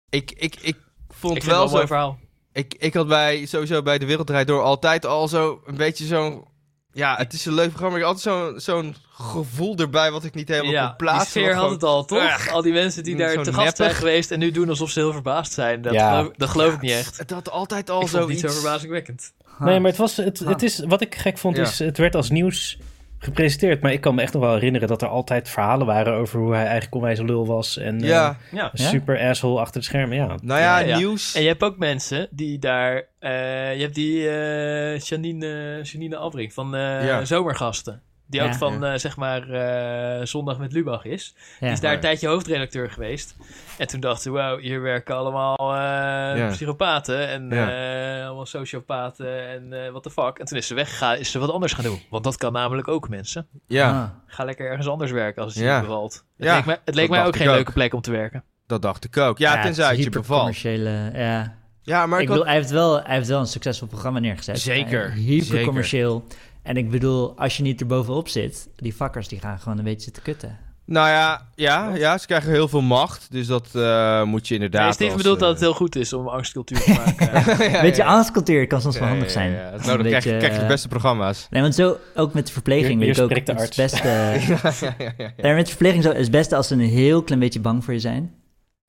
B: ik, ik, ik vond
D: Ik vind het wel
B: wel
D: een mooi
B: zo
D: verhaal.
B: Ik, ik had bij, sowieso bij De Wereld Draait Door altijd al zo een beetje zo'n... Ja, het is een leuk programma. Ik had altijd zo'n zo'n gevoel erbij wat ik niet helemaal kon plaatsen.
D: Die sfeer
B: wat
D: had
B: gewoon-
D: het al, toch?
B: Ugh.
D: al die mensen die
B: Mm,
D: daar
B: zo
D: te gast zijn
B: neppig.
D: geweest en nu doen alsof ze heel verbaasd zijn. Dat
A: Ja.
D: geloof, dat geloof ik niet echt.
B: Het had altijd al
D: ik vond het niet
B: zoiets...
D: zo verbazingwekkend.
A: Nee, maar het was, het,
C: Ah.
A: het is, wat ik gek vond
B: Ja.
A: is, het werd als nieuws gepresenteerd. Maar ik kan me echt nog wel herinneren dat er altijd verhalen waren over hoe hij eigenlijk onwijs een lul was. En
B: Ja,
D: Ja.
A: eh,
C: Ja?
A: super asshole achter het scherm. Ja,
B: nou ja,
D: Ja, ja.
B: nieuws.
D: En je hebt ook mensen die daar... eh, je hebt die eh Janine, eh, Janine Albring van eh,
B: Ja.
D: Zomergasten. Die ook
C: Ja.
D: van, eh, zeg maar, eh, Zondag met Lubach is. Die
C: Ja.
D: is daar
B: Ja.
D: een tijdje hoofdredacteur geweest. En toen dachten ze, wauw, hier werken allemaal eh,
B: Ja.
D: psychopaten en
B: Ja.
D: eh, allemaal sociopaten en eh what the fuck. En toen is ze weggegaan, is ze wat anders gaan doen. Want dat kan namelijk ook mensen.
B: Ja,
C: Ah.
D: Ga lekker ergens anders werken als het
B: Ja.
D: je bevalt. Het
B: Ja,
D: leek mij, het leek mij
B: dacht
D: ook
B: ik
D: geen
B: ook.
D: leuke plek om te werken.
B: dat dacht ik ook. Ja,
C: het
B: tenzij
C: is
B: het je bevalt.
C: hypercommerciële- Ja.
B: Ja, maar
C: ik
B: ik had-
C: bedoel, hij heeft, wel, hij heeft wel een succesvol programma neergezet.
B: Zeker,
C: Hij- Hypercommercieel. En ik bedoel, als je niet erbovenop zit, die fuckers die gaan gewoon een beetje zitten kutten.
B: Nou ja, ja, ja, ze krijgen heel veel macht. Dus dat eh, moet je inderdaad...
D: Nee, Steven
B: als,
D: bedoelt dat
B: eh,
D: het heel goed is om angstcultuur te maken.
B: Ja, ja,
C: Een beetje
B: ja.
C: angstcultuur kan soms
B: Ja,
C: wel
B: ja,
C: handig
B: ja,
C: zijn.
B: ja. Dat is
C: Een
B: nodig. Krijg je-
C: beetje,
B: krijg je de
C: eh,
B: beste programma's.
C: Nee, want zo ook met de verpleging
A: Hier-
C: weet
A: hier
C: ik ook.
A: spreekt de arts.
C: Het is beste,
B: Ja, ja, ja, ja.
C: nee, met de verpleging zo, is het beste als ze een heel klein beetje bang voor je zijn.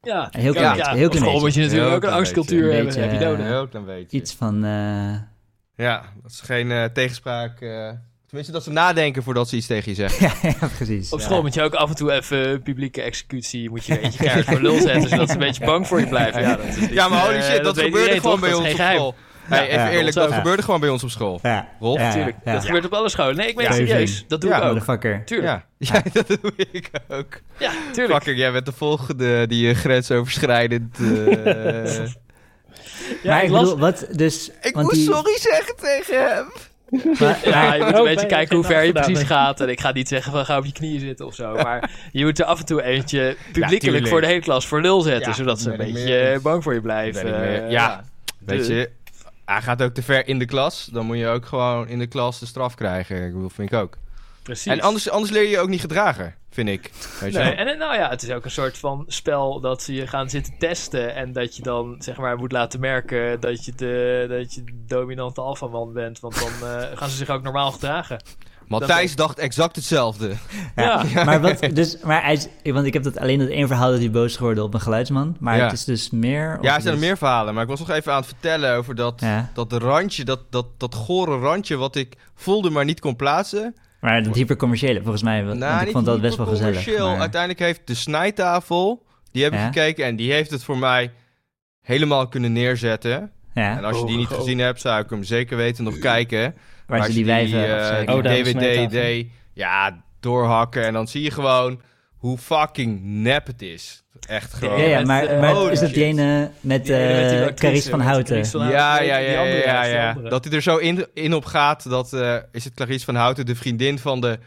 D: Ja,
C: Een heel klein
D: ja,
C: beetje,
D: ja,
C: heel klein
D: Vooral
C: beetje.
D: omdat je natuurlijk
B: Heel
D: ook een
B: klein
D: angstcultuur
C: beetje.
D: hebt,
C: Een
D: heb je
C: beetje,
B: Een
D: nodig.
B: heel klein beetje.
C: Iets van... eh,
B: Ja, dat is geen eh, tegenspraak. eh, tenminste, dat ze nadenken voordat ze iets tegen je zeggen.
C: ja, ja, precies.
D: Op
C: Ja.
D: school moet je ook af en toe even eh, publieke executie, moet je eentje keihard voor lul zetten, zodat ze een beetje bang voor je blijven. Ja, dat is niet,
B: Ja, maar holy
D: eh,
B: shit, dat,
D: weet
B: gebeurde
D: iedereen,
B: gewoon
D: toch?
B: bij
D: Dat
B: ons
D: is
B: op
D: geen geheim.
B: school. Hey, even
C: Ja,
B: eerlijk,
D: ons
B: dat
D: ook.
B: gebeurde gewoon bij ons op school.
C: Ja.
B: Rolf?
C: Ja,
D: Tuurlijk,
C: ja.
D: dat gebeurt op alle scholen. Nee, ik ben
C: Ja.
D: het serieus.
C: Sowieso.
D: Dat doe
B: Ja,
D: ik ook.
C: Motherfucker.
D: Tuurlijk.
B: Ja. ja, dat doe ik ook.
D: Ja, tuurlijk.
B: Fucker, jij bent de volgende die eh, grensoverschrijdend... eh,
D: Ja,
C: maar
D: ik
C: ik
D: las-
C: bedoel, wat dus...
B: ik
C: want
B: moest
C: die-
B: sorry zeggen tegen hem.
D: Ja, je moet een
A: Oh,
D: beetje
A: nee,
D: kijken hoe
A: geen
D: ver je
A: afgedaan,
D: precies
A: nee.
D: gaat. En ik ga niet zeggen van ga op je knieën zitten of zo. Maar je moet er af en toe eentje publiekelijk
B: tuurlijk.
D: voor de hele klas voor lul zetten.
B: Ja,
D: zodat ze een
B: ben ik
D: beetje
B: mee eens.
D: eh, bang voor je blijven.
B: Ben ik mee-
D: Eh,
B: ja. Weet
D: Dus-
B: je, hij gaat ook te ver in de klas. Dan moet je ook gewoon in de klas de straf krijgen. Ik bedoel, vind ik ook.
D: precies.
B: En anders, anders leer je je ook niet gedragen, vind ik. Weet je
D: Nee,
B: wel.
D: en eh, nou ja, het is ook een soort van spel dat ze je gaan zitten testen. En dat je dan zeg maar moet laten merken dat je de, dat je de dominante alfaman bent. Want dan eh, gaan ze zich ook normaal gedragen.
B: Matthijs dacht exact
C: Oh,
B: hetzelfde.
C: Ja.
D: Ja.
C: Maar wat, dus, maar hij is, want ik heb dat alleen dat één verhaal dat hij boos is geworden op een geluidsman. Maar
B: Ja.
C: het is dus meer... of
B: Ja, er zijn er
C: dus-
B: meer verhalen. Maar ik was nog even aan het vertellen over dat,
C: Ja.
B: dat randje, dat, dat, dat gore randje wat ik voelde, maar niet kon plaatsen.
C: Maar dat hypercommerciële, volgens mij. Want
B: Nou,
C: ik
B: niet-
C: vond dat
B: niet
C: best wel gezellig.
B: commercieel.
C: maar-
B: Uiteindelijk heeft de snijtafel, die heb ik
C: Ja.
B: gekeken en die heeft het voor mij helemaal kunnen neerzetten. En
C: Ja,
B: als je die niet
D: Oh, oh.
B: gezien hebt, zou ik hem zeker weten nog kijken.
C: waar
B: Maar
C: ze die
B: als je
C: wijven
B: eh,
C: afzeiken.
B: die
A: Oh, daar is mijn
B: DVD, ja, doorhakken. En dan zie je gewoon hoe fucking nep het is. Echt gewoon.
C: Ja, ja,
D: met,
C: maar,
D: eh,
C: maar
B: oh,
C: is dat
B: shit.
C: die ene met
D: Die ene met die
C: eh
D: actrice,
C: Carice van
D: met
C: Houten?
D: Carice van-
B: Ja,
D: weet
B: ja,
D: je,
B: ja,
D: die
B: ja,
D: andere
B: ja,
D: is de
B: ja.
D: andere.
B: Dat hij er zo in, in op gaat dat, eh, is het Clarice van Houten, de vriendin van de,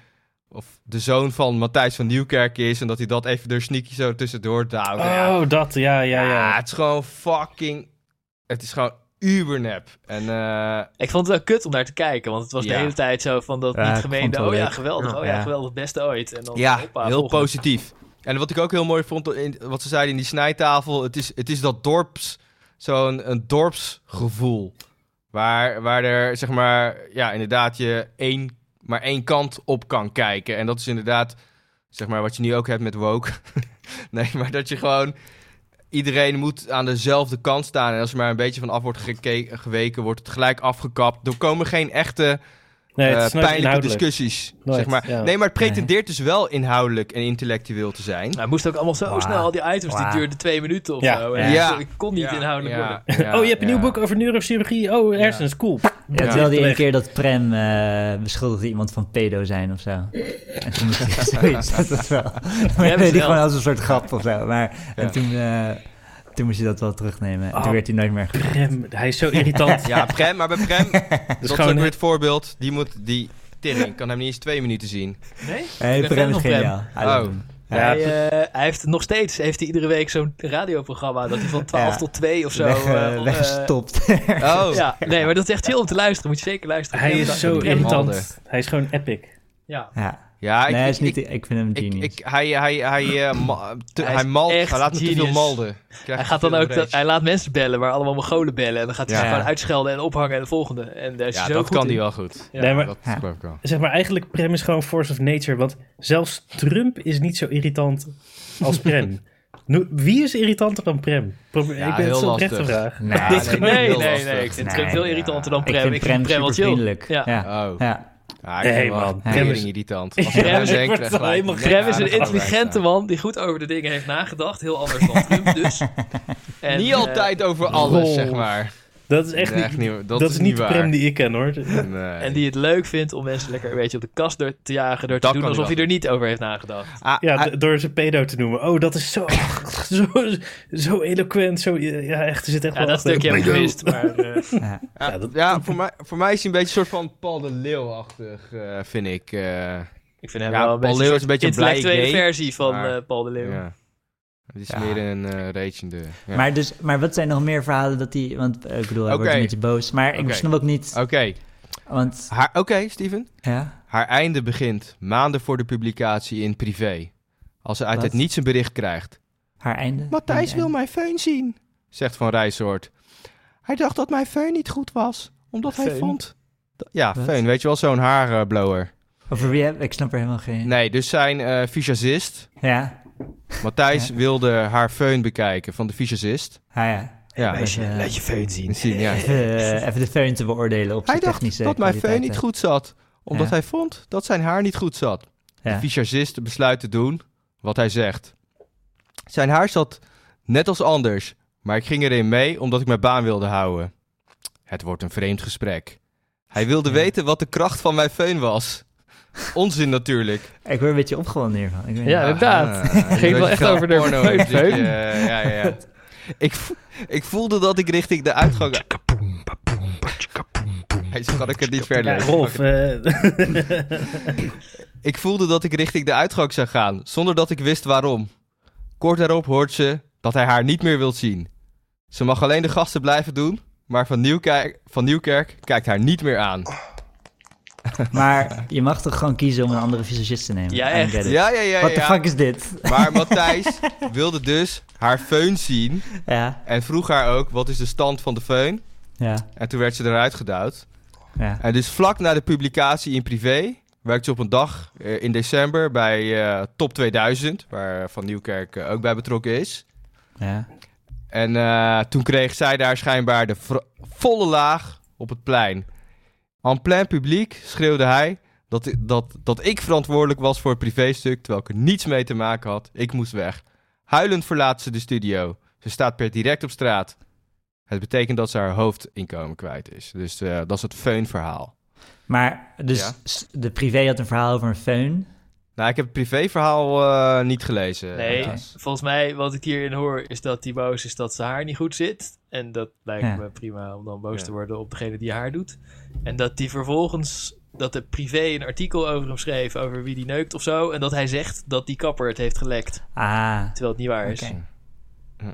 B: of de zoon van Matthijs van Nieuwkerk is. En dat hij dat even door sneaky zo tussendoor duwt. ja,
A: Oh, dat, ja, ja,
B: Ja,
A: ja.
B: het is gewoon fucking, het is gewoon ubernep. En eh,
D: Ik vond het wel kut om naar te kijken, want het was de
B: Ja.
D: hele tijd zo van dat
C: Ja,
D: niet
C: ik vond
D: gemeende.
C: het wel
D: Oh ja,
C: leuk.
D: geweldig. Oh ja,
C: Ja.
D: geweldig, beste ooit. En dan,
B: ja,
D: hoppa,
B: heel
D: volgende.
B: positief. En wat ik ook heel mooi vond, in, wat ze zeiden in die snijtafel, het is, het is dat dorps, zo'n een dorpsgevoel. Waar, waar er, zeg maar, ja, inderdaad je één, maar één kant op kan kijken. En dat is inderdaad, zeg maar, wat je nu ook hebt met woke. nee, maar dat je gewoon, iedereen moet aan dezelfde kant staan. En als er maar een beetje van af wordt geke- geweken, wordt het gelijk afgekapt. Er komen geen echte
A: Nee, het
B: eh,
A: is nooit
B: pijnlijke
A: inhoudelijk.
B: discussies.
A: Nooit,
B: zeg maar.
A: ja.
B: Nee, maar het pretendeert dus wel inhoudelijk en intellectueel te zijn.
D: Hij Nou, moest ook allemaal zo
C: Wauw.
D: snel, al die items, die
C: Wauw.
D: duurden twee minuten of
A: Ja.
D: zo.
C: Ja.
D: En
B: Ja.
D: Ik kon niet inhoudelijk worden.
A: Oh, je hebt een nieuw boek over neurochirurgie. Oh, hersens, cool.
C: Ja,
B: Ja.
C: terwijl die ene
A: Terecht.
C: keer dat Prem eh beschuldigde iemand van pedo zijn of zo. En toen moest hij zoiets, dat is wel. Maar
D: hebt
C: die
D: wel.
C: gewoon als een soort grap of zo. Maar
B: Ja.
C: en toen, eh, toen moest je dat wel terugnemen. En
A: Oh.
C: toen werd hij nooit meer ge-
A: Prem, hij is zo irritant.
B: Ja, Prem, maar bij Prem, dat is
A: gewoon-
B: ook weer het voorbeeld. Die moet die tering, kan hem niet eens twee minuten zien.
D: Nee?
C: Hey,
D: ben fan
C: Prem is
D: van Prem. Oh,
C: geniaal. I love him.
A: Ja,
D: hij, eh, hij heeft nog steeds heeft hij iedere week zo'n radioprogramma. Dat hij van 12
C: Ja.
D: tot 2 of zo.
C: Weg, eh,
D: eh,
C: weggestopt.
B: Oh,
D: eh, ja, nee, maar dat is echt heel om te luisteren. Moet je zeker luisteren.
A: Hij
D: Ja,
A: is
D: dat-
A: zo
D: Prem-
A: irritant. Hij is gewoon epic.
D: Ja.
C: ja.
D: Ah,
B: ja ik,
C: nee, hij is
B: ik,
C: niet,
B: ik,
C: ik, vind hem
B: ik,
C: genius.
B: ik- hij, hij, hij, eh, ma- te-
D: Hij
B: hij,
D: is
B: malt,
D: echt
B: hij laat me te veel
D: genius.
B: malden. Ik krijg
D: Hij
B: te
D: gaat dan
B: veel
D: ook, dat,
B: rage.
D: hij laat mensen bellen, maar allemaal Mongolen bellen. En dan gaat hij
C: Ja.
D: ze gewoon uitschelden en ophangen en de volgende. En daar is
B: Ja,
D: hij zo
B: dat
D: goed
B: kan
D: in.
B: hij wel goed.
A: Nee, maar
B: Dat
C: Ja.
B: geloof ik wel.
A: zeg maar eigenlijk Prem is gewoon force of nature. Want zelfs Trump is niet zo irritant als Prem. Nu, wie is irritanter dan Prem? Probeer-
B: Ja,
A: ik ben het
B: heel
A: zo oprecht
B: lastig.
A: vraag.
C: Nou,
A: Dit is
B: nee,
A: gewoon-
B: nee.
D: Nee,
B: Heel
D: nee,
B: lastig.
D: nee. Ik vind
C: Nee,
D: Prem veel
C: ja.
D: irritanter dan
C: Ik
D: Prem. Ik vind Prem wel chill.
C: supervriendelijk.
D: Ja.
C: Ja.
B: Oh.
C: Ja.
B: Ja,
A: Nee,
B: nee, man.
A: man.
B: Hij
A: Prem
B: is
A: is-
B: irritant. Als
A: Ja,
B: ik aan hem
A: ik
B: denk,
A: word
B: krijg
A: er
B: ik
A: helemaal
B: gelijk-
D: Prem
B: Ja,
D: is
B: dat
D: een
B: kan wel
D: intelligente
B: zijn.
D: man die goed over de dingen heeft nagedacht. Heel anders dan Trump dus. En,
B: Niet
D: eh,
B: altijd over alles,
A: Rolf.
B: zeg maar.
A: Dat is echt
B: Nee,
A: niet...
B: waar.
A: Dat, is niet de Prem die ik ken, hoor.
B: Nee.
D: En die het leuk vindt om mensen lekker een beetje op de kast door te jagen. Door te
B: Dat
D: doen
B: kan hij
D: alsof hij
B: wel
D: er niet over heeft nagedacht.
B: Ah,
A: Ja,
B: ah,
A: d- door zijn pedo te noemen. Oh, dat is zo... zo, zo eloquent. Zo, ja, echt, er zit echt
D: Ja,
A: wel
D: dat
A: wat in.
D: stukje heb ik gemist. Maar, eh,
B: ah,
A: ja, dat-
B: ja, voor mij, voor mij is hij een beetje een soort van Paul de Leeuw-achtig, eh, vind ik. eh.
D: ik vind hem
B: Ja,
D: wel een
B: Paul
D: beetje
B: Leeuw
D: een
B: is een beetje een blij
D: intellectuele
B: gay,
D: versie van
B: maar-
D: eh, Paul de Leeuw.
B: ja. Het is
C: Ja.
B: meer een uh, ragende. Ja.
C: Maar, dus, maar wat zijn nog meer verhalen dat hij... Want eh, ik bedoel, hij wordt
B: Oké.
C: een beetje boos. Maar
B: Oké.
C: ik snap ook niet...
B: Oké,
C: Want,
B: haar- oké, Steven.
C: ja,
B: Haar einde begint maanden voor de publicatie in privé. Als ze uit
C: Wat?
B: het niets een bericht krijgt.
C: haar einde.
B: Matthijs
C: Ja.
B: wil mijn föhn zien, zegt Van Rijsoort. Hij dacht dat mijn föhn niet goed was, omdat hij
D: Föhn?
B: vond... dat- Ja,
C: Wat?
B: föhn, weet je wel, zo'n haarblower.
C: eh, Over wie heb ik? snap er helemaal geen...
B: Nee, dus zijn eh, visagist,
C: Ja,
B: Matthijs wilde haar föhn bekijken van de visagist.
C: Ah, ja.
B: Ja,
C: Meisje,
D: Meisje,
C: laat
D: laat je feun zien.
B: zien, ja.
C: Even, eh, even de föhn te beoordelen
B: Hij
C: op zijn
B: dacht
C: technische
B: dat mijn föhn
C: kwaliteiten.
B: niet goed zat. Omdat
C: Ja.
B: hij vond dat zijn haar niet goed zat.
C: Ja.
B: De visagist besluit te doen wat hij zegt. Zijn haar zat net als anders, maar ik ging erin mee omdat ik mijn baan wilde houden. Het wordt een vreemd gesprek. Hij wilde
C: Ja.
B: weten wat de kracht van mijn föhn was. Onzin natuurlijk.
C: Ik word een beetje opgewonden hiervan. Ik weet
D: Ja,
C: niet.
D: inderdaad.
B: Ah, een
D: Ging
B: beetje
D: wel echt
B: graag
D: over de
B: porno
D: mijn
B: muziekje. eh,
D: föhn.
B: Ja, ja, ja. Ik, vo- ik voelde dat ik richting de uitgang... Hij is kan ik het niet verder.
A: Ja, Rolf, eh,
B: Ik voelde dat ik richting de uitgang zou gaan, zonder dat ik wist waarom. Kort daarop hoort ze dat hij haar niet meer wilt zien. Ze mag alleen de gasten blijven doen, maar van Nieuwkerk, van Nieuwkerk kijkt haar niet meer aan.
C: Maar je mag toch gewoon kiezen om een andere visagist te nemen?
D: Ja,
C: I don't
D: echt.
C: get it.
B: Ja, ja, ja,
C: What the
B: ja.
C: fuck is dit?
B: Maar Matthijs wilde dus haar föhn zien
C: Ja,
B: en vroeg haar ook wat is de stand van de föhn.
C: ja,
B: En toen werd ze eruit geduwd.
C: ja.
B: En dus vlak na de publicatie in privé werkte ze op een dag eh, in december bij eh, Top 2000, waar Van Nieuwkerk eh, ook bij betrokken is.
C: ja.
B: En eh, toen kreeg zij daar schijnbaar de vro- volle laag op het plein. En plein publiek schreeuwde hij dat, i- dat, dat ik verantwoordelijk was voor het privéstuk, terwijl ik er niets mee te maken had. Ik moest weg. Huilend verlaat ze de studio. Ze staat per direct op straat. Het betekent dat ze haar hoofdinkomen kwijt is. Dus eh, dat is het föhn-verhaal.
C: Maar dus
B: Ja.
C: s- de privé had een verhaal over een föhn.
B: Nou, ik heb het privéverhaal eh niet gelezen.
D: Nee,
B: helaas.
D: volgens mij wat ik hierin hoor is dat die boos is dat ze haar niet goed zit. En dat lijkt
C: Ja.
D: me prima om dan boos
B: Ja.
D: te worden op degene die haar doet. En dat die vervolgens, dat de privé een artikel over hem schreef over wie die neukt of zo. En dat hij zegt dat die kapper het heeft gelekt.
C: Ah,
D: Terwijl het niet waar is.
C: oké.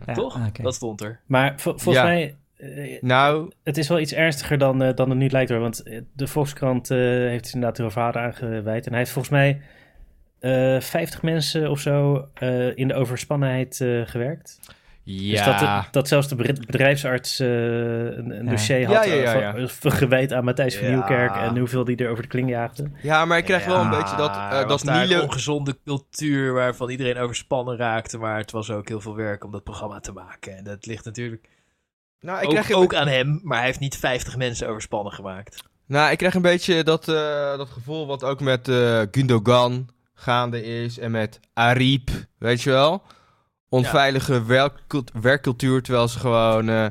C: Ja,
D: Toch?
C: oké.
D: Dat stond er.
A: maar vo- volgens
B: Ja.
A: mij, eh,
B: Nou,
A: het is wel iets ernstiger dan, eh, dan het nu lijkt hoor. Want eh, de Volkskrant eh, heeft het inderdaad heel vader aangeweid. En hij heeft volgens mij eh 50 mensen of zo eh, in de overspannenheid eh, gewerkt.
B: ja.
A: Dus dat, de- dat zelfs de bedri- bedrijfsarts eh, een, een
C: Ja.
A: dossier
B: Ja,
A: had
B: ja, ja,
A: eh,
B: ja.
A: van- van gewijd aan Matthijs van
B: Ja.
A: Nieuwkerk en hoeveel die er over de kling jaagde.
B: Ja, maar ik krijg wel een
C: Ja,
B: beetje dat, eh,
D: Er was
B: dat
D: daar een
B: Nilo...
D: ongezonde cultuur waarvan iedereen overspannen raakte. Maar het was ook heel veel werk om dat programma te maken. En dat ligt natuurlijk
B: Nou, ik
D: ook,
B: krijg
D: ook aan hem. Maar hij heeft niet 50 mensen overspannen gemaakt.
B: Nou, ik krijg een beetje dat, eh, dat gevoel wat ook met eh, Gundogan gaande is en met Ariep, weet je wel? Onveilige werkcult- werkcultuur, terwijl ze gewoon, eh,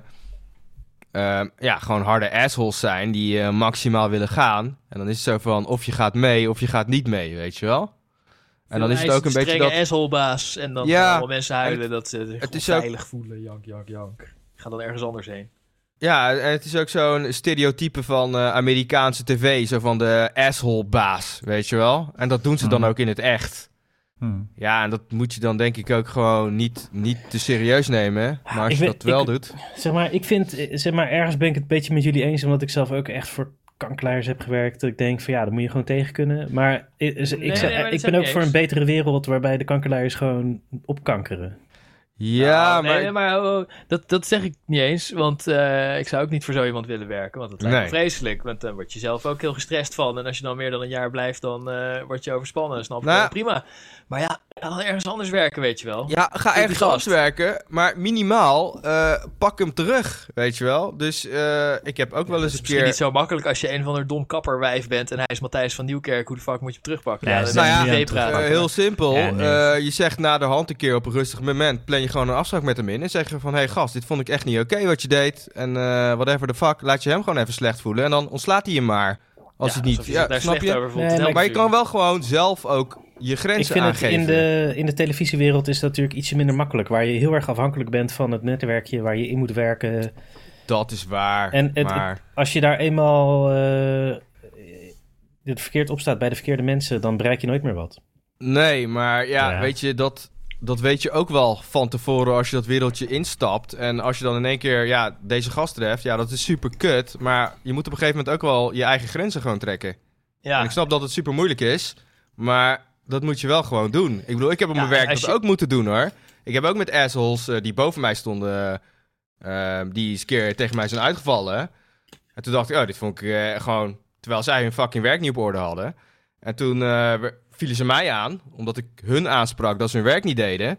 B: ehm, ja, gewoon harde assholes zijn die eh, maximaal willen gaan. En dan is het zo van, of je gaat mee of je gaat niet mee, weet je wel? En dan is het ook een beetje dat...
D: strenge assholebaas en dan
B: Ja.
D: gaan allemaal mensen huilen dat ze
B: het
D: zich
B: is ook-
D: onveilig voelen. Jank, jank, jank. Ga dan ergens anders heen.
B: Ja, en het is ook zo'n stereotype van eh, Amerikaanse tv, zo van de asshole-baas, weet je wel? En dat doen ze dan
C: Mhm.
B: ook in het echt.
C: Hm.
B: Ja, en dat moet je dan denk ik ook gewoon niet, niet te serieus nemen. hè.
D: Ah,
B: Maar als
A: Ik
B: je
A: weet-
B: dat wel
A: ik-
B: doet.
D: Nou,
A: Zeg maar, ik vind, eh, zeg maar, ergens ben ik het een beetje met jullie eens, omdat ik zelf ook echt voor kanklaars heb gewerkt. Dat ik denk van ja, daar moet je gewoon tegen kunnen. Maar ik, is- ik,
D: Nee,
A: zou-
D: nee, maar dat
A: ik
D: zijn
A: ben ook
D: niet
A: voor een
D: eens.
A: betere wereld waarbij de kankerlaars gewoon opkankeren.
B: Ja,
D: Nou,
B: maar.
D: Nee, maar oh, dat, dat zeg ik niet eens. Want eh, ik zou ook niet voor zo iemand willen werken. Want dat lijkt me
B: Nee.
D: vreselijk. Want dan word je zelf ook heel gestrest van. En als je dan meer dan een jaar blijft, dan eh, word je overspannen. Snap ik
B: Nou-
D: wel, prima. Maar ja, ga dan ergens anders werken, weet je wel.
B: Ja, ga
D: die
B: ergens
D: gast.
B: anders werken. Maar minimaal, eh, pak hem terug. Weet je wel. Dus eh, ik heb ook wel eens
D: Dat is
B: een
D: misschien
B: keer.
D: niet zo makkelijk als je een van de dom kapperwijf bent en hij is Matthijs van Nieuwkerk. Hoe de fuck moet je hem terugpakken?
C: Ja,
D: dan
C: nou
B: ja,
D: is het
C: nu aan
D: idee
C: het
D: praten.
B: eh,
C: terugpakken.
B: heel simpel.
C: Ja, nee.
B: Eh, je zegt na de hand een keer op een rustig moment. Plan je gewoon een afspraak met hem in. En zeg je van: hé hey, gast, dit vond ik echt niet oké wat je deed. En eh whatever the fuck. Laat je hem gewoon even slecht voelen. En dan ontslaat hij je maar. Als
D: Ja,
B: het niet.
D: alsof zich
B: Ja,
D: daar
B: snap
D: slecht
B: je?
D: over voelt.
A: Nee,
D: Dat
A: maar-
B: Maar je
D: helpt
B: kan wel gewoon zelf ook je
A: Ik
B: grenzen
A: vind het
B: aangeven.
A: in de, in de televisiewereld is dat natuurlijk ietsje minder makkelijk, waar je heel erg afhankelijk bent van het netwerkje waar je in moet werken.
B: Dat is waar.
A: En het-
B: maar
A: Als je daar eenmaal eh, dit verkeerd opstaat bij de verkeerde mensen, dan bereik je nooit meer wat.
B: nee, maar ja,
A: Ja.
B: weet je, dat, dat weet je ook wel van tevoren als je dat wereldje instapt. En als je dan in één keer ja, deze gast treft, ja, dat is super kut. Maar je moet op een gegeven moment ook wel je eigen grenzen gewoon trekken.
D: natuurlijk. Ja.
B: En ik snap dat het super moeilijk is, maar dat moet je wel gewoon doen. Ik bedoel, ik heb op
D: Ja,
B: mijn werk
D: als
B: dat
D: je-
B: ook moeten doen hoor. Ik heb ook met assholes eh, die boven mij stonden, eh, die eens een keer tegen mij zijn uitgevallen. En toen dacht ik, oh, dit vond ik eh, gewoon... Terwijl zij hun fucking werk niet op orde hadden. En toen eh, we- vielen ze mij aan, omdat ik hun aansprak dat ze hun werk niet deden.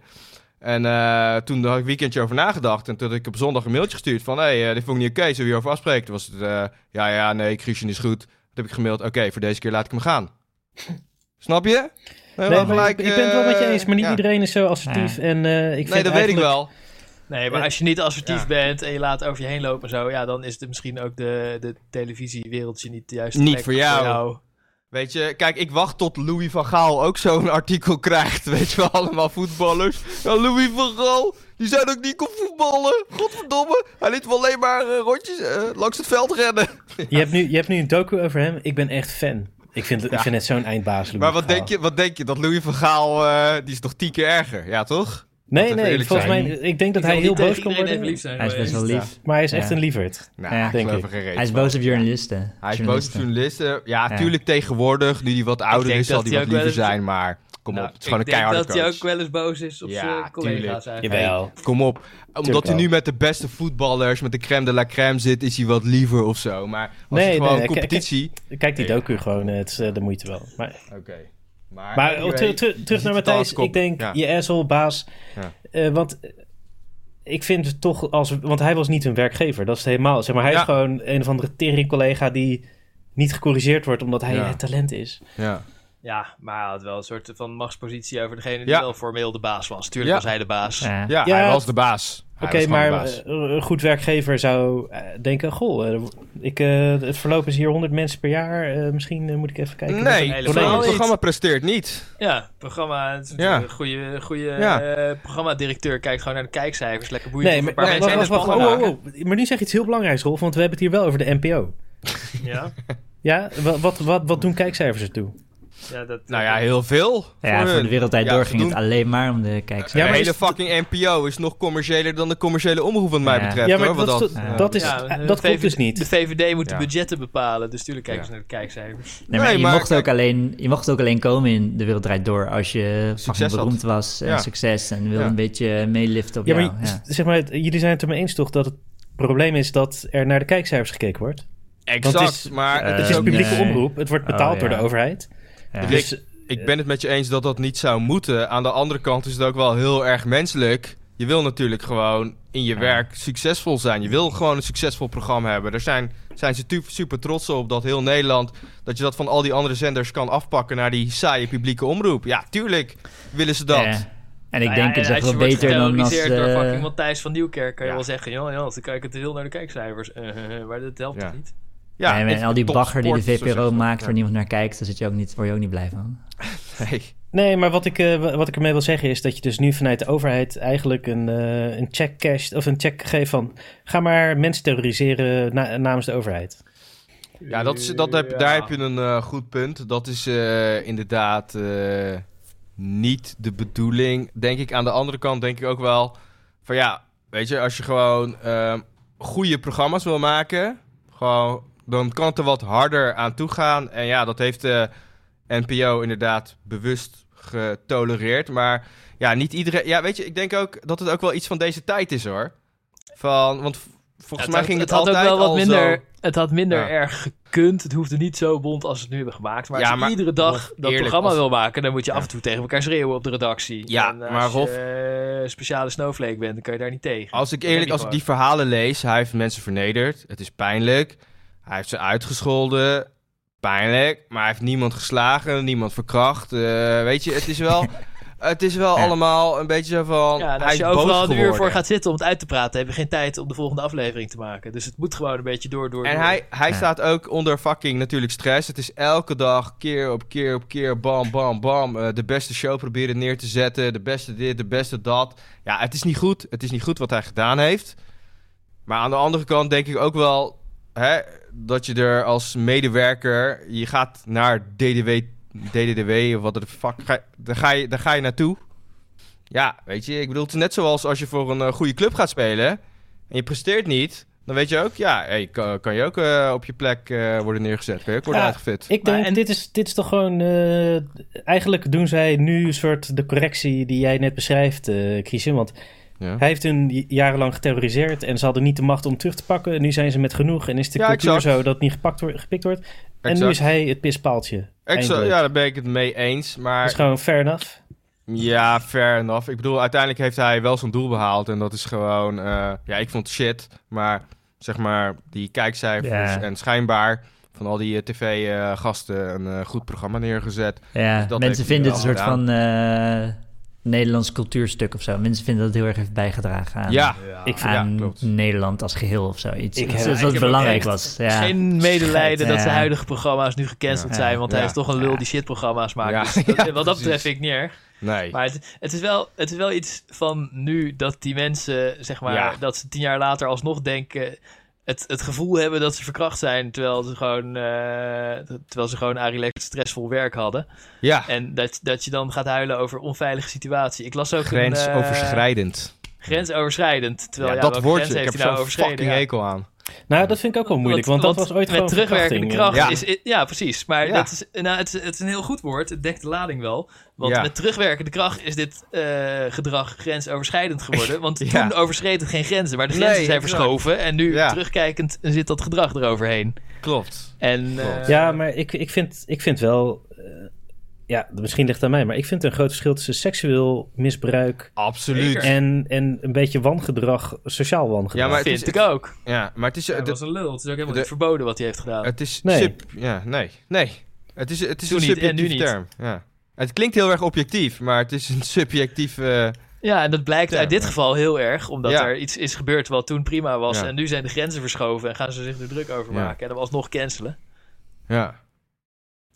B: En eh, toen had ik een weekendje over nagedacht. En toen had ik op zondag een mailtje gestuurd van... hé, hey, eh, dit vond ik niet oké, zullen we hierover afspreken? Toen was het, eh, ja, ja, nee, Christian is goed. Toen heb ik gemaild, oké, voor deze keer laat ik hem gaan. Snap je? Nee,
A: Nee, maar ik, ik ben het wel met je eens, maar niet iedereen is zo assertief. En, eh, ik vind
B: eh, Nee, dat weet ik
A: eigenlijk-
B: wel.
D: Nee, maar
A: Eh,
D: als je niet assertief
B: ja.
D: bent en je laat over je heen lopen en zo, ja, dan is het misschien ook de, de televisiewereldje niet de juiste
B: Niet
D: plek
B: voor jou. Weet je, kijk, ik wacht tot Louis van Gaal ook zo'n artikel krijgt. Weet je wel, allemaal voetballers. Ja, Louis van Gaal, die zijn ook niet kon voetballen. Godverdomme, hij liet wel alleen maar eh, rondjes eh, langs het veld rennen.
A: Je hebt, nu, je hebt nu een docu over hem. Ik ben echt fan. Ik vind, het- ik
B: Ja.
A: vind het zo'n eindbaas. Louis
B: Maar wat
A: van
B: denk,
A: Gaal.
B: je, wat denk je, dat Louis van Gaal, eh, die is toch tien keer erger? Ja, toch?
A: Nee,
B: Laten we
A: nee,
B: eerlijk
A: volgens
B: zijn.
A: mij... Ik denk dat hij heel boos kan worden.
C: Hij is best wel lief.
A: Maar hij is echt
C: Ja.
A: een lieverd.
B: Nou,
C: Ja,
B: ik
A: denk
B: geloof
A: ik.
B: er geen reet
C: Hij is
B: van.
C: boos op journalisten.
B: Hij is boos op
C: Journalisten.
B: journalisten. Ja,
C: Ja.
B: tuurlijk tegenwoordig, nu hij wat ouder
D: denk
B: is, zal
D: dat
B: hij
D: hij
B: wat
D: ook wel
B: liever
D: eens-
B: zijn. Maar kom
D: Nou,
B: op, het is gewoon een
D: ik denk
B: keiharde
D: dat hij
B: coach.
D: ook wel eens boos is op
B: Ja,
D: zijn collega's
B: tuurlijk.
D: eigenlijk.
A: Jawel.
B: Kom op. Omdat hij
A: wel.
B: nu met de beste voetballers, met de crème de la crème zit, is hij wat liever of zo. Maar als
A: Nee,
B: het gewoon
A: nee, nee,
B: competitie...
A: Kijk die
B: Ja.
A: docu gewoon. eh, Het is eh, de moeite wel. Maar
B: Oké. Maar,
A: Maar
B: anyway,
A: oh, teru- teru- terug
B: ziet
A: naar
B: het
A: Matthijs.
B: als kop.
A: Ik denk,
B: Ja.
A: je asshole, baas.
B: Ja.
A: Eh, want eh, ik vind het toch als... Want hij was niet een werkgever. Dat is het helemaal... Zeg maar, hij
B: Ja.
A: is gewoon een of andere teringcollega die niet gecorrigeerd wordt omdat hij
B: Ja.
A: het talent is.
B: Ja.
D: Ja, maar hij had wel een soort van machtspositie over degene die
B: Ja.
D: wel formeel de baas was. Tuurlijk
B: Ja.
D: was hij de baas.
C: Ja.
B: Ja,
A: Ja,
B: hij
A: het-
B: was de baas. Hij
A: Oké,
B: was gewoon de
A: maar
B: baas.
A: eh, een goed werkgever zou eh, denken... Goh, eh, ik, eh, het verloop is hier 100 mensen per jaar. eh, misschien eh, moet ik even kijken. wat er-
B: Nee,
D: hele
B: het
D: verhaal
B: programma presteert niet.
D: Ja, programma. het is
B: Ja.
D: Een goede, goede
B: Ja.
D: eh, programmadirecteur kijkt gewoon naar de kijkcijfers. Lekker boeiend.
A: Nee,
D: Of
A: maar,
D: een paar
A: nee,
D: mensen
A: wacht,
D: in het
A: wacht, wacht,
D: programma.
A: wow, wow, wow. maar nu zeg je iets heel belangrijks, Rolf. Want we hebben het hier wel over de NPO.
D: Ja,
A: Ja, wat, wat, wat, wat doen kijkcijfers ertoe?
D: ja, dat,
B: Nou ja, heel veel.
C: Ja, voor
B: hun.
C: de wereldtijd
B: Ja,
C: door
B: ze
C: ging het
B: doen-
C: alleen maar om de kijkers.
A: Ja,
B: de
A: maar
B: hele
A: is-
B: fucking NPO is nog commerciëler dan de commerciële omroep wat mij
C: Ja.
B: betreft.
A: Ja, maar
B: hoor,
A: dat,
B: want
A: is- dat is,
D: Eh, Ja, de
A: dat
D: VVD
A: klopt dus
D: De
A: niet.
D: VVD moet
B: Ja.
D: de budgetten bepalen, dus tuurlijk kijken ze
B: Ja.
D: naar de kijkcijfers.
C: Nee, maar
B: Nee,
C: je,
B: maar-
C: mocht ook alleen, je mocht ook alleen komen in de wereldrijd door als je fucking
B: had.
C: beroemd was en
B: Ja.
C: succes en wilde
B: Ja.
C: een beetje meeliften op
A: Ja, maar
C: jou. Ja.
A: j- zeg maar, het- jullie zijn het er mee eens toch dat het probleem is dat er naar de kijkcijfers gekeken wordt?
B: Exact,
A: want het is-
B: maar
C: eh,
B: het
A: Het
B: is
A: is
B: ook
A: publieke
C: nee.
A: omroep, het wordt betaald
C: Oh,
A: door de
C: ja.
A: overheid.
C: Ja.
B: Rick,
A: Dus
B: Ik ben het met je eens dat dat niet zou moeten. Aan de andere kant is het ook wel heel erg menselijk. Je wil natuurlijk gewoon in je
C: Ja.
B: werk succesvol zijn. Je wil gewoon een succesvol programma hebben. Daar zijn, zijn ze tu- super trots op dat heel Nederland... dat je dat van al die andere zenders kan afpakken... naar die saaie publieke omroep. Ja, tuurlijk willen ze dat.
C: Ja.
B: Ja,
C: En ik
D: Nou ja,
C: denk het
D: en
C: is echt
D: als
C: wel
D: je wordt
C: beter dan als...
D: geterroriseerd door
C: eh,
D: fucking Matthijs van Nieuwkerk kan je
B: ja.
D: wel zeggen, joh, joh, ze kijken te veel naar de kijkcijfers. Eh, eh, maar dat helpt
B: Ja.
D: toch niet?
C: en- en
B: het-
C: al die
B: topsport,
C: bagger die de
B: zo zeggen
C: VPRO
B: ze.
C: maakt
B: Ja.
C: waar niemand naar kijkt, daar zit je ook niet, word je ook niet blij van.
B: Nee.
A: Nee, maar wat ik, eh, wa- wat ik ermee wil zeggen is dat je dus nu vanuit de overheid eigenlijk een, eh, een check casht, of een check geeft van ga maar mensen terroriseren na- namens de overheid.
B: Ja, dat is, dat heb,
D: Ja.
B: daar heb je een eh, goed punt. Dat is eh, inderdaad eh, niet de bedoeling. Denk ik aan de andere kant, denk ik ook wel van ja, weet je, als je gewoon ehm, goede programma's wil maken, gewoon, dan kan het er wat harder aan toe gaan. En ja, dat heeft eh, de NPO inderdaad bewust getolereerd. Maar ja, niet iedereen. Ja, weet je, ik denk ook dat het ook wel iets van deze tijd is hoor. Van, want v- volgens mij ging het,
D: had ook
B: altijd
D: wel wat
B: al
D: minder,
B: zo.
D: Het had minder
B: Ja.
D: erg gekund. Het hoefde niet zo bond als ze het nu hebben gemaakt. Maar
B: Ja,
D: als je
B: maar
D: iedere dag
B: Rolf,
D: dat
B: eerlijk,
D: programma
B: als-
D: wil maken, dan moet je
B: Ja.
D: af en toe tegen elkaar schreeuwen op de redactie.
B: Ja,
D: en als
B: maar Rolf-
D: je eh, speciale snowflake bent, dan kan je daar niet tegen.
B: Als ik
D: Dat heb
B: eerlijk, als
D: je
B: ik die
D: gewoon.
B: verhalen lees, hij heeft mensen vernederd. Het is pijnlijk. Hij heeft ze uitgescholden. Pijnlijk. Maar hij heeft niemand geslagen, niemand verkracht. Eh, weet je, het is wel, het is wel
C: Ja.
B: allemaal een beetje zo van.
D: Ja, en
B: hij
D: als
B: is
D: je
B: boos
D: overal een uur
B: geworden.
D: voor gaat zitten om het uit te praten, heb je geen tijd om de volgende aflevering te maken. Dus het moet gewoon een beetje door, door,
B: En
D: door.
B: hij, hij
C: Ja.
B: staat ook onder fucking natuurlijk stress. Het is elke dag keer op keer op keer bam, bam, bam. eh, de beste show proberen neer te zetten. De beste dit, de beste dat. Ja, het is niet goed. Het is niet goed wat hij gedaan heeft. Maar aan de andere kant denk ik ook wel hè, dat je er als medewerker... Je gaat naar DDW, DDDW of wat de fuck... Ga, daar, ga je, daar ga je naartoe. Ja, weet je. Ik bedoel, het is net zoals als je voor een eh, goede club gaat spelen en je presteert niet, dan weet je ook, ja, hey, kan, kan je ook eh, op je plek eh, worden neergezet. Kan je ook worden
A: Ja,
B: uitgefit.
A: Ik
D: Maar
A: denk,
D: en-
A: dit, is, dit is toch gewoon, eh, eigenlijk doen zij nu een soort de correctie die jij net beschrijft, eh Christian, want
B: Ja,
A: Hij heeft hun j- jarenlang geterroriseerd en ze hadden niet de macht om terug te pakken. Nu zijn ze met genoeg en is de
B: Ja,
A: cultuur
B: exact.
A: zo dat het niet gepakt wordt, gepikt wordt. En nu
B: Exact.
A: is hij het pispaaltje.
B: ik zou-
A: Eindelijk. Dus
B: ja, daar ben ik het mee eens.
A: Dat is
B: Maar
A: gewoon fair enough.
B: ja, fair enough. Ik bedoel, uiteindelijk heeft hij wel zijn doel behaald. En dat is gewoon... eh, ja, ik vond het shit. Maar zeg maar, die kijkcijfers
C: Ja.
B: en schijnbaar... van al die eh, tv-gasten een eh, goed programma neergezet.
C: Ja,
B: Dus dat heeft
C: mensen
B: hij
C: vinden
B: wel
C: het een soort van eh, Nederlands cultuurstuk of zo. Mensen vinden dat het heel erg heeft bijgedragen aan,
B: ja,
A: Ik vind-
B: ja,
C: aan
B: klopt.
C: Nederland als geheel of zoiets.
A: Ik
C: Ik
A: heb-
C: iets iets
A: ik
C: wat
A: heb
C: belangrijk
D: echt
C: was. Ja.
D: Geen medelijden
C: Schijt,
D: dat
C: ja.
D: zijn huidige programma's nu gecanceld
C: Ja.
D: zijn, want
B: Ja.
D: hij is toch een lul
C: Ja.
D: die shitprogramma's maakt.
B: Ja.
D: Dus
B: Ja,
D: dat- wat dat
B: precies.
D: betreft vind ik niet erg.
B: Nee.
D: Maar het, het, is wel, het is wel iets van nu dat die mensen, zeg maar,
B: Ja.
D: dat ze tien jaar later alsnog denken. Het, het gevoel hebben dat ze verkracht zijn, terwijl ze gewoon, eh, terwijl ze gewoon Arie Lex stressvol werk hadden.
B: Ja,
D: En dat, dat je dan gaat huilen over onveilige situatie. Ik las ook eh, Een,
B: grensoverschrijdend.
D: eh, grensoverschrijdend. Terwijl,
B: ja,
D: ja,
B: dat
D: welke
B: woordje.
D: grens
B: Ik heb zo'n
D: heeft hij nou overschreden?
B: fucking
D: Ja.
B: hekel aan.
A: Nou, dat vind ik ook wel moeilijk, want, dat was ooit
D: met
A: gewoon
D: terugwerkende
A: verkrachting,
D: kracht.
A: eh.
D: Is, ja, precies. Maar
B: Ja.
D: Dat is, nou, het, is, het is een heel goed woord. Het dekt de lading wel. Want
B: Ja.
D: met terugwerkende kracht is dit eh, gedrag grensoverschrijdend geworden. Want
B: Ja.
D: toen overschreed het geen grenzen, maar de grenzen
B: Nee,
D: zijn
B: exact.
D: verschoven. En nu
B: Ja.
D: terugkijkend zit dat gedrag eroverheen.
B: Klopt.
D: En, eh,
B: Klopt.
A: Ja, maar ik, ik, vind, ik vind wel... eh, ja, misschien ligt het aan mij, maar ik vind een groot verschil tussen seksueel misbruik...
B: Absoluut.
D: Zeker.
A: en, en een beetje wangedrag, sociaal wangedrag.
B: Ja, maar het
D: vind
B: is-
D: ik ook.
B: Ja, maar het is...
D: Hij
B: het-
D: was een lul. Het is ook helemaal
B: de-
D: niet verboden wat hij heeft gedaan.
B: Het is
A: Nee.
B: sub- Ja, nee. Nee. Het is, het is
D: Toen
B: een
D: niet en nu
B: subjectief
D: niet.
B: term. Ja. Het klinkt heel erg objectief, maar het is een subjectief... eh,
D: Ja, en dat blijkt
B: Ja.
D: uit dit geval heel erg, omdat
B: Ja.
D: er iets is gebeurd wat toen prima was.
B: Ja.
D: En nu zijn de grenzen verschoven en gaan ze zich er druk over
B: Ja.
D: maken. En dan alsnog cancelen.
B: ja.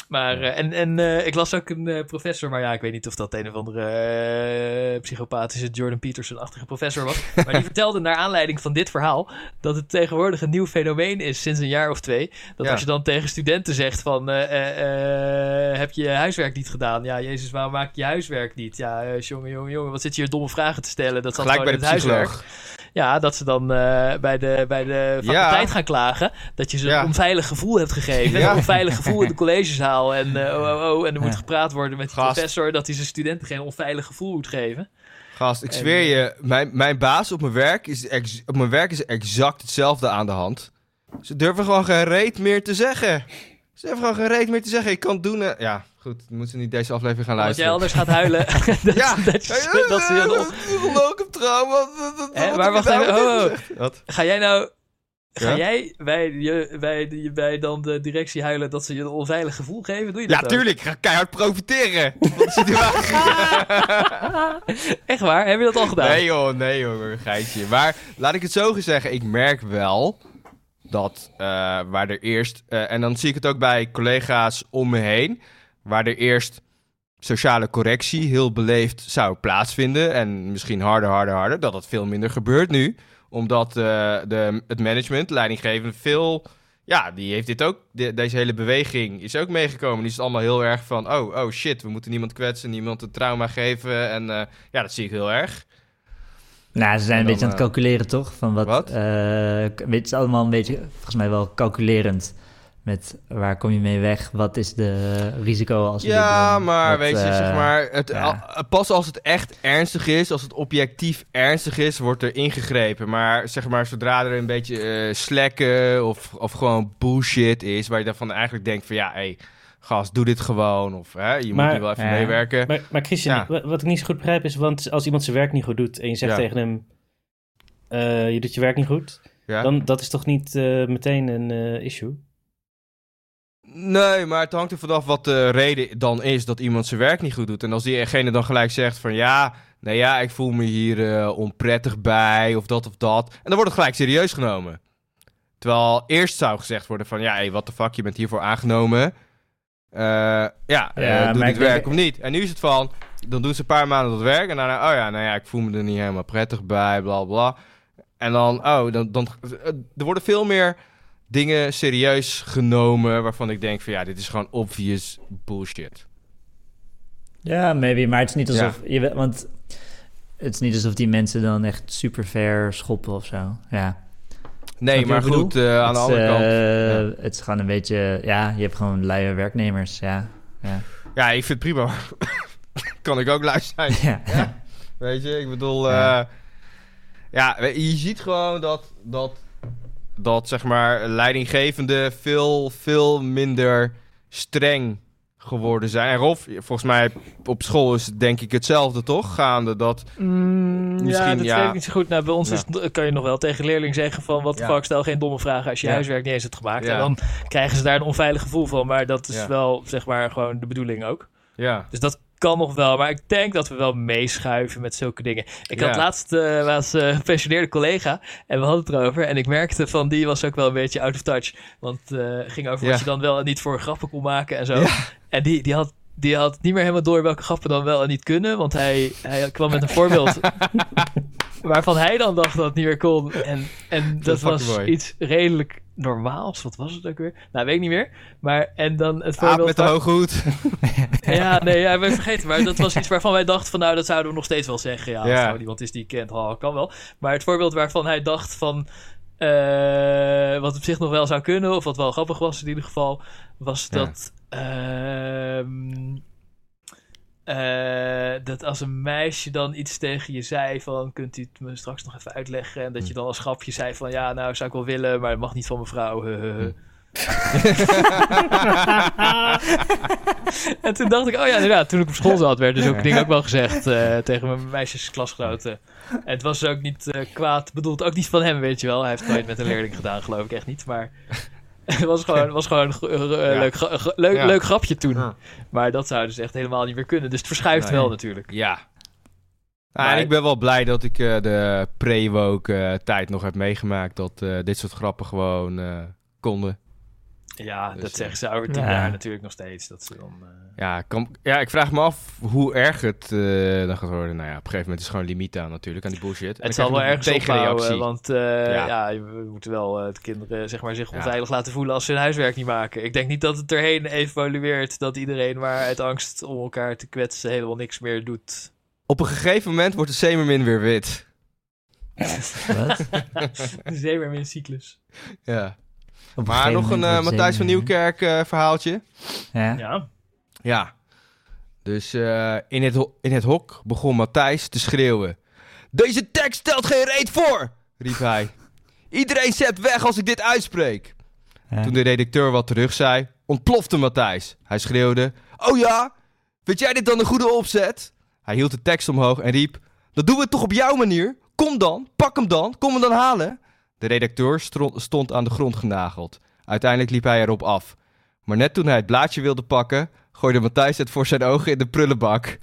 D: Maar, eh, en en eh, ik las ook een eh, professor, maar ja, ik weet niet of dat een of andere eh, psychopathische Jordan Peterson-achtige professor was. Maar die vertelde naar aanleiding van dit verhaal dat het tegenwoordig een nieuw fenomeen is sinds een jaar of twee. Dat
B: Ja.
D: als je dan tegen studenten zegt van, eh, eh, eh, heb je je huiswerk niet gedaan? Ja, jezus, waarom maak je je huiswerk niet? Ja, eh, jongen, jongen, jongen, wat zit je hier domme vragen te stellen? Dat zat
B: Gelijk bij
D: gewoon
B: de
D: in het huiswerk.
B: psycholoog.
D: Ja, dat ze dan eh, bij, de, bij de
B: Ja.
D: faculteit gaan klagen. Dat je ze
B: Ja.
D: een onveilig gevoel hebt gegeven.
B: Ja.
D: Een onveilig gevoel in de collegezaal. En, eh, oh, oh, oh, en er moet
C: Ja.
D: gepraat worden met de
B: Gast.
D: professor dat hij zijn studenten geen onveilig gevoel moet geven.
B: Gast, ik
D: En- eh,
B: zweer je, mijn, mijn baas op mijn werk is ex- op mijn werk is exact hetzelfde aan de hand. Ze durven gewoon geen reet meer te zeggen. Ze durven gewoon geen reet meer te zeggen. Ik kan het doen. eh, Ja, goed, dan moeten ze niet deze aflevering gaan
D: Want jij
B: luisteren.
D: anders gaat huilen. dat,
B: Ja,
D: dat, je- dat ze je dan op-
B: Ongelooflijk trauma. Wat- wat-
D: Hè,
B: wat
D: maar
B: heb
D: wacht
B: je nou
D: even,
B: net
D: oh, oh.
B: gezegd? Wat?
D: Ga jij nou... Ga
B: Ja?
D: jij bij, je, bij, die- bij dan de directie huilen dat ze je een onveilig gevoel geven? Doe je dat
B: Ja,
D: ook?
B: tuurlijk. Ik ga keihard profiteren van de situatie.
D: Echt waar? Heb je dat al gedaan?
B: Nee joh, nee joh, een geitje. Maar laat ik het zo eens zeggen, ik merk wel dat eh, waar er eerst... eh, en dan zie ik het ook bij collega's om me heen... waar er eerst sociale correctie heel beleefd zou plaatsvinden... en misschien harder, harder, harder, dat dat veel minder gebeurt nu. Omdat eh, de, het management, leidinggevende, veel... Ja, die heeft dit ook, de- deze hele beweging is ook meegekomen. Die is allemaal heel erg van, oh, oh shit, we moeten niemand kwetsen, niemand een trauma geven. En eh, ja, dat zie ik heel erg.
C: Nou, ze zijn
B: En
C: een
B: dan,
C: beetje aan het
B: eh,
C: calculeren, toch? Van wat?
B: wat?
C: eh, k- weet je, allemaal een beetje, volgens mij wel calculerend. Met waar kom je mee weg? Wat is de risico als we dit
B: Ja,
C: doen?
B: maar
C: Wat,
B: weet je,
C: eh,
B: zeg maar, het,
C: ja.
B: al- pas als het echt ernstig is, als het objectief ernstig is, wordt er ingegrepen. Maar zeg maar, zodra er een beetje eh, slekken of, of gewoon bullshit is, waar je dan van eigenlijk denkt van ja, hé, hey, gast, doe dit gewoon. Of hè, je moet
A: Maar-
B: hier wel even
C: Ja.
B: meewerken.
A: Maar, maar Christian,
B: Ja.
A: ik- wa- wat ik niet zo goed begrijp is, want als iemand zijn werk niet goed doet en je zegt
B: Ja.
A: tegen hem, eh, je doet je werk niet goed,
B: Ja?
A: dan dat is toch niet eh, meteen een eh, issue?
B: Nee, maar het hangt er vanaf wat de reden dan is dat iemand zijn werk niet goed doet. En als diegene dan gelijk zegt van ja, nou ja, ik voel me hier eh, onprettig bij of dat of dat. En dan wordt het gelijk serieus genomen. Terwijl eerst zou gezegd worden van ja, hey, wat de fuck, je bent hiervoor aangenomen. Eh, ja, eh,
C: maar
B: doe
C: ik
B: dit
C: denk-
B: werk of niet. En nu is het van, dan doen ze een paar maanden dat werk en daarna, oh ja, nou ja, ik voel me er niet helemaal prettig bij, bla bla. En dan, oh, dan, dan, er worden veel meer dingen serieus genomen waarvan ik denk van ja, dit is gewoon obvious bullshit.
C: Ja, maybe, maar het is niet
B: Ja.
C: alsof... Je, weet- want het is niet alsof die mensen dan echt super ver schoppen of zo. Ja. Snap
B: Nee,
C: je
B: maar
C: wat ik
B: goed, eh, aan de
C: Het is,
B: andere kant.
C: eh, Het is gewoon een beetje... Ja, je hebt gewoon luie werknemers, ja. Ja.
B: Ja, ik vind het prima. kan ik ook lui zijn.
C: ja.
B: Weet je, ik bedoel...
C: Ja.
B: eh, ja, we- je ziet gewoon dat... Dat, dat zeg maar, leidinggevenden veel, veel minder streng geworden zijn. En Rolf, volgens mij op school is het denk ik hetzelfde toch gaande. Dat,
D: Mm, ja,
B: Misschien,
D: dat
B: ja.
D: weet ik niet zo goed. Nou, bij ons
B: Ja.
D: is, kan je nog wel tegen leerling zeggen van... wat de
B: Ja.
D: fuck, stel geen domme vragen als je je
B: Ja.
D: huiswerk niet eens hebt gemaakt.
B: Ja.
D: En dan krijgen ze daar een onveilig gevoel van. Maar dat is
B: Ja.
D: wel, zeg maar, gewoon de bedoeling ook.
B: ja,
D: Dus dat kan nog wel. Maar ik denk dat we wel meeschuiven met zulke dingen. Ik
B: Ja.
D: had laatst, eh laatst eh, een gepensioneerde collega... en we hadden het erover. En ik merkte van, die was ook wel een beetje out of touch. Want eh, het ging over
B: Ja.
D: wat je dan wel en niet voor grappen kon maken en zo. En die, die had... Die had niet meer helemaal door welke grappen dan wel en niet kunnen. Want hij, hij kwam met een voorbeeld waarvan hij dan dacht dat het niet meer kon. En, en dat
B: is fucking
D: was
B: mooi.
D: iets redelijk normaals. Wat was het ook weer? Nou, weet ik niet meer. Maar, en dan het
B: aap
D: voorbeeld...
B: met de
D: waar-
B: hoge hoed.
D: ja, nee, ja, ik ben vergeten. Maar dat was iets waarvan wij dachten van... nou, dat zouden we nog steeds wel zeggen. Ja, als
B: Ja.
D: het gewoon iemand is die ik kent, oh, kan wel. Maar het voorbeeld waarvan hij dacht van... eh, wat op zich nog wel zou kunnen... of wat wel grappig was in ieder geval... was
B: Ja.
D: dat... ehm, eh, dat als een meisje dan iets tegen je zei van... kunt u het me straks nog even uitleggen? En
B: Hm.
D: dat je dan als grapje zei van... ja, nou, zou ik wel willen, maar het mag niet van mevrouw. huh, huh,
B: Hm.
D: huh. En toen dacht ik, oh ja, inderdaad, toen ik op school zat, werd dus ook ding ook wel gezegd eh, tegen mijn meisjesklasgenoten. En het was ook niet eh, kwaad bedoeld, ook niet van hem, weet je wel. Hij heeft het nooit met een leerling gedaan, geloof ik echt niet. Maar het was gewoon, was gewoon een go- eh,
B: Ja.
D: leuk, gra- ge- leuk,
B: Ja.
D: leuk grapje toen.
B: Ja.
D: Maar dat zou dus echt helemaal niet meer kunnen. Dus het verschuift
B: Nee.
D: wel natuurlijk.
B: Ja.
D: Maar-
B: Ah, en ik ben wel blij dat ik eh, de pre-woke eh, tijd nog heb meegemaakt. Dat eh, dit soort grappen gewoon eh, konden.
D: Ja,
B: Dus,
D: dat
B: eh,
D: zeggen ze over tien
C: ja.
D: jaar natuurlijk nog steeds. Dat ze dan, eh,
B: Ja, kan, ja, ik vraag me af hoe erg het eh, dan gaat worden. Nou ja, op een gegeven moment is gewoon limiet aan natuurlijk, aan die bullshit.
D: het zal wel ergens ophouden, want eh,
B: Ja.
D: ja. we moeten wel eh, de kinderen zeg maar, zich
B: Ja.
D: onveilig laten voelen als ze hun huiswerk niet maken. Ik denk niet dat het erheen evolueert dat iedereen maar uit angst om elkaar te kwetsen helemaal niks meer doet.
B: Op een gegeven moment wordt de Semermin weer wit.
C: Wat?
D: Zeker in cyclus.
B: Ja.
C: Op
B: Maar
C: gegeven
B: nog een
C: moment
B: eh
C: wordt
B: Matthijs
C: ze-
B: van Nieuwkerk eh, verhaaltje.
C: Ja.
D: Ja.
B: Ja. Dus eh, in, het ho- in het hok begon Matthijs te schreeuwen. Deze tekst stelt geen reet voor, riep hij. Iedereen zet weg als ik dit uitspreek.
C: Ja.
B: Toen de redacteur wat terug zei, ontplofte Matthijs. Hij schreeuwde, oh ja, vind jij dit dan een goede opzet? Hij hield de tekst omhoog en riep, dat doen we toch op jouw manier? Kom dan, pak hem dan, kom hem dan halen. De redacteur stro- stond aan de grond genageld. Uiteindelijk liep hij erop af. Maar net toen hij het blaadje wilde pakken, gooide Matthijs het voor zijn ogen in de prullenbak.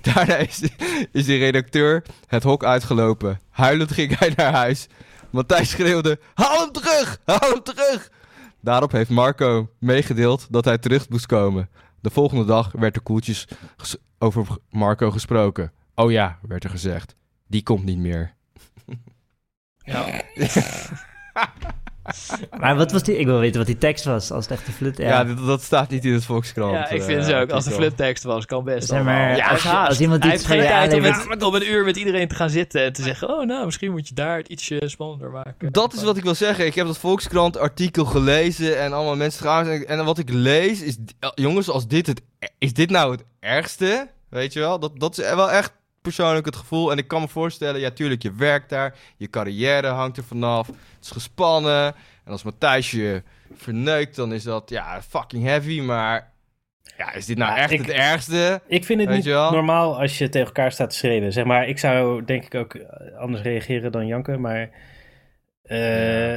B: Daarna is, is de redacteur het hok uitgelopen. Huilend ging hij naar huis. Matthijs schreeuwde: Haal hem terug! Haal hem terug! Daarop heeft Marco meegedeeld dat hij terug moest komen. De volgende dag werd er koeltjes ges- over Marco gesproken. Oh ja, werd er gezegd. Die komt niet meer.
D: ja.
C: Maar wat was die? Ik wil weten wat die tekst was, als het echt een flut.
B: Ja,
C: Ja,
B: dat, dat staat niet in het Volkskrant.
D: Ja, ik
B: eh,
D: vind ze ook. Als de
B: artikel.
D: fluttekst was, kan best.
C: Zeg maar,
D: allemaal.
C: als
D: Hij is
C: je-
D: haast.
C: als iemand
D: Hij
C: iets
D: heeft Ah, geen
C: van je
D: tijd om
C: aanlevert-
D: met, om een uur met iedereen te gaan zitten en te zeggen: Oh, nou, misschien moet je daar het ietsje spannender maken.
B: Dat is wat ik wil zeggen. Ik heb dat Volkskrant artikel gelezen en allemaal mensen trouwens. En, en wat ik lees is, eh, jongens, als dit het, is dit nou het ergste? Weet je wel? Dat, dat is wel echt persoonlijk het gevoel. En ik kan me voorstellen, ja tuurlijk, je werkt daar. Je carrière hangt er vanaf. Het is gespannen. En als Matthijs je verneukt, dan is dat ja, fucking heavy. Maar ja, is dit nou
A: Ja,
B: echt
A: ik-
B: het ergste?
A: Ik vind het
B: Weet
A: niet
B: je wel?
A: normaal als je tegen elkaar staat te schreeuwen. Zeg maar, ik zou denk ik ook eh, anders reageren dan janken, maar eh,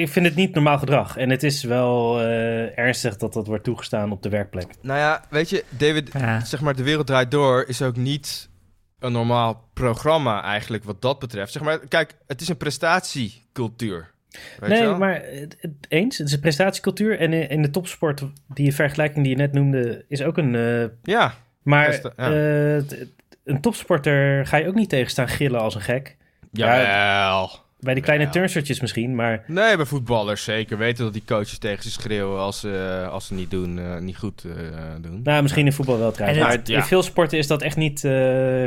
A: ik vind het niet normaal gedrag. En het is wel eh, ernstig dat dat wordt toegestaan op de werkplek.
B: Nou ja, weet je, David,
C: Ja.
B: zeg maar, De Wereld Draait Door is ook niet een normaal programma eigenlijk wat dat betreft. Zeg maar, kijk, het is een prestatiecultuur. Weet je
A: nee,
B: wel?
A: maar het, het- eens, het is een prestatiecultuur. En in, in de topsport, die vergelijking die je net noemde, is ook een... eh,
B: Ja,
A: maar
B: Presta- ja.
A: eh, het- het- een topsporter ga je ook niet tegenstaan gillen als een gek.
B: jawel.
A: Bij die kleine
B: Ja.
A: turnstertjes misschien, maar...
B: Nee, bij voetballers zeker weten dat die coaches tegen ze schreeuwen als ze, als ze niet, doen, eh, niet goed eh, doen.
A: Nou, misschien in voetbal wel trouwens.
C: En
A: Maar
C: het-
A: het-
B: ja.
A: in veel sporten is dat echt niet... eh,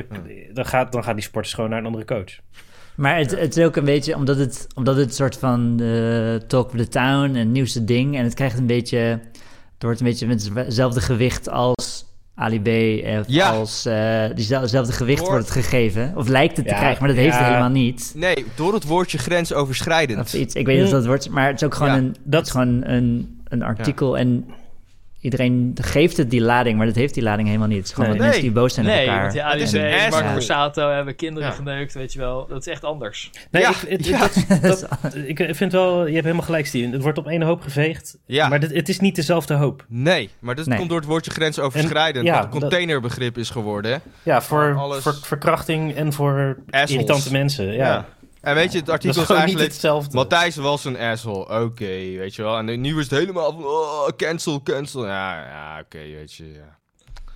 A: dan, gaat, dan gaat die sporters gewoon naar een andere coach.
C: Maar het, het is ook een beetje, omdat het, omdat het een soort van eh, talk of the town en het nieuwste ding. En het krijgt een beetje, het wordt een beetje met hetzelfde gewicht als Ali B. eh,
B: Ja.
C: Als, eh, diezelfde gewicht
B: Hoor.
C: wordt het gegeven. Of lijkt het
A: Ja,
C: te krijgen, maar dat heeft het
A: ja.
C: helemaal niet.
B: Nee, door het woordje grensoverschrijdend.
C: Of iets, ik weet niet of dat wordt, maar het is ook gewoon
B: Ja,
C: een,
A: dat-
C: het is gewoon een, een artikel. En iedereen geeft het die lading, maar dat heeft die lading helemaal niet. Het is gewoon
A: Nee.
C: wat mensen die boos zijn op
D: Nee,
C: elkaar.
D: want ja,
B: Het is een
D: ADC,
B: asshole.
D: Marco Borsato hebben kinderen
B: Ja.
D: geneukt, weet je wel. Dat is echt anders.
A: Nee,
B: Ja,
A: ik, het-
B: ja.
A: Dat, dat- ik vind wel, je hebt helemaal gelijk, Steven. Het wordt op één hoop geveegd,
B: Ja.
A: maar dit- het is niet dezelfde hoop.
B: Nee, maar dat
C: Nee.
B: komt door het woordje grensoverschrijdend.
A: En- ja,
B: wat een containerbegrip is geworden. Hè?
A: Ja, voor,
B: Alles-
A: voor verkrachting en voor
B: Assholes.
A: irritante mensen. Ja.
B: En weet je, het
A: Dat
B: artikel
A: is
B: is
A: gewoon niet
B: eigenlijk...
A: hetzelfde.
B: Matthijs was een asshole, oké, weet je wel. En nu is het helemaal van, oh, cancel, cancel. Ja, ja oké, weet je, ja.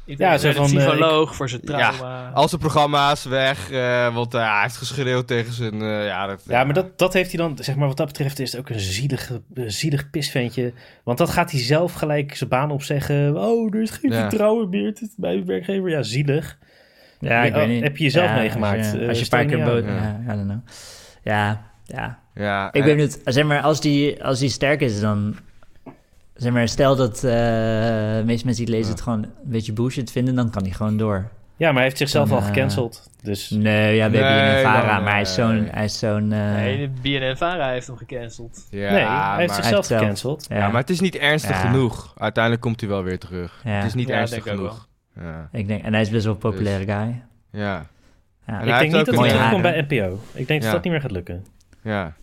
D: Iedereen
A: zo
D: werd een
A: van, eh,
D: psycholoog voor zijn
B: Ja.
D: trauma.
B: Al zijn programma's weg, eh, want eh, hij heeft geschreeuwd tegen zijn... eh, ja, dat,
A: Ja, maar dat, dat heeft hij dan, zeg maar, wat dat betreft is het ook een zielig, eh, zielig pisventje. Want dat gaat hij zelf gelijk zijn baan opzeggen. Oh, er is geen
B: Ja.
A: vertrouwen meer het is bij uw werkgever. Ja, zielig.
C: Ja, ik
A: Ja,
C: weet niet.
A: heb je jezelf
C: Ja,
A: meegemaakt?
C: Als je,
A: Eh,
C: als je een
A: stel
C: paar
A: je
C: keer
A: niet
C: boos...
B: aan.
C: Ja, Eh. I don't know. Ja, ja.
B: Ja, eh,
C: Ik
B: en-
C: weet niet, zeg maar, als die, als die sterk is, dan... Zeg maar, stel dat eh, de meeste mensen die het lezen het gewoon een beetje bullshit vinden, dan kan die gewoon door.
A: Ja, maar hij heeft zichzelf al
C: Ja.
A: gecanceld. Dus
C: Nee, eh, ja, we
B: Nee,
C: hebben een Vara,
B: nee, nee,
C: maar hij is
B: nee.
C: zo'n... Hij is zo'n eh,
D: Nee, de BNN-Vara heeft hem gecanceld.
B: Ja,
A: nee, hij heeft
B: maar,
C: Hij
A: zichzelf
C: heeft zelf-
A: gecanceld.
C: ja,
B: ja, maar het is niet ernstig
C: Ja.
B: genoeg. Uiteindelijk komt hij wel weer terug.
C: ja,
B: Het is niet
D: Ja,
B: ernstig
D: denk ik ook
B: genoeg. Ja,
C: ik denk, en hij is best wel een populaire guy.
B: ja,
C: Ja.
B: En hij
A: ik denk
B: heeft
A: niet
B: ook
A: dat hij
C: een-
A: terugkomt
C: Mooie
A: bij NPO. Ik denk
B: Ja.
A: dat dat niet meer gaat lukken.
B: ja.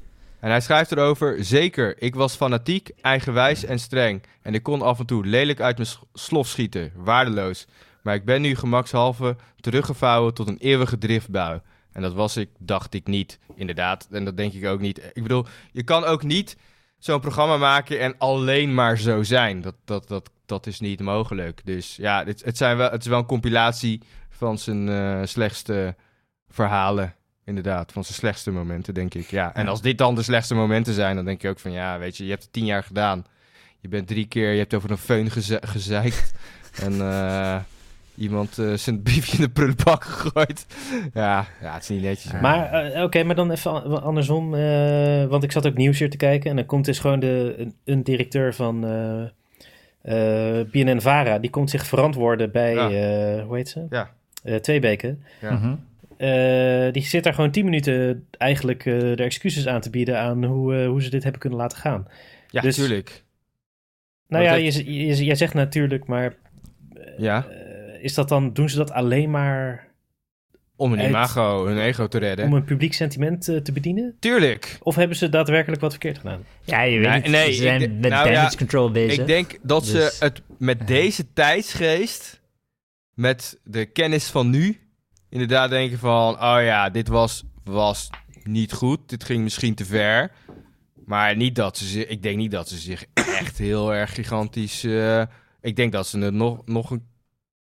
B: En hij schrijft erover, zeker, ik was fanatiek, eigenwijs en streng. En ik kon af en toe lelijk uit mijn s- slof schieten, waardeloos. Maar ik ben nu gemakshalve teruggevouwen tot een eeuwige driftbui. En dat was ik, dacht ik niet, inderdaad. En dat denk ik ook niet. Ik bedoel, je kan ook niet zo'n programma maken en alleen maar zo zijn. Dat, dat, dat, dat is niet mogelijk. Dus ja, het, het, zijn wel, het is wel een compilatie van zijn eh, slechtste verhalen. Inderdaad, van zijn slechtste momenten, denk ik. Ja, en als dit dan de slechtste momenten zijn, dan denk je ook van... Ja, weet je, je hebt het tien jaar gedaan. Je bent drie keer, je hebt over een föhn geze- gezeikt. en eh, iemand eh, zijn briefje in de prullenbak gegooid. ja, ja, het is niet netjes.
C: Ja.
A: Maar eh, oké, maar dan even a- andersom. eh, want ik zat ook nieuws hier te kijken. En dan komt dus gewoon de, een, een directeur van eh BNN Vara. Die komt zich verantwoorden bij,
B: Ja.
A: eh, hoe heet ze?
B: Ja.
A: Eh, Tweebeke.
B: Ja.
C: Mhm.
A: Eh, die zit daar gewoon 10 minuten eigenlijk eh, de excuses aan te bieden aan hoe, eh, hoe ze dit hebben kunnen laten gaan.
B: ja,
A: dus-
B: natuurlijk.
A: Nou
B: Maar
A: ja,
B: dat
A: je, z- je z- jij zegt natuurlijk, maar
B: Ja,
A: eh, is dat dan, doen ze dat alleen maar
B: om hun
A: het-
B: imago, hun ego te redden.
A: om een publiek sentiment eh, te bedienen?
B: Tuurlijk.
A: Of hebben ze daadwerkelijk wat verkeerd gedaan?
C: Ja, je weet
B: Nee,
C: niet.
B: nee, ik
C: ze
B: denk-
C: zijn met
B: nou ja,
C: damage control bezig.
B: Ik denk dat ze
C: Dus-
B: het met deze tijdsgeest, met de kennis van nu, inderdaad denken van, oh ja, dit was, was niet goed, dit ging misschien te ver. Maar niet dat ze zich, ik denk niet dat ze zich echt heel erg gigantisch... eh, ik denk dat ze het nog, nog een,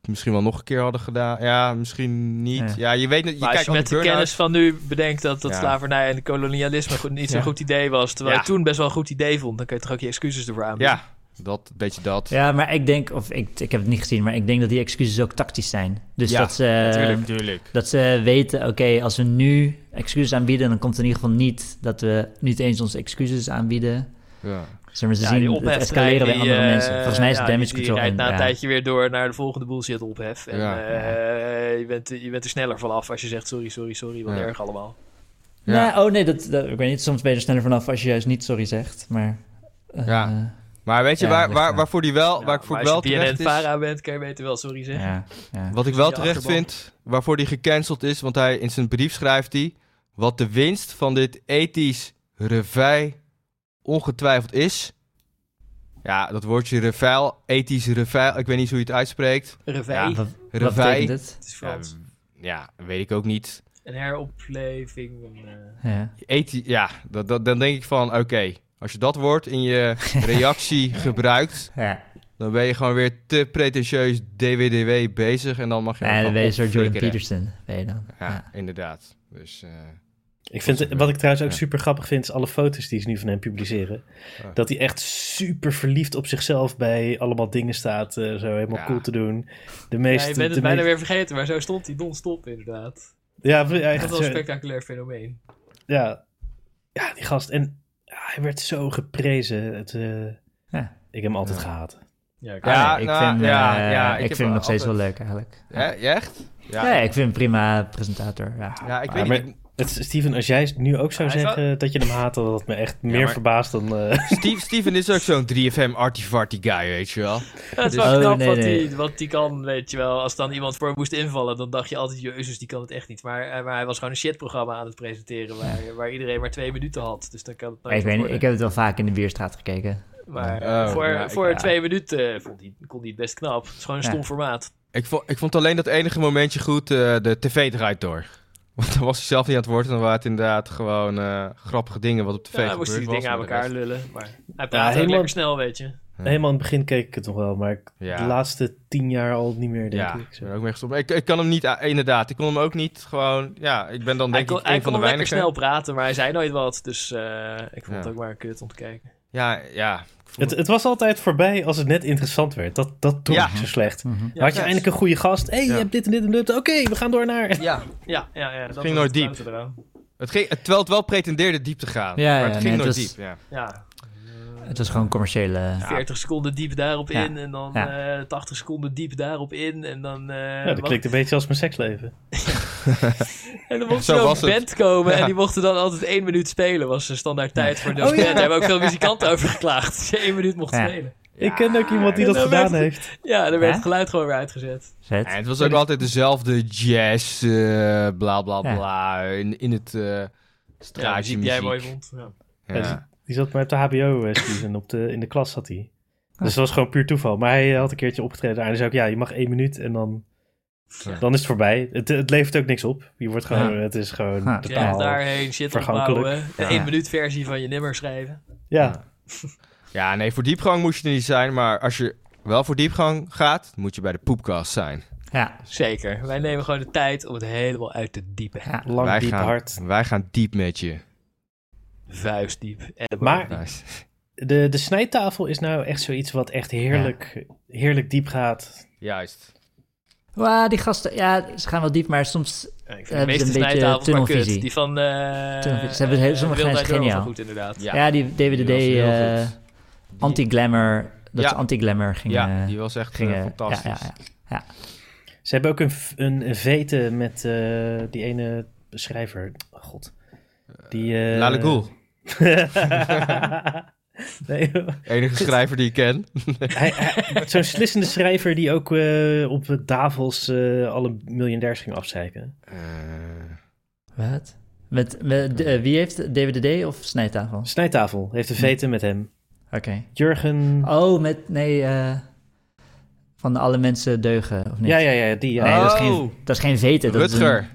B: misschien wel nog een keer hadden gedaan. Ja, misschien niet. Ja,
C: Ja.
B: je weet niet. Je
D: Maar als
B: kijkt
D: je
B: al die
D: met de
B: burn-outs.
D: kennis van nu bedenkt dat, dat
B: Ja.
D: slavernij en kolonialisme goed- niet zo'n
B: Ja.
D: goed idee was, terwijl
B: Ja.
D: je toen best wel een goed idee vond, dan kun je toch ook je excuses ervoor aanbieden.
B: Ja, dat, beetje dat.
C: Ja, maar ik denk, of ik, ik heb het niet gezien, maar ik denk dat die excuses ook tactisch zijn. Dus
B: Ja,
C: dat ze...
B: Tuurlijk, tuurlijk.
C: Dat ze weten, oké, als we nu excuses aanbieden, dan komt het in ieder geval niet dat we niet eens onze excuses aanbieden.
B: Ja.
C: Zeg maar, ze
D: Ja, die
C: zien het
D: ophef,
C: escaleren bij
D: die,
C: andere
D: eh,
C: mensen. Volgens mij is
D: ja,
C: het damage
D: die- die
C: control.
D: rijdt na
C: en-
D: een
C: ja.
D: tijdje weer door naar de volgende bullshit ophef. En
B: Ja.
D: eh, je, bent, je bent er sneller vanaf als je zegt sorry, sorry, sorry, wat
B: Ja.
D: erg allemaal.
B: Ja.
C: Nou, oh nee, dat, dat- ik weet niet, soms ben je er sneller vanaf als je juist niet sorry zegt, maar... eh,
B: Ja. Maar weet je
C: Ja,
B: waar,
C: ligt
B: waar,
C: aan.
B: waarvoor die wel,
D: Ja,
B: waar ik voor
D: maar
B: wel
D: als je
B: terecht
D: BNN
B: is...
D: Vara bent, kan je beter wel sorry zeggen.
C: eh, ja, ja.
B: Wat ik wel
D: Die
B: terecht
D: achterban.
B: vind, waarvoor die gecanceld is, want hij in zijn brief schrijft hij wat de winst van dit ethisch revij ongetwijfeld is. Ja, dat woordje revuil, ethisch revuil, ik weet niet hoe je het uitspreekt.
D: Revij,
B: Ja.
C: Wat, wat betekent
B: Revuil.
C: het?
D: het is
B: Ja,
D: Frans.
B: ja, weet ik ook niet.
D: Een heropleving. Een, eh,
C: Ja.
B: Ethi ja, dat, dat, dan denk ik van, oké, als je dat woord in je reactie gebruikt,
C: ja.
B: dan ben je gewoon weer te pretentieus DWDW bezig en dan mag je...
C: Nee, dan
B: gewoon
C: ben je Sir Jordan
B: opflikkeren.
C: Peterson, ben je dan.
B: Ja, inderdaad. Dus... eh,
A: Ik vind,
B: Dat is
A: wat ik trouwens ook
B: ja.
A: super grappig vind, is alle foto's die ze nu van hem publiceren.
B: Ah.
A: Dat hij echt super verliefd op zichzelf bij allemaal dingen staat. eh, zo helemaal
B: Ja.
A: cool te doen. De
D: ja,
A: meeste.
D: je bent
A: de
D: het bijna
A: meest-
D: weer vergeten, maar zo stond hij non-stop inderdaad.
A: Ja, v- ja, echt
D: Dat was een
A: zo,
D: spectaculair fenomeen.
A: ja. ja, die gast. En ja, hij werd zo geprezen. Het, eh,
C: Ja.
A: Ik heb hem altijd
B: Ja.
A: gehaat.
D: Ja, ik-
B: Ja,
C: Ah, nee, ik
B: nou,
C: vind, eh,
B: ja, ja, ik
C: ik
B: heb
C: vind
B: wel
C: hem nog steeds
B: altijd-
C: wel leuk eigenlijk.
B: hè, echt?
C: Ja, ik vind hem prima presentator. Ja,
B: Ja, ik
A: Maar-
B: weet niet.
A: Het, Steven, als jij nu ook zou
D: Hij is
A: zeggen dat je hem haat, dan had het me echt meer
B: maar-
A: verbaasd dan... eh,
B: Steve, Steven is ook zo'n 3FM artifarty guy, weet je wel.
D: Het is
C: Dus-
D: wel
C: Oh,
D: knap
C: nee,
D: wat,
C: nee.
D: Die, wat die kan, weet je wel. Als dan iemand voor hem moest invallen, dan dacht je altijd, jezus, die kan het echt niet. Maar, eh, maar hij was gewoon een shitprogramma aan het presenteren waar, waar iedereen maar twee minuten had. Dus dan kan het
C: Maar
D: nooit
C: ik, weet, niet,
D: worden.
C: ik heb het wel vaak in de bierstraat gekeken.
D: Maar
B: Oh,
D: eh, voor,
B: ja, ik-
D: voor
B: ja.
D: twee minuten eh, vond hij, kon hij het best knap. Het is gewoon een
C: Ja.
D: stom formaat.
B: Ik vond, ik vond alleen dat enige momentje goed, eh, de tv draait door. Want dan was hij zelf niet aan het woord en dan waren het inderdaad gewoon eh, grappige dingen wat op tv
D: Ja,
B: gebeurde.
D: dan moest hij die dingen aan elkaar lullen. Maar hij praat ook
A: helemaal-
D: lekker snel, weet je.
A: Helemaal aan het begin keek ik het nog wel, maar ik-
B: Hm. Ja.
A: de laatste tien jaar al niet meer, denk
B: Ja,
A: ik.
B: ik ben er ook mee gestopt. Ik, ik kan hem niet, ah, inderdaad, ik kon hem ook niet gewoon, ja, ik ben dan
D: Hij
B: denk
D: kon,
B: ik
D: hij
B: een
D: kon
B: van de
D: wel lekker
B: weinigen.
D: snel praten, maar hij zei nooit wat. Dus eh, ik vond het
B: Ja.
D: ook maar kut om te kijken.
B: Ja, ja.
A: Het, het was altijd voorbij als het net interessant werd. Dat, dat trok
B: Ja.
A: ik zo slecht.
C: Mhm.
A: Dan had je
D: Ja.
A: eindelijk een goede gast. hey, je
B: Ja.
A: hebt dit en dit en dit. Oké, we gaan door naar...
B: Ja.
D: Ja, ja, ja. Dat
B: ging
D: was
B: nooit
D: het
B: diep.
D: klote eraan.
B: Het ging, het- terwijl het wel pretendeerde diep te gaan,
C: Ja,
B: maar
C: ja,
B: het ging
C: nee,
B: nooit
C: het was-
B: diep. Ja.
D: Ja,
C: Het was gewoon commerciële...
D: 40 seconden diep daarop
C: Ja.
D: in en dan
C: Ja.
D: eh, 80 seconden diep daarop in en dan... eh,
A: Ja, dat
D: wat-
A: klinkt een beetje als mijn seksleven.
D: En dan mocht
B: Zo
D: zo'n
B: was het.
D: band komen en
B: Ja.
D: die mochten dan altijd één minuut spelen. Was de standaard tijd voor de
A: Oh,
D: band.
A: ja.
D: Daar hebben ook veel muzikanten over geklaagd. Dat je één minuut mocht
C: Ja.
D: spelen.
A: Ik ken ook iemand die
D: Ja, nou,
A: dat
D: dat
A: gedaan
D: werd-
A: heeft.
D: Ja, dan werd
C: Hè?
D: het geluid gewoon weer uitgezet.
C: Zet.
B: En het was ook altijd dezelfde jazz, eh, bla bla
C: Ja.
B: bla, in, in het eh
D: Ja,
B: straatje
D: muziek die jij mooi vond. Ja.
B: Ja.
A: Ja, dus- Die zat mij op de HBO, eh, Steven. Op de, in de klas zat hij.
D: Ah.
A: Dus dat was gewoon puur toeval. Maar hij eh, had een keertje opgetreden daar. En hij zei ook, ja, je mag één minuut en dan,
B: Ja.
A: dan is het voorbij. Het, het levert ook niks op. Je wordt gewoon,
C: Ja.
A: het is gewoon
C: Ja.
D: Dus jij
A: totaal...
D: gaat daarheen, shit
A: vergankelijk.
D: opbouwen. Een
B: Ja.
D: één minuut versie van je nummer schrijven.
A: Ja,
B: Ja, nee, voor diepgang moest je er niet zijn, maar als je wel voor diepgang gaat, moet je bij de poepkast zijn.
C: Ja.
D: Zeker. Wij nemen gewoon de tijd om het helemaal uit te diepen.
C: ja.
A: lang,
B: wij,
A: diep,
B: gaan,
A: hard.
B: wij gaan diep met je.
D: Vuistdiep. En-
A: Maar
B: Nice.
A: de, de snijtafel is nou echt zoiets wat echt heerlijk, heerlijk diep gaat.
B: Juist.
C: Wauw, die gasten, ja, ze gaan wel diep, maar soms...
D: Ja, ik vind de
C: hebben ze
D: meeste
C: een beetje
D: snijtafels maar kut.
C: tunnelvisie.
D: Die van... eh
C: Tunnelvisie. Ze hebben heel- sommige zijn
D: Wild Night Girl was wel
C: geniaal.
D: goed inderdaad.
B: Ja,
C: Ja, die
B: Die
C: DWDD,
B: was heel
C: eh,
B: goed.
C: anti-glamour, dat
B: Ja.
C: ze anti-glamour gingen...
B: ja, die was echt eh,
C: gingen
B: fantastisch.
C: Ja, ja, ja.
A: Ze hebben ook een, v- een, een vete met eh, die ene schrijver. Oh, God. Die, eh,
B: Lale Ghoul,
A: nee,
B: enige schrijver die ik ken.
A: hij, hij- zo'n slissende schrijver die ook eh, op de Davos eh, alle miljardairs ging afzeiken.
C: Wat? Met, met de- eh, wie heeft DWDD of snijtafel?
A: Snijtafel heeft een vete met hem.
C: Oké.
A: Jurgen.
C: Oh, met, nee, eh, van alle mensen deugen, of niet?
A: ja, ja, ja, die. eh, Ja.
C: Nee, dat, is
B: Oh.
C: geen, dat is geen veten. Dat is een-
B: Rutger.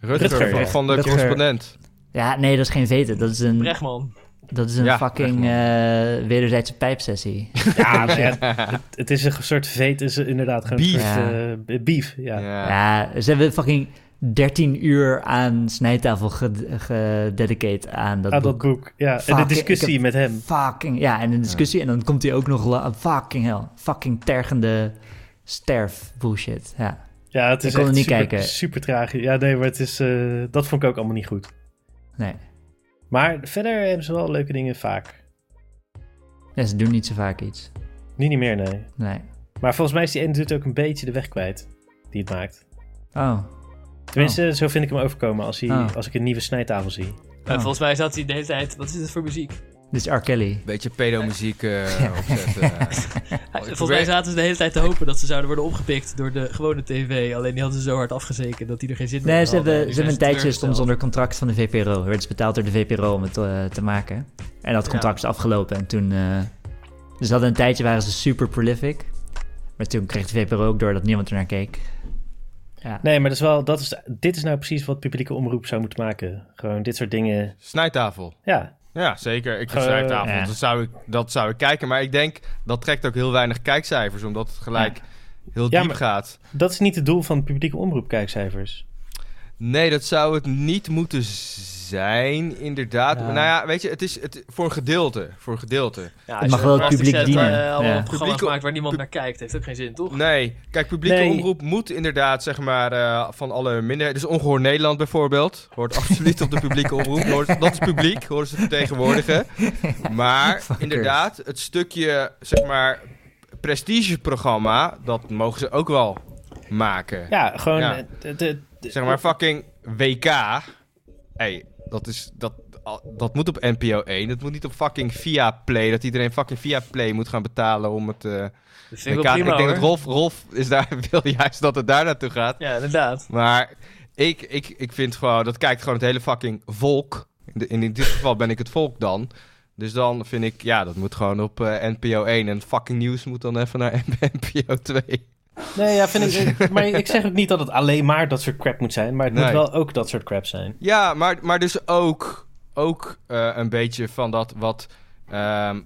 B: Rutger,
A: Rutger,
B: van,
A: ja.
B: van de
C: Rutger.
B: correspondent.
C: ja, nee, dat is geen veten. Dat is een,
D: Brechtman.
C: dat is een
B: Ja,
C: fucking eh, wederzijdse pijpsessie.
A: Ja, nou ja, het, het is een soort vete, is inderdaad gewoon een
B: Beef.
A: soort, eh, beef. Ja.
B: Ja.
C: Ja, ze hebben fucking 13 uur aan snijtafel ged- gededicated aan dat
A: Ah, dat
C: boek.
A: boek. Ja. en de
C: Fuck,
A: discussie
C: ik heb-
A: met hem.
C: Fucking, ja, en een discussie. En dan komt hij ook nog la- fucking hell. Fucking tergende sterf bullshit. Ja.
A: Ja, het is
C: Ik kon
A: echt
C: er niet
A: super,
C: kijken.
A: super tragisch. Ja, nee, maar het is, eh, dat vond ik ook allemaal niet goed.
C: Nee.
A: Maar verder hebben ze wel leuke dingen vaak.
C: Ja, ze doen niet zo vaak iets.
A: Nu niet meer, nee.
C: Nee.
A: Maar volgens mij is die ene dude ook een beetje de weg kwijt die het maakt.
C: Oh.
A: Tenminste, zo vind ik hem overkomen als, hij,
C: Oh.
A: als ik een nieuwe snijtafel zie.
D: En Eh, volgens mij zat hij de hele tijd... Wat is dit voor muziek?
C: Dit is R. Kelly.
B: Beetje pedomuziek eh opzetten.
D: Hij-
B: ik
D: Volgens mij
B: probeer-
D: zaten ze de hele tijd te hopen dat ze zouden worden opgepikt door de gewone tv. Alleen die hadden ze zo hard afgezeken dat die er geen zin meer
C: Nee,
D: in
C: ze
D: hadden.
C: hebben,
D: Die
C: ze hebben een
D: zijn
C: tijdje stond
D: teleurgesteld.
C: onder contract van de VPRO. Werd ze betaald door de VPRO om het eh, te maken. En dat contract is afgelopen. En toen... eh, dus ze hadden een tijdje waren ze super prolific. Maar toen kreeg de VPRO ook door dat niemand ernaar keek. Ja.
D: Oh,
A: Nee, maar dat is wel, dat is, dit is nou precies wat publieke omroep zou moeten maken. Gewoon dit soort dingen.
B: Snijtafel.
A: Ja,
B: Ja, zeker. Ik vind
A: Eh,
B: snijtafel.
C: ja.
B: Dat, zou ik, dat zou ik kijken. Maar ik denk, dat trekt ook heel weinig kijkcijfers. Omdat het gelijk heel diep
A: Ja, maar-
B: gaat.
A: dat is niet het doel van de publieke omroep kijkcijfers.
B: Nee, dat zou het niet moeten zijn, inderdaad.
C: Ja.
B: Maar Nou ja, weet je, het is het, voor een gedeelte. Voor een gedeelte.
D: Ja,
C: Het
D: als
C: mag
D: je
C: wel
D: op
C: het publiek
D: 60
C: dienen.
D: eh, allemaal
C: Ja.
D: programma's
B: Publiek-
D: maakt waar niemand naar kijkt. Heeft ook geen zin, toch?
B: Nee, kijk, publieke
A: Nee.
B: omroep moet inderdaad, zeg maar, eh, van alle minderheden. Dus Ongehoor Nederland bijvoorbeeld, hoort absoluut op de publieke omroep. Hoort, dat is publiek, horen ze vertegenwoordigen. Maar
C: Fuckers.
B: inderdaad, het stukje, zeg maar, prestigeprogramma, dat mogen ze ook wel maken.
A: Ja, gewoon.
B: Ja.
A: eh, de- de- de-
B: Zeg maar, fucking WK. hey, dat, is, dat, dat moet op NPO 1. Dat moet niet op fucking via Play. Dat iedereen fucking via Play moet gaan betalen om het. eh,
D: Dat vind ik
B: WK
D: wel prima,
B: ik denk
D: hoor.
B: dat Rolf, Rolf is daar, wil juist dat het daar naartoe gaat.
D: Ja, inderdaad.
B: Maar ik, ik, ik vind gewoon, dat kijkt gewoon het hele fucking volk. In, de- in dit geval ben ik het volk dan. Dus dan vind ik, ja, dat moet gewoon op eh, NPO 1. En fucking nieuws moet dan even naar NPO 2.
A: Nee, ja, vind ik, maar ik zeg ook niet dat het alleen maar dat soort crap moet zijn, maar het moet
B: Nee.
A: wel ook dat soort crap zijn.
B: Ja, maar, maar dus ook, ook eh, een beetje van dat wat. ehm,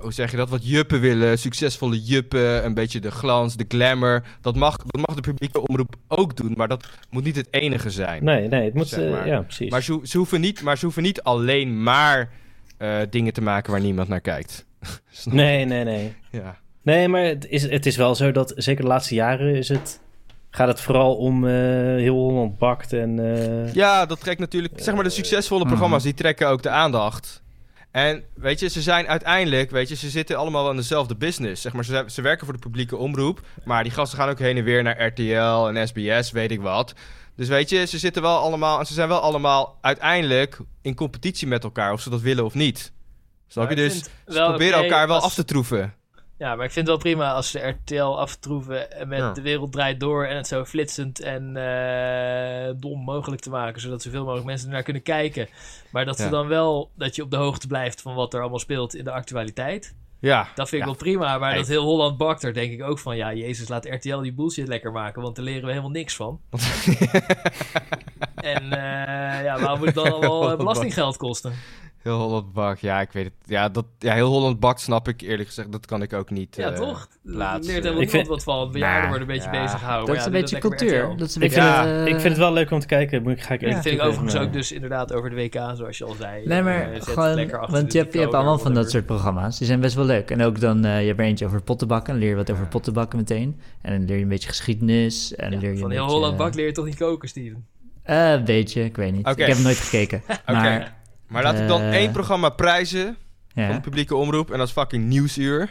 B: hoe zeg je dat? Wat juppen willen. Succesvolle juppen. Een beetje de glans, de glamour. Dat mag, dat mag de publieke omroep ook doen. Maar dat moet niet het enige zijn.
A: Nee, nee, het moet...
B: Zeg
A: eh,
B: maar.
A: ja, precies.
B: Maar, ze, ze hoeven niet, maar ze hoeven niet alleen maar eh, dingen te maken waar niemand naar kijkt. Snap je?
A: Nee, nee, nee.
B: Ja.
A: Nee, maar het is, het is wel zo dat zeker de laatste jaren is het, gaat het vooral om eh, heel Holland bakt en... eh,
B: ja, dat trekt natuurlijk. Zeg maar de succesvolle programma's die trekken ook de aandacht. En weet je, ze zijn uiteindelijk, weet je, ze zitten allemaal wel in dezelfde business. Zeg maar, ze, zijn- ze werken voor de publieke omroep. Maar die gasten gaan ook heen en weer naar RTL en SBS, weet ik wat. Dus weet je, ze zitten wel allemaal. En ze zijn wel allemaal uiteindelijk in competitie met elkaar. Of ze dat willen of niet. Snap je?
D: Maar ik
B: Dus
D: vind
B: ze
D: wel
B: proberen
D: oké
B: elkaar wel
D: als-
B: af te troeven.
D: Ja, maar ik vind het wel prima als ze RTL aftroeven en met
B: Ja.
D: de wereld draait door en het zo flitsend en eh, dom mogelijk te maken, zodat zoveel mogelijk mensen ernaar kunnen kijken. Maar dat ze
B: Ja.
D: dan wel, dat je op de hoogte blijft van wat er allemaal speelt in de actualiteit.
B: Ja.
D: Dat vind ik
B: Ja.
D: wel prima, maar
B: Hey.
D: dat heel Holland bakt er denk ik ook van, ja, Jezus, laat RTL die bullshit lekker maken, want daar leren we helemaal niks van. en eh, ja, waarom moet het dan allemaal eh, belastinggeld kosten?
B: Heel Holland Bak, ja, ik weet het. Ja, dat, ja heel Holland Bak snap ik eerlijk gezegd. Dat kan ik ook niet.
D: Ja,
B: eh,
D: toch? Er leert
B: laatste.
D: helemaal
A: Ik
D: niemand
A: vind-
D: wat van. Bejaarden
B: Nah,
D: worden een beetje
B: Nou, ja.
D: bezig gehouden.
C: Dat is een beetje cultuur. Dat is een
A: Ik
C: beetje...
A: vind,
B: Ja.
A: het,
C: eh,
A: ik vind het wel leuk om te kijken. moet Ik ga ik
D: Ja,
A: even
D: dat vind ik
A: even-
D: overigens
A: eh,
D: ook dus inderdaad over de WK, zoals je al zei.
C: Nee,
D: Eh,
C: maar
D: zet het
C: gewoon,
D: lekker achter
C: want
D: de
C: je hebt, je hebt
D: decoder,
C: allemaal van dat
D: whatever.
C: soort programma's. Die zijn best wel leuk. En ook dan, eh, je hebt er eentje over pottenbakken. Dan leer je wat over pottenbakken meteen. En dan leer je een beetje geschiedenis. En dan leer je
D: Van
C: een
D: heel
C: beetje,
D: Holland bak leer je toch niet koken, Steven?
C: eh, Een beetje, ik weet niet.
B: Oké.
C: Ik heb hem nooit gekeken. Maar
B: Maar laat ik dan
C: Eh.
B: één programma prijzen van de
C: ja,
B: publieke omroep. En dat is fucking Nieuwsuur.
C: Ah.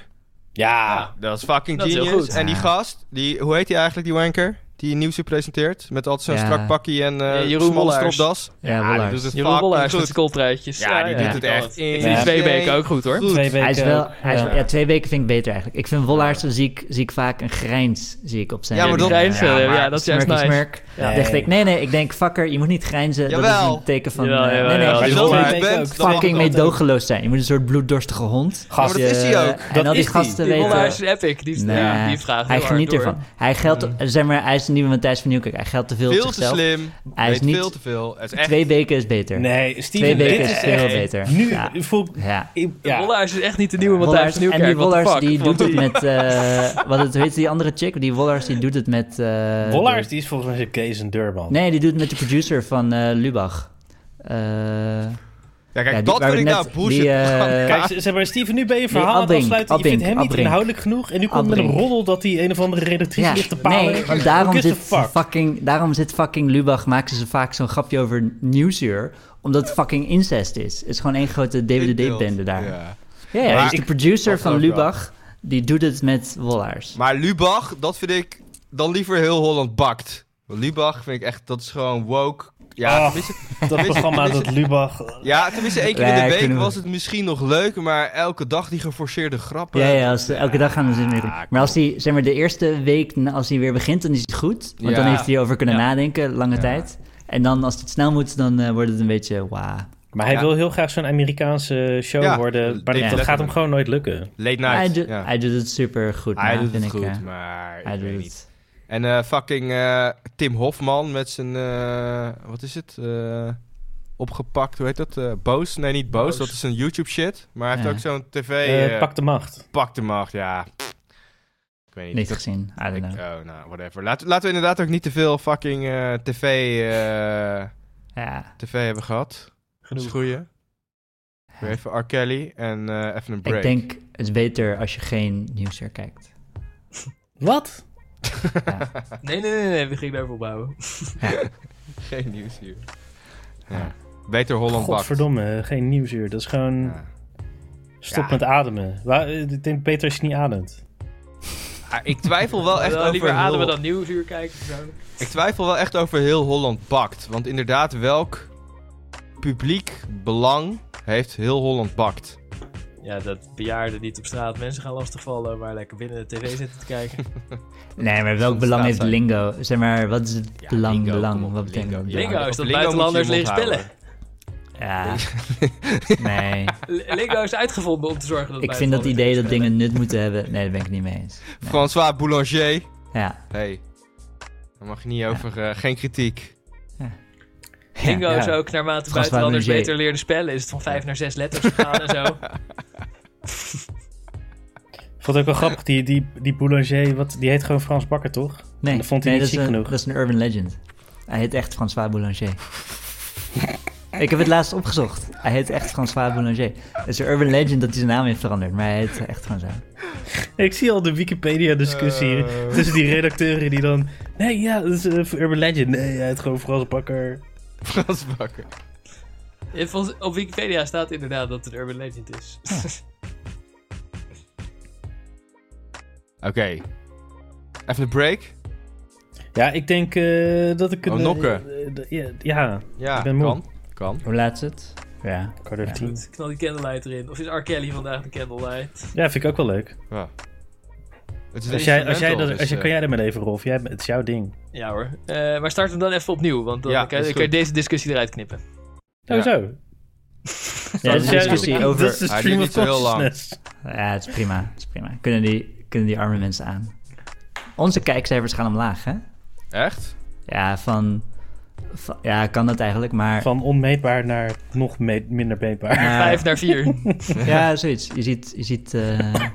A: Ja,
B: Dat is fucking
D: Dat is heel
B: genius.
D: goed.
B: En die
C: Ja.
B: gast, die, hoe heet die eigenlijk, die wanker? Die Nieuwsuur presenteert. Met altijd zo'n
C: Ja.
B: strak pakje en eh
D: Eh, Jeroen
B: smalle
D: Wollaars.
B: stropdas.
C: ja,
B: Ja, die
C: Wollaars.
B: doet het
D: Jeroen
B: fucking
D: Bollaars met zijn
B: goed.
D: kooltruitjes.
B: Ja, die
C: ja,
B: doet het echt in
D: Ik vind
A: Ja.
D: die twee beken ook dus goed, hoor.
B: Goed.
A: twee weken.
C: Hij is wel,
A: ook.
C: hij is-
A: Ja.
C: ja, twee weken vind ik beter eigenlijk. Ik vind Wollaars, dan zie ik, zie ik vaak een grijns zie ik op zijn...
B: Ja, maar dat-
D: grijnzen, ja,
C: maar
D: dat is juist
C: smirky
D: nice.
C: smirk.
A: Ja.
C: Dan dacht ik, nee, nee, ik denk, fucker, je moet niet grijnzen. Dat is
B: Jawel.
C: een teken van...
D: Jawel,
C: eh,
D: jawel,
C: nee, nee,
D: jawel.
C: je
B: Als je
A: Ja,
C: moet
B: zo
A: dat
B: hard
A: weet ik
B: bent,
A: ook.
B: dan mag
C: fucking
B: dat.
C: meedogeloos zijn. Je moet een soort bloeddorstige hond.
A: Gast,
B: Ja, maar dat
C: Je-
B: is hij ook.
C: En al
A: Dat
C: die
A: is hij.
C: gasten
D: Die
C: weten...
D: Bollaars is epic. Die, is-
C: Nee,
D: die vraagt
C: hij
D: heel hard
C: geniet
D: door.
C: ervan. Hij geldt, zeg maar, hij is de nieuwe Matthijs van Nieuwkerk. Hij geldt te veel, op
B: Veel te
C: zichzelf.
B: slim.
C: Hij is
B: weet
C: niet-
B: veel te veel. Het is echt...
C: Twee weken is beter.
A: Nee, Steven,
C: Twee weken
A: dit
C: is
A: is
C: veel
A: echt...
C: beter.
A: Nu
C: Ja.
A: voel ik...
C: Ja.
A: ik-
D: Ja.
A: Ja.
D: Bollaars is echt niet de nieuwe Matthijs
C: Wollars-
D: Nieuwkerk.
C: en die
D: what the
C: Wollars
D: fuck?
C: die
D: Want
C: doet het met, eh, wat het, hoe heet die andere chick? Die Wollars die doet het met... eh,
A: Bollaars,
C: de-
A: die is volgens mij zijn Kees en Durban.
C: nee, die doet het met de producer van eh, Lubach. Eh,
B: Ja, kijk,
C: ja, die-
B: dat
C: waar
B: vind
C: we
B: ik
C: net-
B: nou bullshit.
C: die, eh,
A: Kijk, ze- zeg maar, Steven, nu ben je een verhaal aan het
C: Abink,
A: afsluiten. Je vindt
C: Abink,
A: hem niet
C: Abink.
A: inhoudelijk genoeg. En nu komt met een
C: Abink.
A: roddel dat hij een of andere redactrice
C: ja,
A: ligt te palen.
C: nee, want daarom
A: Who gives
C: zit,
A: a fuck?
C: fucking, daarom zit fucking Lubach, maken ze vaak zo'n grapje over nieuwsuur, omdat het fucking incest is. Het is gewoon één grote DWD-bende daar. Ja,
B: Ja.
C: ja,
B: Maar
C: dus de
B: ik-
C: producer
B: dat
C: van
B: ook wel.
C: Lubach, die doet het met Wollaars.
B: Maar Lubach, dat vind ik dan liever heel Holland bakt. Want Lubach vind ik echt, dat is gewoon woke. Ja,
A: Ah.
B: tenminste,
A: Dat programma dat Lubach...
B: ja, tenminste één keer
C: Ja,
B: in de week
C: kunnen we-
B: was het misschien nog leuk, maar elke dag die geforceerde grappen.
C: Ja, ja, als, elke dag gaan we zitten. met-
B: Ah,
C: Maar als hij, zeg maar, de eerste week, na- als hij weer begint, dan is het goed. Want dan
B: Ja.
C: heeft hij over kunnen
D: Ja.
C: nadenken, lange
B: Ja.
C: tijd. En dan, als het snel moet, dan eh, wordt het een beetje, wauw.
A: Maar hij
B: Ja.
A: wil heel graag zo'n Amerikaanse show
B: Ja,
A: worden. Maar dat- dat
B: letterlijk.
A: gaat hem gewoon nooit lukken.
B: Late
C: Hij,
B: night.
C: doet-
B: ja.
C: hij doet het super goed,
B: Hij doet
C: vind
B: het
C: ik.
B: goed,
C: eh.
B: maar ik
C: hij
B: weet
C: doet
B: niet.
C: het.
B: En eh, fucking eh, Tim Hofman met zijn, eh, wat is het? Eh, opgepakt, hoe heet dat? Eh, boos? Nee, niet boos,
D: Boos.
B: dat is een YouTube shit. Maar hij
C: Ja.
B: heeft ook zo'n tv,
A: Eh,
B: eh,
A: pak de macht.
B: pak de macht, ja. Ik weet niet.
C: Niet
B: Dat-
C: gezien, I don't
B: Ik-
C: know.
B: oh, nou, whatever. Laten, laten we inderdaad ook niet te veel fucking eh, tv, eh,
C: Ja,
B: tv hebben gehad. Dat is
D: Genoeg.
B: een goeie. Weer even R. Kelly en eh, even een break.
C: ik denk, het is beter als je geen nieuwsuur kijkt.
A: Wat?
D: Nee, nee, nee, nee, we gingen daarvoor bouwen.
B: Geen nieuws hier. Ja. Beter Holland bakt.
A: Godverdomme, geen nieuwsuur. Dat is gewoon...
B: Ja.
A: Stop
B: Ja.
A: met ademen. Wa- eh, Ik denk beter als je niet ademt.
B: Ah, ik twijfel wel echt
D: Wel,
B: over
D: liever ademen
B: heel,
D: dan nieuwsuur kijken. persoonlijk.
B: Ik twijfel wel echt over heel Holland bakt. Want inderdaad, welk publiek belang heeft heel Holland bakt.
D: Ja, dat bejaarden niet op straat mensen gaan lastigvallen, maar lekker binnen de tv zitten te kijken.
C: Nee, maar welk
B: Soms
C: belang
B: staat
C: heeft
B: zij-
C: lingo? Zeg maar, wat is het
B: Ja,
C: belang?
B: lingo, kom
C: belang?
B: op,
C: Wat betekent
B: lingo.
C: dat?
D: Lingo is
B: op
D: dat
B: lingo
D: buitenlanders
B: moet je je
D: leren
B: mond
D: spellen.
B: houden.
C: Ja. Nee.
D: L- Lingo is uitgevonden om te zorgen dat
C: Ik vind dat
D: buitenlanders
C: idee dat
D: leren
C: dingen nut moeten hebben. Nee, daar ben ik het niet mee eens. Nee.
B: François Boulanger.
C: Ja.
B: Hey. Daar mag je niet over... eh, geen kritiek.
D: spellen. Lingo
C: Ja.
D: is ook naarmate
C: Gast,
D: buitenlanders
C: waarom
D: beter leren spellen, is het van vijf naar zes letters gegaan en zo.
A: Ik vond het ook wel grappig, die, die, die Boulanger, wat, die heet gewoon Frans Bakker, toch?
C: Nee,
A: Dat vond hij
C: nee,
A: niet chic
C: dat, is een,
A: genoeg.
C: dat is een urban legend. Hij heet echt François Boulanger. ik heb het laatst opgezocht. Hij heet echt François Boulanger. Het is een urban legend dat hij zijn naam heeft veranderd, maar hij heet echt gewoon zo.
A: Ik zie al de Wikipedia-discussie tussen die redacteuren die dan... Nee, ja, dat is eh, Urban Legend. Nee, hij heet gewoon Frans Bakker.
B: Frans Bakker.
D: Ja, volgens- Op Wikipedia staat inderdaad dat het een urban legend is.
B: Oké. Even een break?
A: Ja, ik denk eh, dat ik...
B: Oh,
A: een, eh,
B: nokken.
A: eh, ja, ja,
B: Ja,
A: Ik ben moe.
B: kan. Kan.
C: Hoe laat is het? Ja.
A: kwart over
C: Ja.
A: tien.
D: Goed, knal die candlelight erin. Of is R. Kelly vandaag de candlelight?
A: Ja, vind ik ook wel leuk.
B: Ja. Het
A: Als
B: is
A: jij, als jij
B: instrumental,
A: dat, als jij,
B: dus,
A: kan
B: eh,
A: jij dat maar even, Rolf? Jij, het is jouw ding.
D: Ja hoor. Eh, maar start hem dan even opnieuw, want dan
B: Ja,
D: kan,
B: is
D: dan kan je
B: goed.
D: deze discussie eruit knippen.
A: Oh,
B: Ja.
A: zo. Ja,
C: een
A: dat is juist-
C: discussie
A: dat
C: over-
A: is de
B: Hij
A: stream
B: duurt
A: of
B: niet zo heel lang.
A: consciousness.
C: Ja, het is prima. Het is prima. Kunnen die, kunnen die arme mensen aan. Onze kijkcijfers gaan omlaag, hè?
B: eh, Echt?
C: Ja, van... van- ja, kan dat eigenlijk, maar...
A: Van onmeetbaar naar nog meet- minder meetbaar.
C: maar-
D: Vijf naar vier.
C: Ja, zoiets. Je ziet, je ziet, eh, je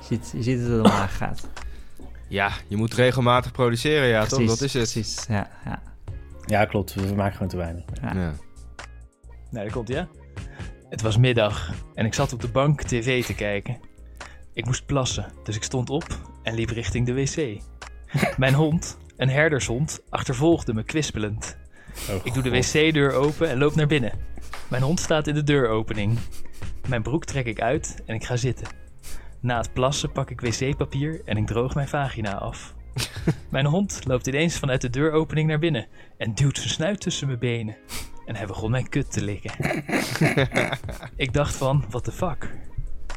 C: ziet, je ziet dat het omlaag gaat.
B: Ja, je moet regelmatig produceren, ja toch? Dat is het.
C: Precies, ja. ja.
A: Ja, klopt. We maken gewoon te weinig.
B: Ja.
D: Nou, daar komt hij, ja. Het was middag en ik zat op de bank tv te kijken. Ik moest plassen, dus ik stond op en liep richting de wc. Mijn hond, een herdershond, achtervolgde me kwispelend.
A: Oh,
D: Ik doe de wc-deur open en loop naar binnen. Mijn hond staat in de deuropening. Mijn broek trek ik uit en ik ga zitten. Na het plassen pak ik wc-papier en ik droog mijn vagina af. Mijn hond loopt ineens vanuit de deuropening naar binnen en duwt zijn snuit tussen mijn benen. En hij begon mijn kut te likken. ik dacht van, what the fuck?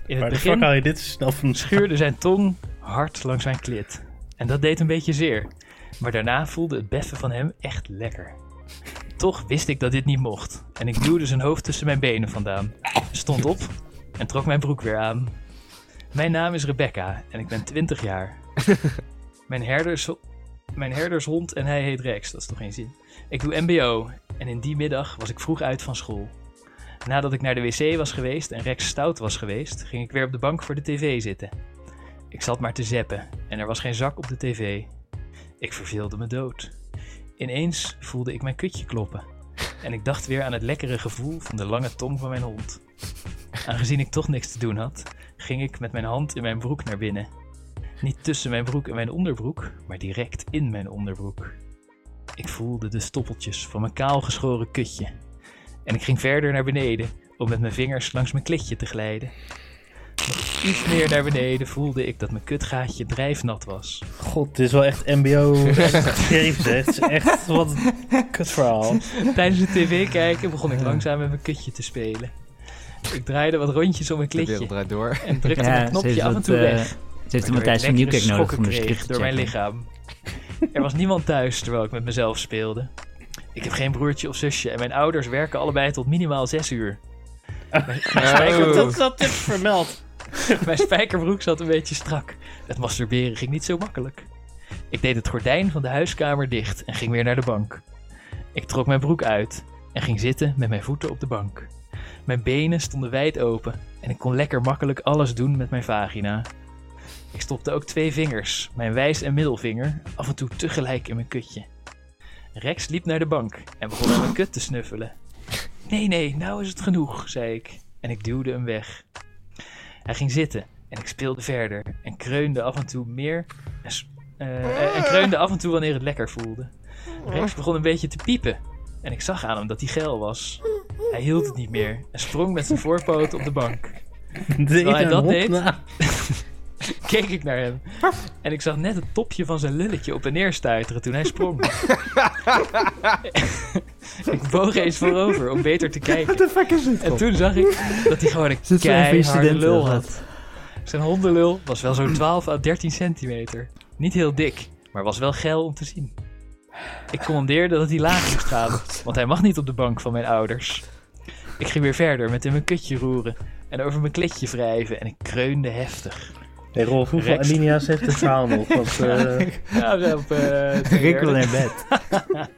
D: In het
A: Maar de fuck
D: begin
A: haal je dit zo snel van...
D: schuurde zijn tong hard langs mijn klit. En dat deed een beetje zeer. Maar daarna voelde het beffen van hem echt lekker. Toch wist ik dat dit niet mocht. En ik duwde zijn hoofd tussen mijn benen vandaan. Stond op en trok mijn broek weer aan. Mijn naam is Rebecca en ik ben 20 jaar. Mijn, herders, mijn herdershond en hij heet Rex, dat is toch geen zin. Ik doe MBO en in die middag was ik vroeg uit van school. Nadat ik naar de wc was geweest en Rex stout was geweest, ging ik weer op de bank voor de tv zitten. Ik zat maar te zeppen en er was geen zak op de tv. Ik verveelde me dood. Ineens voelde ik mijn kutje kloppen. En ik dacht weer aan het lekkere gevoel van de lange tong van mijn hond. Aangezien ik toch niks te doen had, ging ik met mijn hand in mijn broek naar binnen. Niet tussen mijn broek en mijn onderbroek, maar direct in mijn onderbroek. Ik voelde de stoppeltjes van mijn kaalgeschoren kutje. En ik ging verder naar beneden om met mijn vingers langs mijn klitje te glijden. Nog iets meer naar beneden voelde ik dat mijn kutgaatje drijfnat was.
A: God, dit is wel echt mbo geschreven, zeg. Het is echt wat een kutverhaal.
D: Tijdens het tv kijken begon ik langzaam met mijn kutje te spelen. Ik draaide wat rondjes om mijn
B: De wereld
D: klitje
B: draait door.
D: en drukte
C: Ja,
D: mijn
C: ze
D: knopje
C: heeft
D: af en
C: wat,
D: toe
C: eh,
D: weg.
C: Ze heeft een
D: waardoor
C: Matthijs
D: ik
C: van
D: lekkere
C: Nieuwkerk nodig
D: schokken
C: om de
D: kreeg
C: script te
D: door mijn
C: checken.
D: lichaam. Er was niemand thuis terwijl ik met mezelf speelde. Ik heb geen broertje of zusje en mijn ouders werken allebei tot minimaal zes uur.
B: Oh.
A: Dat zat dit vermeld.
D: Mijn spijkerbroek zat een beetje strak. Het masturberen ging niet zo makkelijk. Ik deed het gordijn van de huiskamer dicht en ging weer naar de bank. Ik trok mijn broek uit en ging zitten met mijn voeten op de bank. Mijn benen stonden wijd open en ik kon lekker makkelijk alles doen met mijn vagina. Ik stopte ook twee vingers, mijn wijs en middelvinger, af en toe tegelijk in mijn kutje. Rex liep naar de bank en begon aan mijn kut te snuffelen. Nee, nee, nou is het genoeg, zei ik. En ik duwde hem weg. Hij ging zitten en ik speelde verder en kreunde af en toe meer. En, s- eh,
C: Ah.
D: en kreunde af en toe wanneer het lekker voelde. Rex begon een beetje te piepen en ik zag aan hem dat hij geil was. Hij hield het niet meer en sprong met zijn voorpoot op de bank.
A: Deed
D: hij
A: een
D: dat
A: hond
D: deed?
A: na.
D: keek ik naar hem. En ik zag net het topje van zijn lulletje op en neer stuiteren toen hij sprong. ik boog eens voorover om beter te kijken.
C: the fuck is dit?
D: En toen zag ik dat hij gewoon een
C: Zit zo'n
D: keiharde
C: student
D: lul had. Zijn hondenlul was wel zo'n 12 à 13 centimeter. Niet heel dik, maar was wel geil om te zien. Ik commandeerde dat hij laag moest gaan, want hij mag niet op de bank van mijn ouders. Ik ging weer verder met in mijn kutje roeren en over mijn kletje wrijven en ik kreunde heftig.
A: Hey Rolf, hoeveel
D: Rex.
A: alinea's heeft het verhaal nog? Want, eh,
D: Ja, we hebben, eh, de
C: Rick wil
D: derde.
C: naar bed.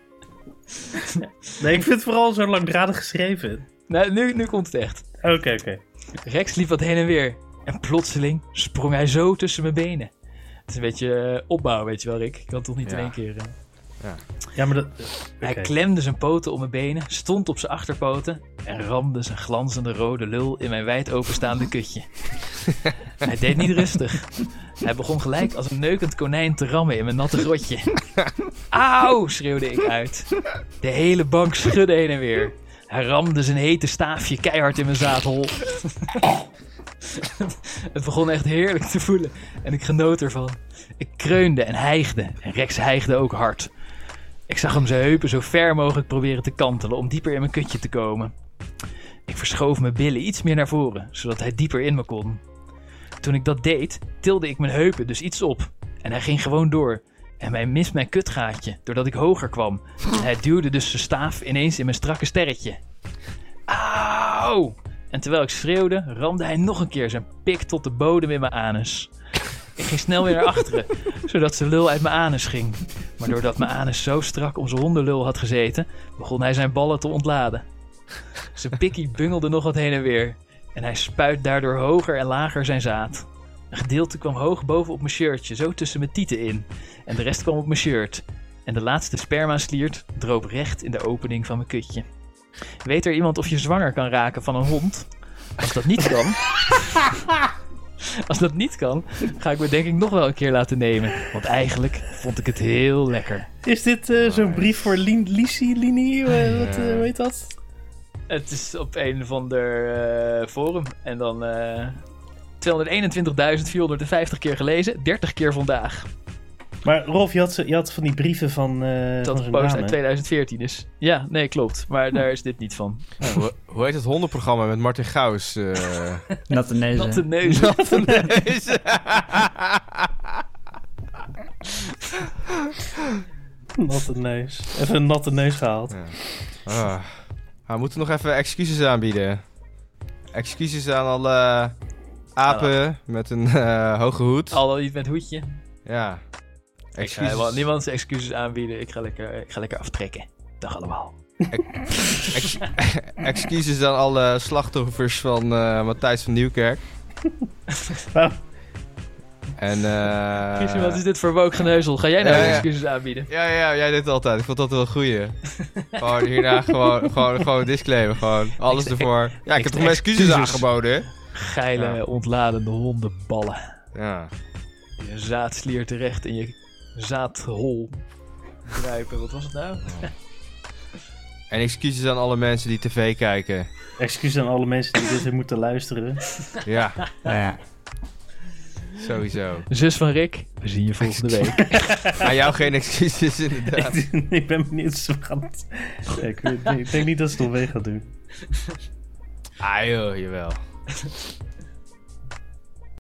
A: nee, ik vind het vooral zo langdradig geschreven.
D: Nou, nu, nu komt het echt.
A: Oké, oké.
D: Rex liep wat heen en weer. En plotseling sprong hij zo tussen mijn benen. Het is een beetje eh, opbouw, weet je wel, Rick. Ik kan het toch niet
B: Ja.
D: in één keer. eh.
A: Ja, maar dat...
D: Hij
A: oké.
D: klemde zijn poten om mijn benen, stond op zijn achterpoten en ramde zijn glanzende rode lul in mijn wijd openstaande kutje. hij deed niet rustig. Hij begon gelijk als een neukend konijn te rammen in mijn natte grotje. Auw, schreeuwde ik uit. De hele bank schudde heen en weer. Hij ramde zijn hete staafje keihard in mijn zaadhol. Het begon echt heerlijk te voelen en ik genoot ervan. Ik kreunde en hijgde en Rex hijgde ook hard. Ik zag hem zijn heupen zo ver mogelijk proberen te kantelen om dieper in mijn kutje te komen. Ik verschoof mijn billen iets meer naar voren, zodat hij dieper in me kon. Toen ik dat deed, tilde ik mijn heupen dus iets op. En hij ging gewoon door. En mij mist mijn kutgaatje, doordat ik hoger kwam. En hij duwde dus zijn staaf ineens in mijn strakke sterretje. Auw! En terwijl ik schreeuwde, ramde hij nog een keer zijn pik tot de bodem in mijn anus. Ik ging snel weer naar achteren, zodat zijn lul uit mijn anus ging. Maar doordat mijn anus zo strak om zijn hondenlul had gezeten, begon hij zijn ballen te ontladen. Zijn pikkie bungelde nog wat heen en weer. En hij spuit daardoor hoger en lager zijn zaad. Een gedeelte kwam hoog boven op mijn shirtje, zo tussen mijn tieten in. En de rest kwam op mijn shirt. En de laatste sperma-sliert droop recht in de opening van mijn kutje. Weet er iemand of je zwanger kan raken van een hond? Als dat niet kan... Als dat niet kan, ga ik me denk ik nog wel een keer laten nemen. Want eigenlijk vond ik het heel lekker.
A: Is dit eh,
D: Oh,
A: zo'n brief voor Lin Lisi, Lini? Eh, wat, eh, hoe heet dat?
D: Het is op een of ander eh, forum. En dan eh 221.450 keer gelezen, 30 keer vandaag.
A: Maar Rolf, je had, zo- je had van die brieven van, eh
D: Dat
A: van
D: een
A: zijn naam,
D: post uit
A: hè?
D: 2014 is. Ja, nee, klopt. Maar daar is dit niet van.
B: Hoe, hoe heet het hondenprogramma met Martin Gauws? eh?
C: Natte neuzen.
D: Natte neus.
B: Deze.
A: Natte neus. Even een natte neus gehaald.
B: Ah. Ah, we moeten nog even excuses aanbieden. Excuses aan alle apen met een eh, hoge hoed.
D: Al dan niet met hoedje.
B: Ja.
D: Ik ga helemaal
B: Excuses,
D: niemand zijn excuses aanbieden. Ik ga lekker, ik ga lekker aftrekken. Dag allemaal.
B: ex- excuses aan alle slachtoffers van eh, Matthijs van Nieuwkerk.
A: Nou,
B: En eh,
D: Christian, wat is dit voor woke geneuzel? Ga jij nou
B: Ja, ja.
D: excuses aanbieden?
B: Ja, ja, jij deed het altijd. Ik vond dat wel een goeie. gewoon hierna gewoon, gewoon, gewoon een disclaimer. Gewoon alles
D: Ik-
B: ervoor. Ja, ik heb toch mijn excuses
D: excuses.
B: aangeboden.
D: Geile,
B: Ja.
D: ontladende hondenballen.
B: Ja.
D: je zaadslier terecht in je zaadhol kruipen. Wat was het nou?
B: En excuses aan alle mensen die tv kijken.
A: excuus aan alle mensen die dit weer moeten luisteren.
B: Ja,
C: Nou ja.
B: sowieso.
D: Zus van Rick, we zien je volgende week.
B: Aan jou geen excuses, inderdaad.
A: ik ben benieuwd. of we gaan het- Nee, ik, weet- nee, ik denk niet dat ze het nog mee gaan doen.
B: Ah joh, jawel.